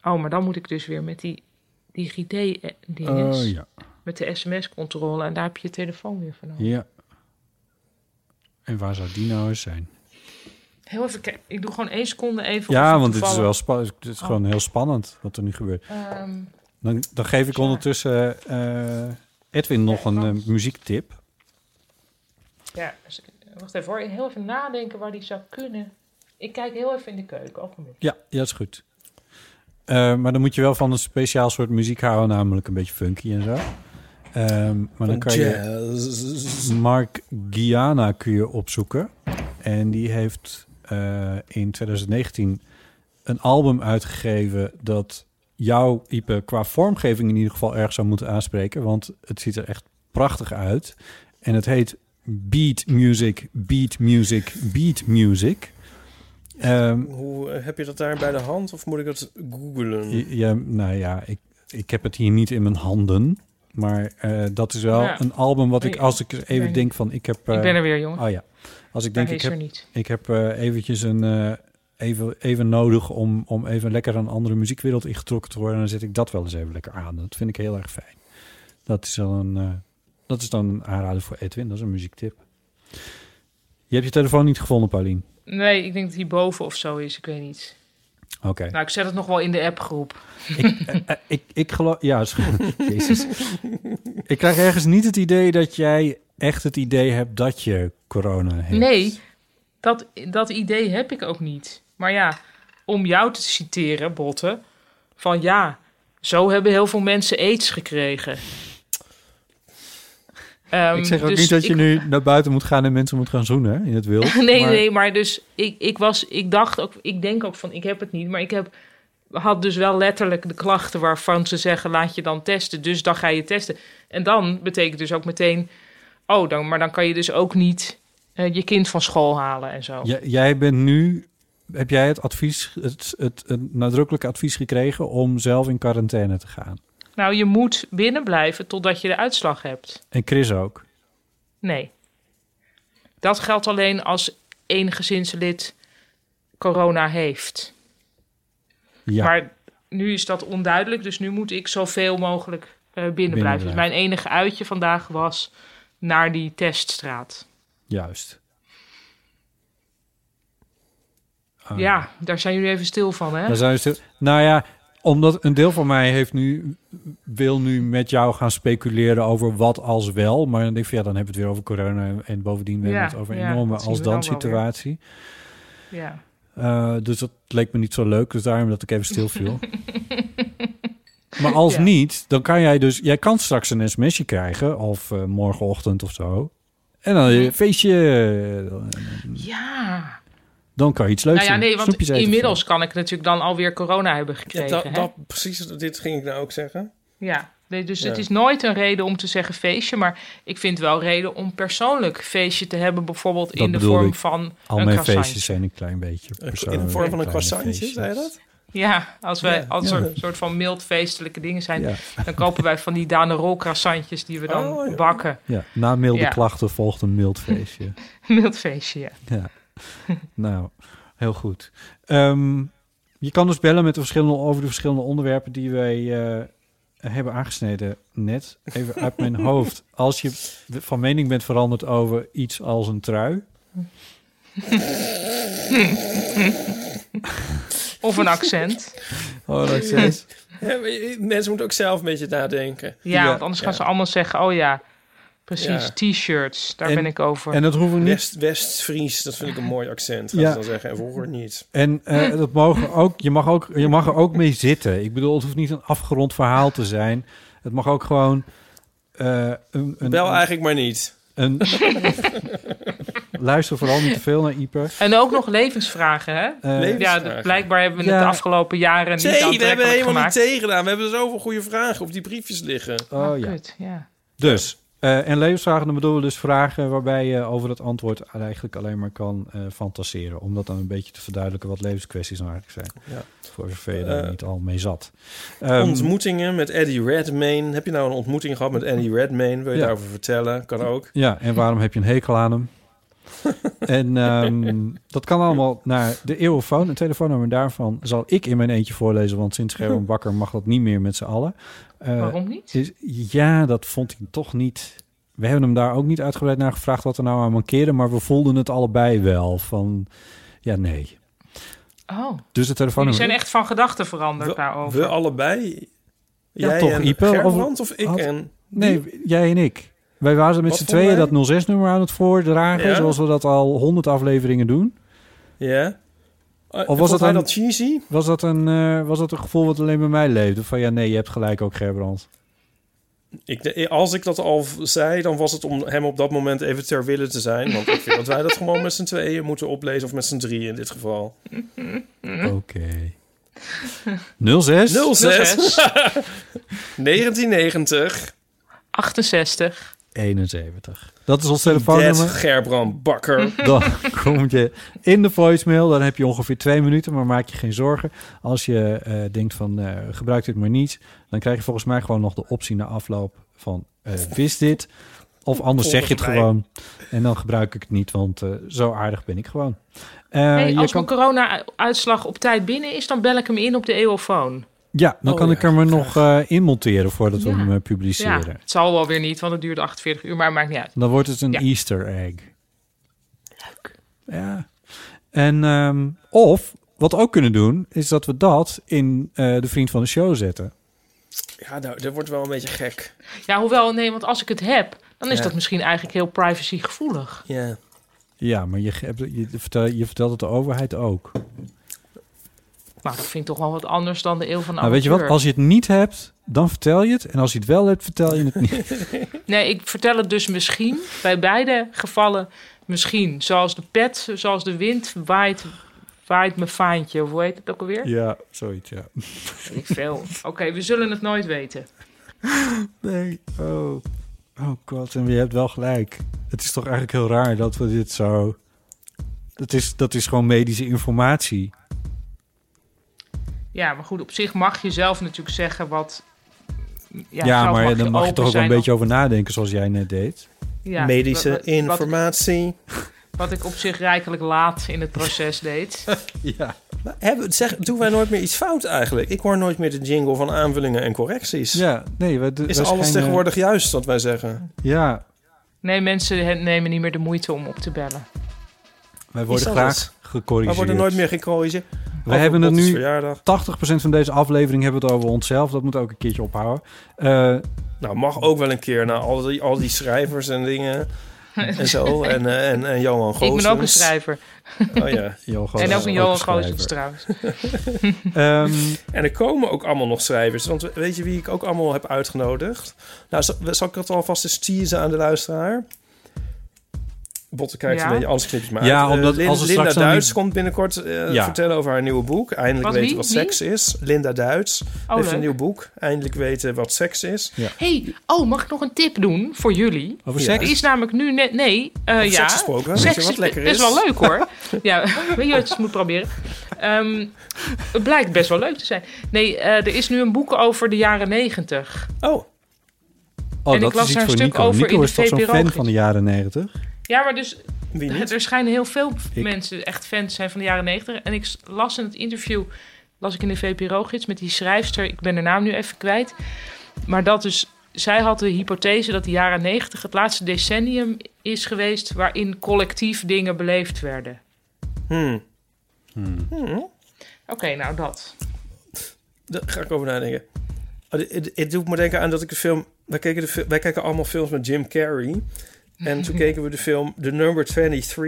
Oh, maar dan moet ik dus weer met die DigiD-dinges,
Oh ja.
met de sms-controle en daar heb je je telefoon weer van nodig.
ja. En waar zou die nou eens zijn?
Heel even kijken. Ik doe gewoon één seconde even. of
Ja,
het
want het is,
toevallig-
wel spa- het is gewoon heel spannend wat er nu gebeurt.
Ehm,
Dan, dan geef ik
Ja.
ondertussen eh, Edwin nog een eh, muziektip.
ja, dus- wacht even hoor. Heel even nadenken waar die zou kunnen. Ik kijk heel even in de keuken. Ogenblik.
Ja, ja, dat is goed. Eh, maar dan moet je wel van een speciaal soort muziek houden, namelijk een beetje funky en zo. Ehm, maar dan
Een
kan je
jazz.
Mark Giana kun je opzoeken. En die heeft eh, in 2019 een album uitgegeven dat jou, Ipe, qua vormgeving in ieder geval erg zou moeten aanspreken. Want het ziet er echt prachtig uit. En het heet Beat Music, Beat Music, Beat Music. Ehm,
Hoe eh, heb je dat daar bij de hand of moet ik dat googlen?
J- Ja, nou ja, ik, ik heb het hier niet in mijn handen. Maar eh, dat is wel
Nou ja.
een album wat ik,
Ik-
als ik er even
ben-
denk van, ik heb...
ik
eh,
ben er weer, jongen.
Oh ja, als ik
Daar
denk, ik
is er
heb,
niet.
ik heb eh, eventjes een... eh, even, even nodig om, om even lekker een andere muziekwereld ingetrokken te worden... dan zet ik dat wel eens even lekker aan. Dat vind ik heel erg fijn. Dat is dan een, eh, dat is dan een aanrader voor Edwin, dat is een muziektip. Je hebt je telefoon niet gevonden, Paulien?
Nee, ik denk dat die boven of zo is. Ik weet niet.
Oké.
Nou, ik zet het nog wel in de appgroep.
Eh, ik, ik geloof... Ja, is goed. Jezus. Ik krijg ergens niet het idee dat jij echt het idee hebt dat je corona hebt.
Nee, dat, dat idee heb ik ook niet. Maar ja, om jou te citeren, Botte. Van ja, zo hebben heel veel mensen aids gekregen. Ehm,
ik zeg ook
dus
niet dat je
ik-
nu naar buiten moet gaan en mensen moet gaan zoenen hè, in het wild.
Nee,
maar-
nee, maar dus ik, ik was, ik dacht ook, ik denk ook van, ik heb het niet, maar ik heb, had dus wel letterlijk de klachten waarvan ze zeggen, laat je dan testen, dus dan ga je testen. En dan betekent dus ook meteen, oh, dan, maar dan kan je dus ook niet eh, je kind van school halen en zo.
J- jij bent nu... Heb jij het advies, het, het, het nadrukkelijke advies gekregen om zelf in quarantaine te gaan?
Nou, je moet binnen blijven totdat je de uitslag hebt.
En Chris ook.
Nee. Dat geldt alleen als één gezinslid corona heeft.
Ja,
Maar nu is dat onduidelijk, dus nu moet ik zoveel mogelijk eh, binnen, blijven. Dus
blijven.
mijn enige uitje vandaag was naar die teststraat.
juist. Ah.
Ja, daar zijn jullie even stil van, hè?
Dan zijn we stil- Nou ja, omdat een deel van mij heeft nu, wil nu met jou gaan speculeren over wat als wel. Maar dan denk ik van ja, dan hebben we het weer over corona. en- En bovendien hebben we
Ja,
het over een
ja,
enorme
dat zien we
als
dan
dan
wel weer.
situatie.
Ja.
Eh, dus dat leek me niet zo leuk. Dus daarom dat ik even stil viel. maar als
Ja.
niet, dan kan jij dus... Jij kan straks een sms'je krijgen of eh, morgenochtend of zo. En dan een feestje. Dan-
Ja.
Dan kan je iets leuks
Nou ja,
doen.
nee, want
Snoepjes eten of
inmiddels
zo.
kan ik natuurlijk dan alweer corona hebben
Ja,
gekregen.
dat,
hè?
dat, precies, dit ging ik nou ook zeggen.
Ja, nee, dus het
Ja.
is nooit een reden om te zeggen feestje, maar ik vind wel reden om persoonlijk feestje te hebben, bijvoorbeeld in de
bedoel
vorm
ik.
van
Al
een
mijn
croissantje.
feestjes zijn een klein beetje
In
persoonlijk,
de vorm van een
kleine
croissantje,
feestjes.
zei je dat?
Ja, als, wij,
Ja.
als
Ja.
er een soort van mild feestelijke dingen zijn,
Ja,
dan kopen wij van die Danerol croissantjes die we dan
Oh, ja.
bakken.
ja, na milde
Ja.
klachten volgt een mild feestje.
Mild feestje, ja.
Ja. nou, heel goed. Ehm, je kan dus bellen met de verschillende, over de verschillende onderwerpen die wij eh, hebben aangesneden net. Even uit mijn hoofd. Als je van mening bent veranderd over iets als een trui.
Of een accent.
Oh, dat is
Ja, maar je- mensen moeten ook zelf een beetje nadenken.
Ja,
Ja.
want anders gaan
Ja.
ze allemaal zeggen, oh ja, precies,
Ja.
t-shirts, daar
En-
ben ik over.
En dat hoeven niet.
West, West-Fries, dat vind ik een mooi accent, gaan
Ja.
ze dan zeggen. En vroeger niet.
En eh, dat mogen ook, je, mag ook, je mag er ook mee zitten. Ik bedoel, het hoeft niet een afgerond verhaal te zijn. Het mag ook gewoon eh, een, een,
Bel
een-
eigenlijk maar niet.
een- Luister vooral niet te veel naar Ieper.
En ook nog levensvragen, hè?
Eh,
Levens-
Ja,
Levensvragen.
dat- blijkbaar hebben we het
Ja.
de afgelopen jaren niet
Nee, we hebben
aantrekkelijk
helemaal
gemaakt.
niet tegengedaan. We hebben dus zoveel goede vragen op die briefjes liggen.
oh, ja.
Kut, ja.
Dus, eh, en levensvragen, dan bedoelen we dus vragen waarbij je over het antwoord eigenlijk alleen maar kan eh, fantaseren. Om dat dan een beetje te verduidelijken wat levenskwesties nou eigenlijk zijn.
Ja.
Voor zover je daar
Eh,
niet al mee zat. Ehm,
Ontmoetingen met Eddie Redmayne. Heb je nou een ontmoeting gehad met Eddie Redmayne? Wil je
Ja.
daarover vertellen? Kan ook.
Ja, en waarom heb je een hekel aan hem? en ehm, dat kan allemaal naar de eeuwfoon. Het telefoonnummer daarvan zal ik in mijn eentje voorlezen, want sinds Gerben Bakker mag dat niet meer met z'n allen. Eh,
Waarom niet?
is, ja, dat vond hij toch niet. We hebben hem daar ook niet uitgebreid naar gevraagd wat er nou aan mankeerde, maar we voelden het allebei wel van ja, nee.
Oh,
Dus het
jullie
telefoonnummer.
zijn echt van gedachten veranderd
We,
daarover.
we allebei.
Ja,
jij
toch,
en
Ipe, over-
Gerbrand of ik
had-
en...
Nee, jij en ik. Wij waren met
Wat
z'n
vonden
tweeën
wij?
dat 06-nummer aan het voordragen,
Ja.
zoals we dat al honderd afleveringen doen.
Ja?
was
Of was
dat
dat hij
dan-
dat cheesy?
Was dat, een, eh, was dat een gevoel wat alleen bij mij leefde? Van ja, nee, je hebt gelijk ook Gerbrand.
Ik, de- als ik dat al v- zei, dan was het om hem op dat moment even ter wille te zijn. Want ik vind dat wij dat gewoon met z'n tweeën moeten oplezen. Of met z'n drieën in dit geval. Hm?
Oké. 06?
06
06,
1990.
68.
71. Dat is ons
Dead
telefoonnummer.
Gerbrand
Hm.
Bakker.
Dan kom je in de voicemail. Dan heb je ongeveer twee minuten, maar maak je geen zorgen. Als je eh, denkt van eh, gebruik dit maar niet, dan krijg je volgens mij gewoon nog de optie na afloop van eh, wist dit. Of anders zeg je het
Volgens mij.
gewoon. En dan gebruik ik het niet, want eh, zo aardig ben ik gewoon. Eh,
Hey,
je
als
kan-
mijn corona-uitslag op tijd binnen is, dan bel ik hem in op de EOFoon.
Ja, dan
Oh,
kan
ja.
ik hem er nog eh in monteren voordat we
Ja.
hem eh,
Ja,
publiceren.
het zal wel weer niet, want het duurde 48 uur, maar maakt niet uit.
Dan wordt het een
Ja.
Easter egg. Leuk. Ja. En, ehm, of, wat we ook kunnen doen, is dat we dat in eh, de Vriend van de Show zetten.
Ja, nou, dat wordt wel een beetje gek.
Ja, hoewel, nee, want als ik het heb, dan is
Ja.
dat misschien eigenlijk heel privacygevoelig.
Ja.
Ja, maar je, ge- hebt- je, vertel, je vertelt het de overheid ook.
Nou, dat vind ik toch wel wat anders dan de eeuw van
Nou, weet je wat?
amateur.
Als je het niet hebt, dan vertel je het. En als je het wel hebt, vertel je het niet.
Nee, ik vertel het dus misschien. Bij beide gevallen misschien. Zoals de pet, zoals de wind waait, waait mijn faantje. Of hoe heet het ook alweer?
ja, zoiets, ja.
Weet Ik veel. Oké, we zullen het nooit weten.
Nee, oh. Oh god, en je hebt wel gelijk. Het is toch eigenlijk heel raar dat we dit zo... Dat is, dat is gewoon medische informatie.
Ja, maar goed, op zich mag je zelf natuurlijk zeggen wat...
Ja,
zelf
maar dan
open
mag je toch ook wel
zijn
een beetje over nadenken zoals jij net deed.
of- ja,
Medische
wat- wat-
informatie.
Wat, wat ik op zich rijkelijk laat in het proces deed.
Ja.
Maar hebben, zeg, doen wij nooit meer iets fout eigenlijk? Ik hoor nooit meer de jingle van aanvullingen en correcties.
Ja, nee. We, we
Is alles
schijnen-
tegenwoordig juist wat wij zeggen?
Ja,
Nee, mensen he- nemen niet meer de moeite om op te bellen.
wij worden
Is
graag
alles.
gecorrigeerd.
We worden nooit meer gecorrigeerd. Over
hebben het
Bottes
nu-
Verjaardag.
80% van deze aflevering hebben we het over onszelf. Dat moet ook een keertje ophouden. Eh,
Nou, mag ook wel een keer na al die, al die schrijvers en dingen. En zo. En, eh, en, en Johan
Ik
Goossens.
ben ook een schrijver.
Oh, ja.
Johan Goossens
En ook
is
een Johan
schrijver.
Goossens trouwens.
Ehm,
En er komen ook allemaal nog schrijvers. Want weet je wie ik ook allemaal heb uitgenodigd? Nou, zal, zal ik het alvast eens teasen aan de luisteraar? Botte kijkt
Ja.
een beetje anders knipjes maar
Ja,
uit. Eh,
omdat
Lin-
als er
Linda
straks dan
Duits
die-
komt binnenkort eh,
Ja.
vertellen over haar nieuwe boek. Eindelijk
Wat,
weten
wie?
wat
Wie?
seks is. Linda Duits
Oh,
heeft
leuk.
een nieuw boek. Eindelijk weten wat seks is.
hey, oh, mag ik nog een tip doen voor jullie?
Over
Ja.
Er
seks?
is namelijk nu net... Nee, eh,
Over
ja.
seks gesproken. Weet je wat lekker is?
is wel leuk hoor. ja, weet je wat je moet proberen? Ehm, het blijkt best wel leuk te zijn. Nee, eh, er is nu een boek over de jaren negentig.
Oh,
Oh,
En
dat
ik las
is iets
daar een
voor
stuk
Nico.
over in
Nico
de
is toch zo'n
VPRO
fan
gids.
van de jaren negentig?
Ja, maar dus
wie niet?
er schijnen heel veel
Ik.
mensen echt fans te zijn van de jaren negentig. En ik s- las in het interview, las ik in de VPRO-gids met die schrijfster. Ik ben haar naam nu even kwijt. Maar dat dus, zij had de hypothese dat de jaren negentig het laatste decennium is geweest... waarin collectief dingen beleefd werden.
Hmm.
Oké, nou dat.
Daar ga ik over nadenken. Oh, dit- dit- Het doet me denken aan dat ik de film... Wij, keken de, fil- wij kijken allemaal films met Jim Carrey. En toen keken we de film The Number 23.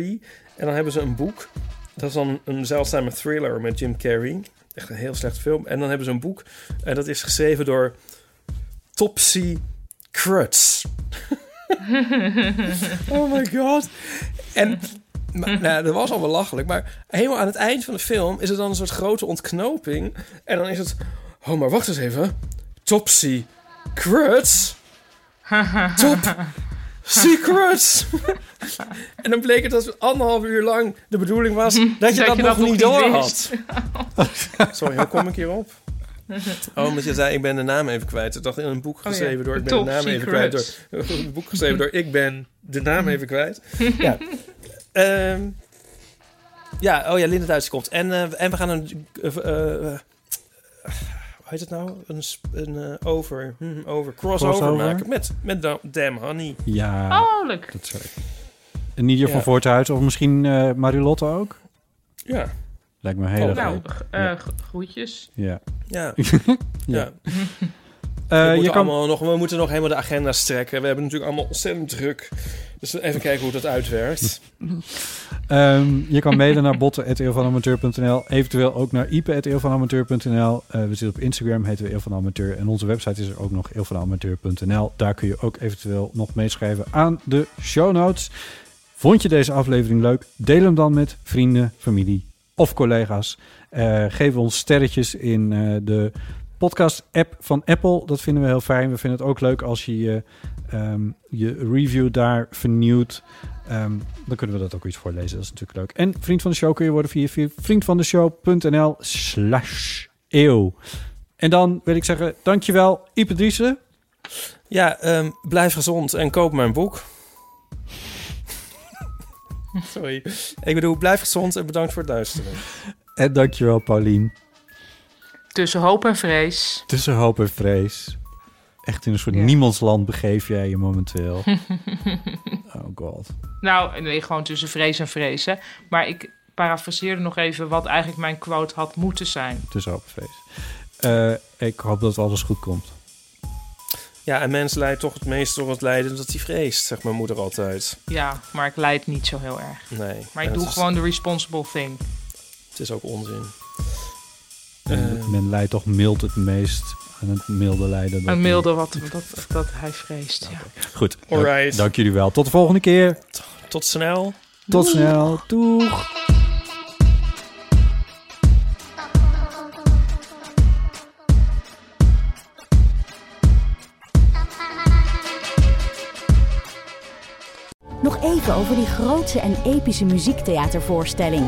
En dan hebben ze een boek. Dat is dan een zeldzame thriller met Jim Carrey. Echt een heel slecht film. En dan hebben ze een boek. En dat is geschreven door Topsy Crutz. oh my god. En maar, nou, dat was al wel lachelijk. Maar helemaal aan het eind van de film is er dan een soort grote ontknoping. En dan is het... Oh, maar wacht eens even. Topsy Crutz? Top Secrets! en dan bleek het dat anderhalf uur lang de bedoeling was dat je dat,
je dat
nog
nog
niet
niet
door had.
wist.
Sorry, hoe kom ik hierop? Oh, omdat je zei, ik ben de naam even kwijt. Ik dacht in een boek geschreven door, ik ben
Top
de naam even kwijt. Door,
Secrets.
een boek geschreven door, ik ben de naam even kwijt. ja. Ehm, ja, oh ja, Linda Duits komt. En, eh, en we gaan een... eh, eh, eh, hoe heet het nou? Een, sp- een eh, over, hm, over crossover,
Crossover?
maken met, met Da- Damn Honey.
Ja,
Oh, leuk.
dat zou ik. En Nidia
Ja.
van Voorthuizen of misschien eh Marilotte ook?
Ja,
Lijkt me
Oh,
heel erg
Nou,
leuk.
g-
Ja.
eh, g- groetjes.
Ja.
ja.
Ja.
ja.
Eh,
we,
je
moeten
kan...
allemaal nog, we moeten nog helemaal de agenda strekken. We hebben natuurlijk allemaal ontzettend druk. Dus even kijken hoe dat uitwerkt.
Ehm, je kan mailen naar botten.eeuwvanamateur.nl. Eventueel ook naar ipe.eeuwvanamateur.nl. Eh, we zitten op Instagram, heten we Eeuw van Amateur. En onze website is er ook nog eeuwvanamateur.nl. Daar kun je ook eventueel nog meeschrijven aan de show notes. Vond je deze aflevering leuk? Deel hem dan met vrienden, familie of collega's. Eh, geef ons sterretjes in eh, de podcast-app van Apple. Dat vinden we heel fijn. We vinden het ook leuk als je je, ehm, je review daar vernieuwt. Ehm, dan kunnen we dat ook iets voorlezen. Dat is natuurlijk leuk. En vriend van de show kun je worden via via vriendvandeshow.nl slash eeuw. En dan wil ik zeggen, dankjewel Ipe Driessen.
Ja, ehm, blijf gezond en koop mijn boek. Sorry. Ik bedoel, blijf gezond en bedankt voor het luisteren.
En dankjewel Paulien.
Tussen hoop en vrees.
Tussen hoop en vrees. Echt in een soort
Ja.
niemandsland begeef jij je momenteel. oh god.
Nou, nee, gewoon tussen vrees en vrees, hè. Maar ik parafraseerde nog even wat eigenlijk mijn quote had moeten zijn.
Tussen hoop en vrees. Eh, ik hoop dat alles goed komt.
Ja, en mens leidt toch het meest door het lijden dat hij vreest, zegt mijn moeder altijd.
Ja, maar ik leid niet zo heel erg.
Nee.
Maar
en
ik
het
doe
is-
gewoon de responsible thing.
Het is ook onzin.
Men-
Eh.
Men leidt toch mild het meest aan het milde lijden. dat-
Een milde wat dat, dat hij vreest. Ja.
Goed. Dank,
Alright.
dank jullie wel. Tot de volgende keer.
Tot snel.
Tot snel. Doeg.
Nog even over die grootse en epische muziektheatervoorstelling.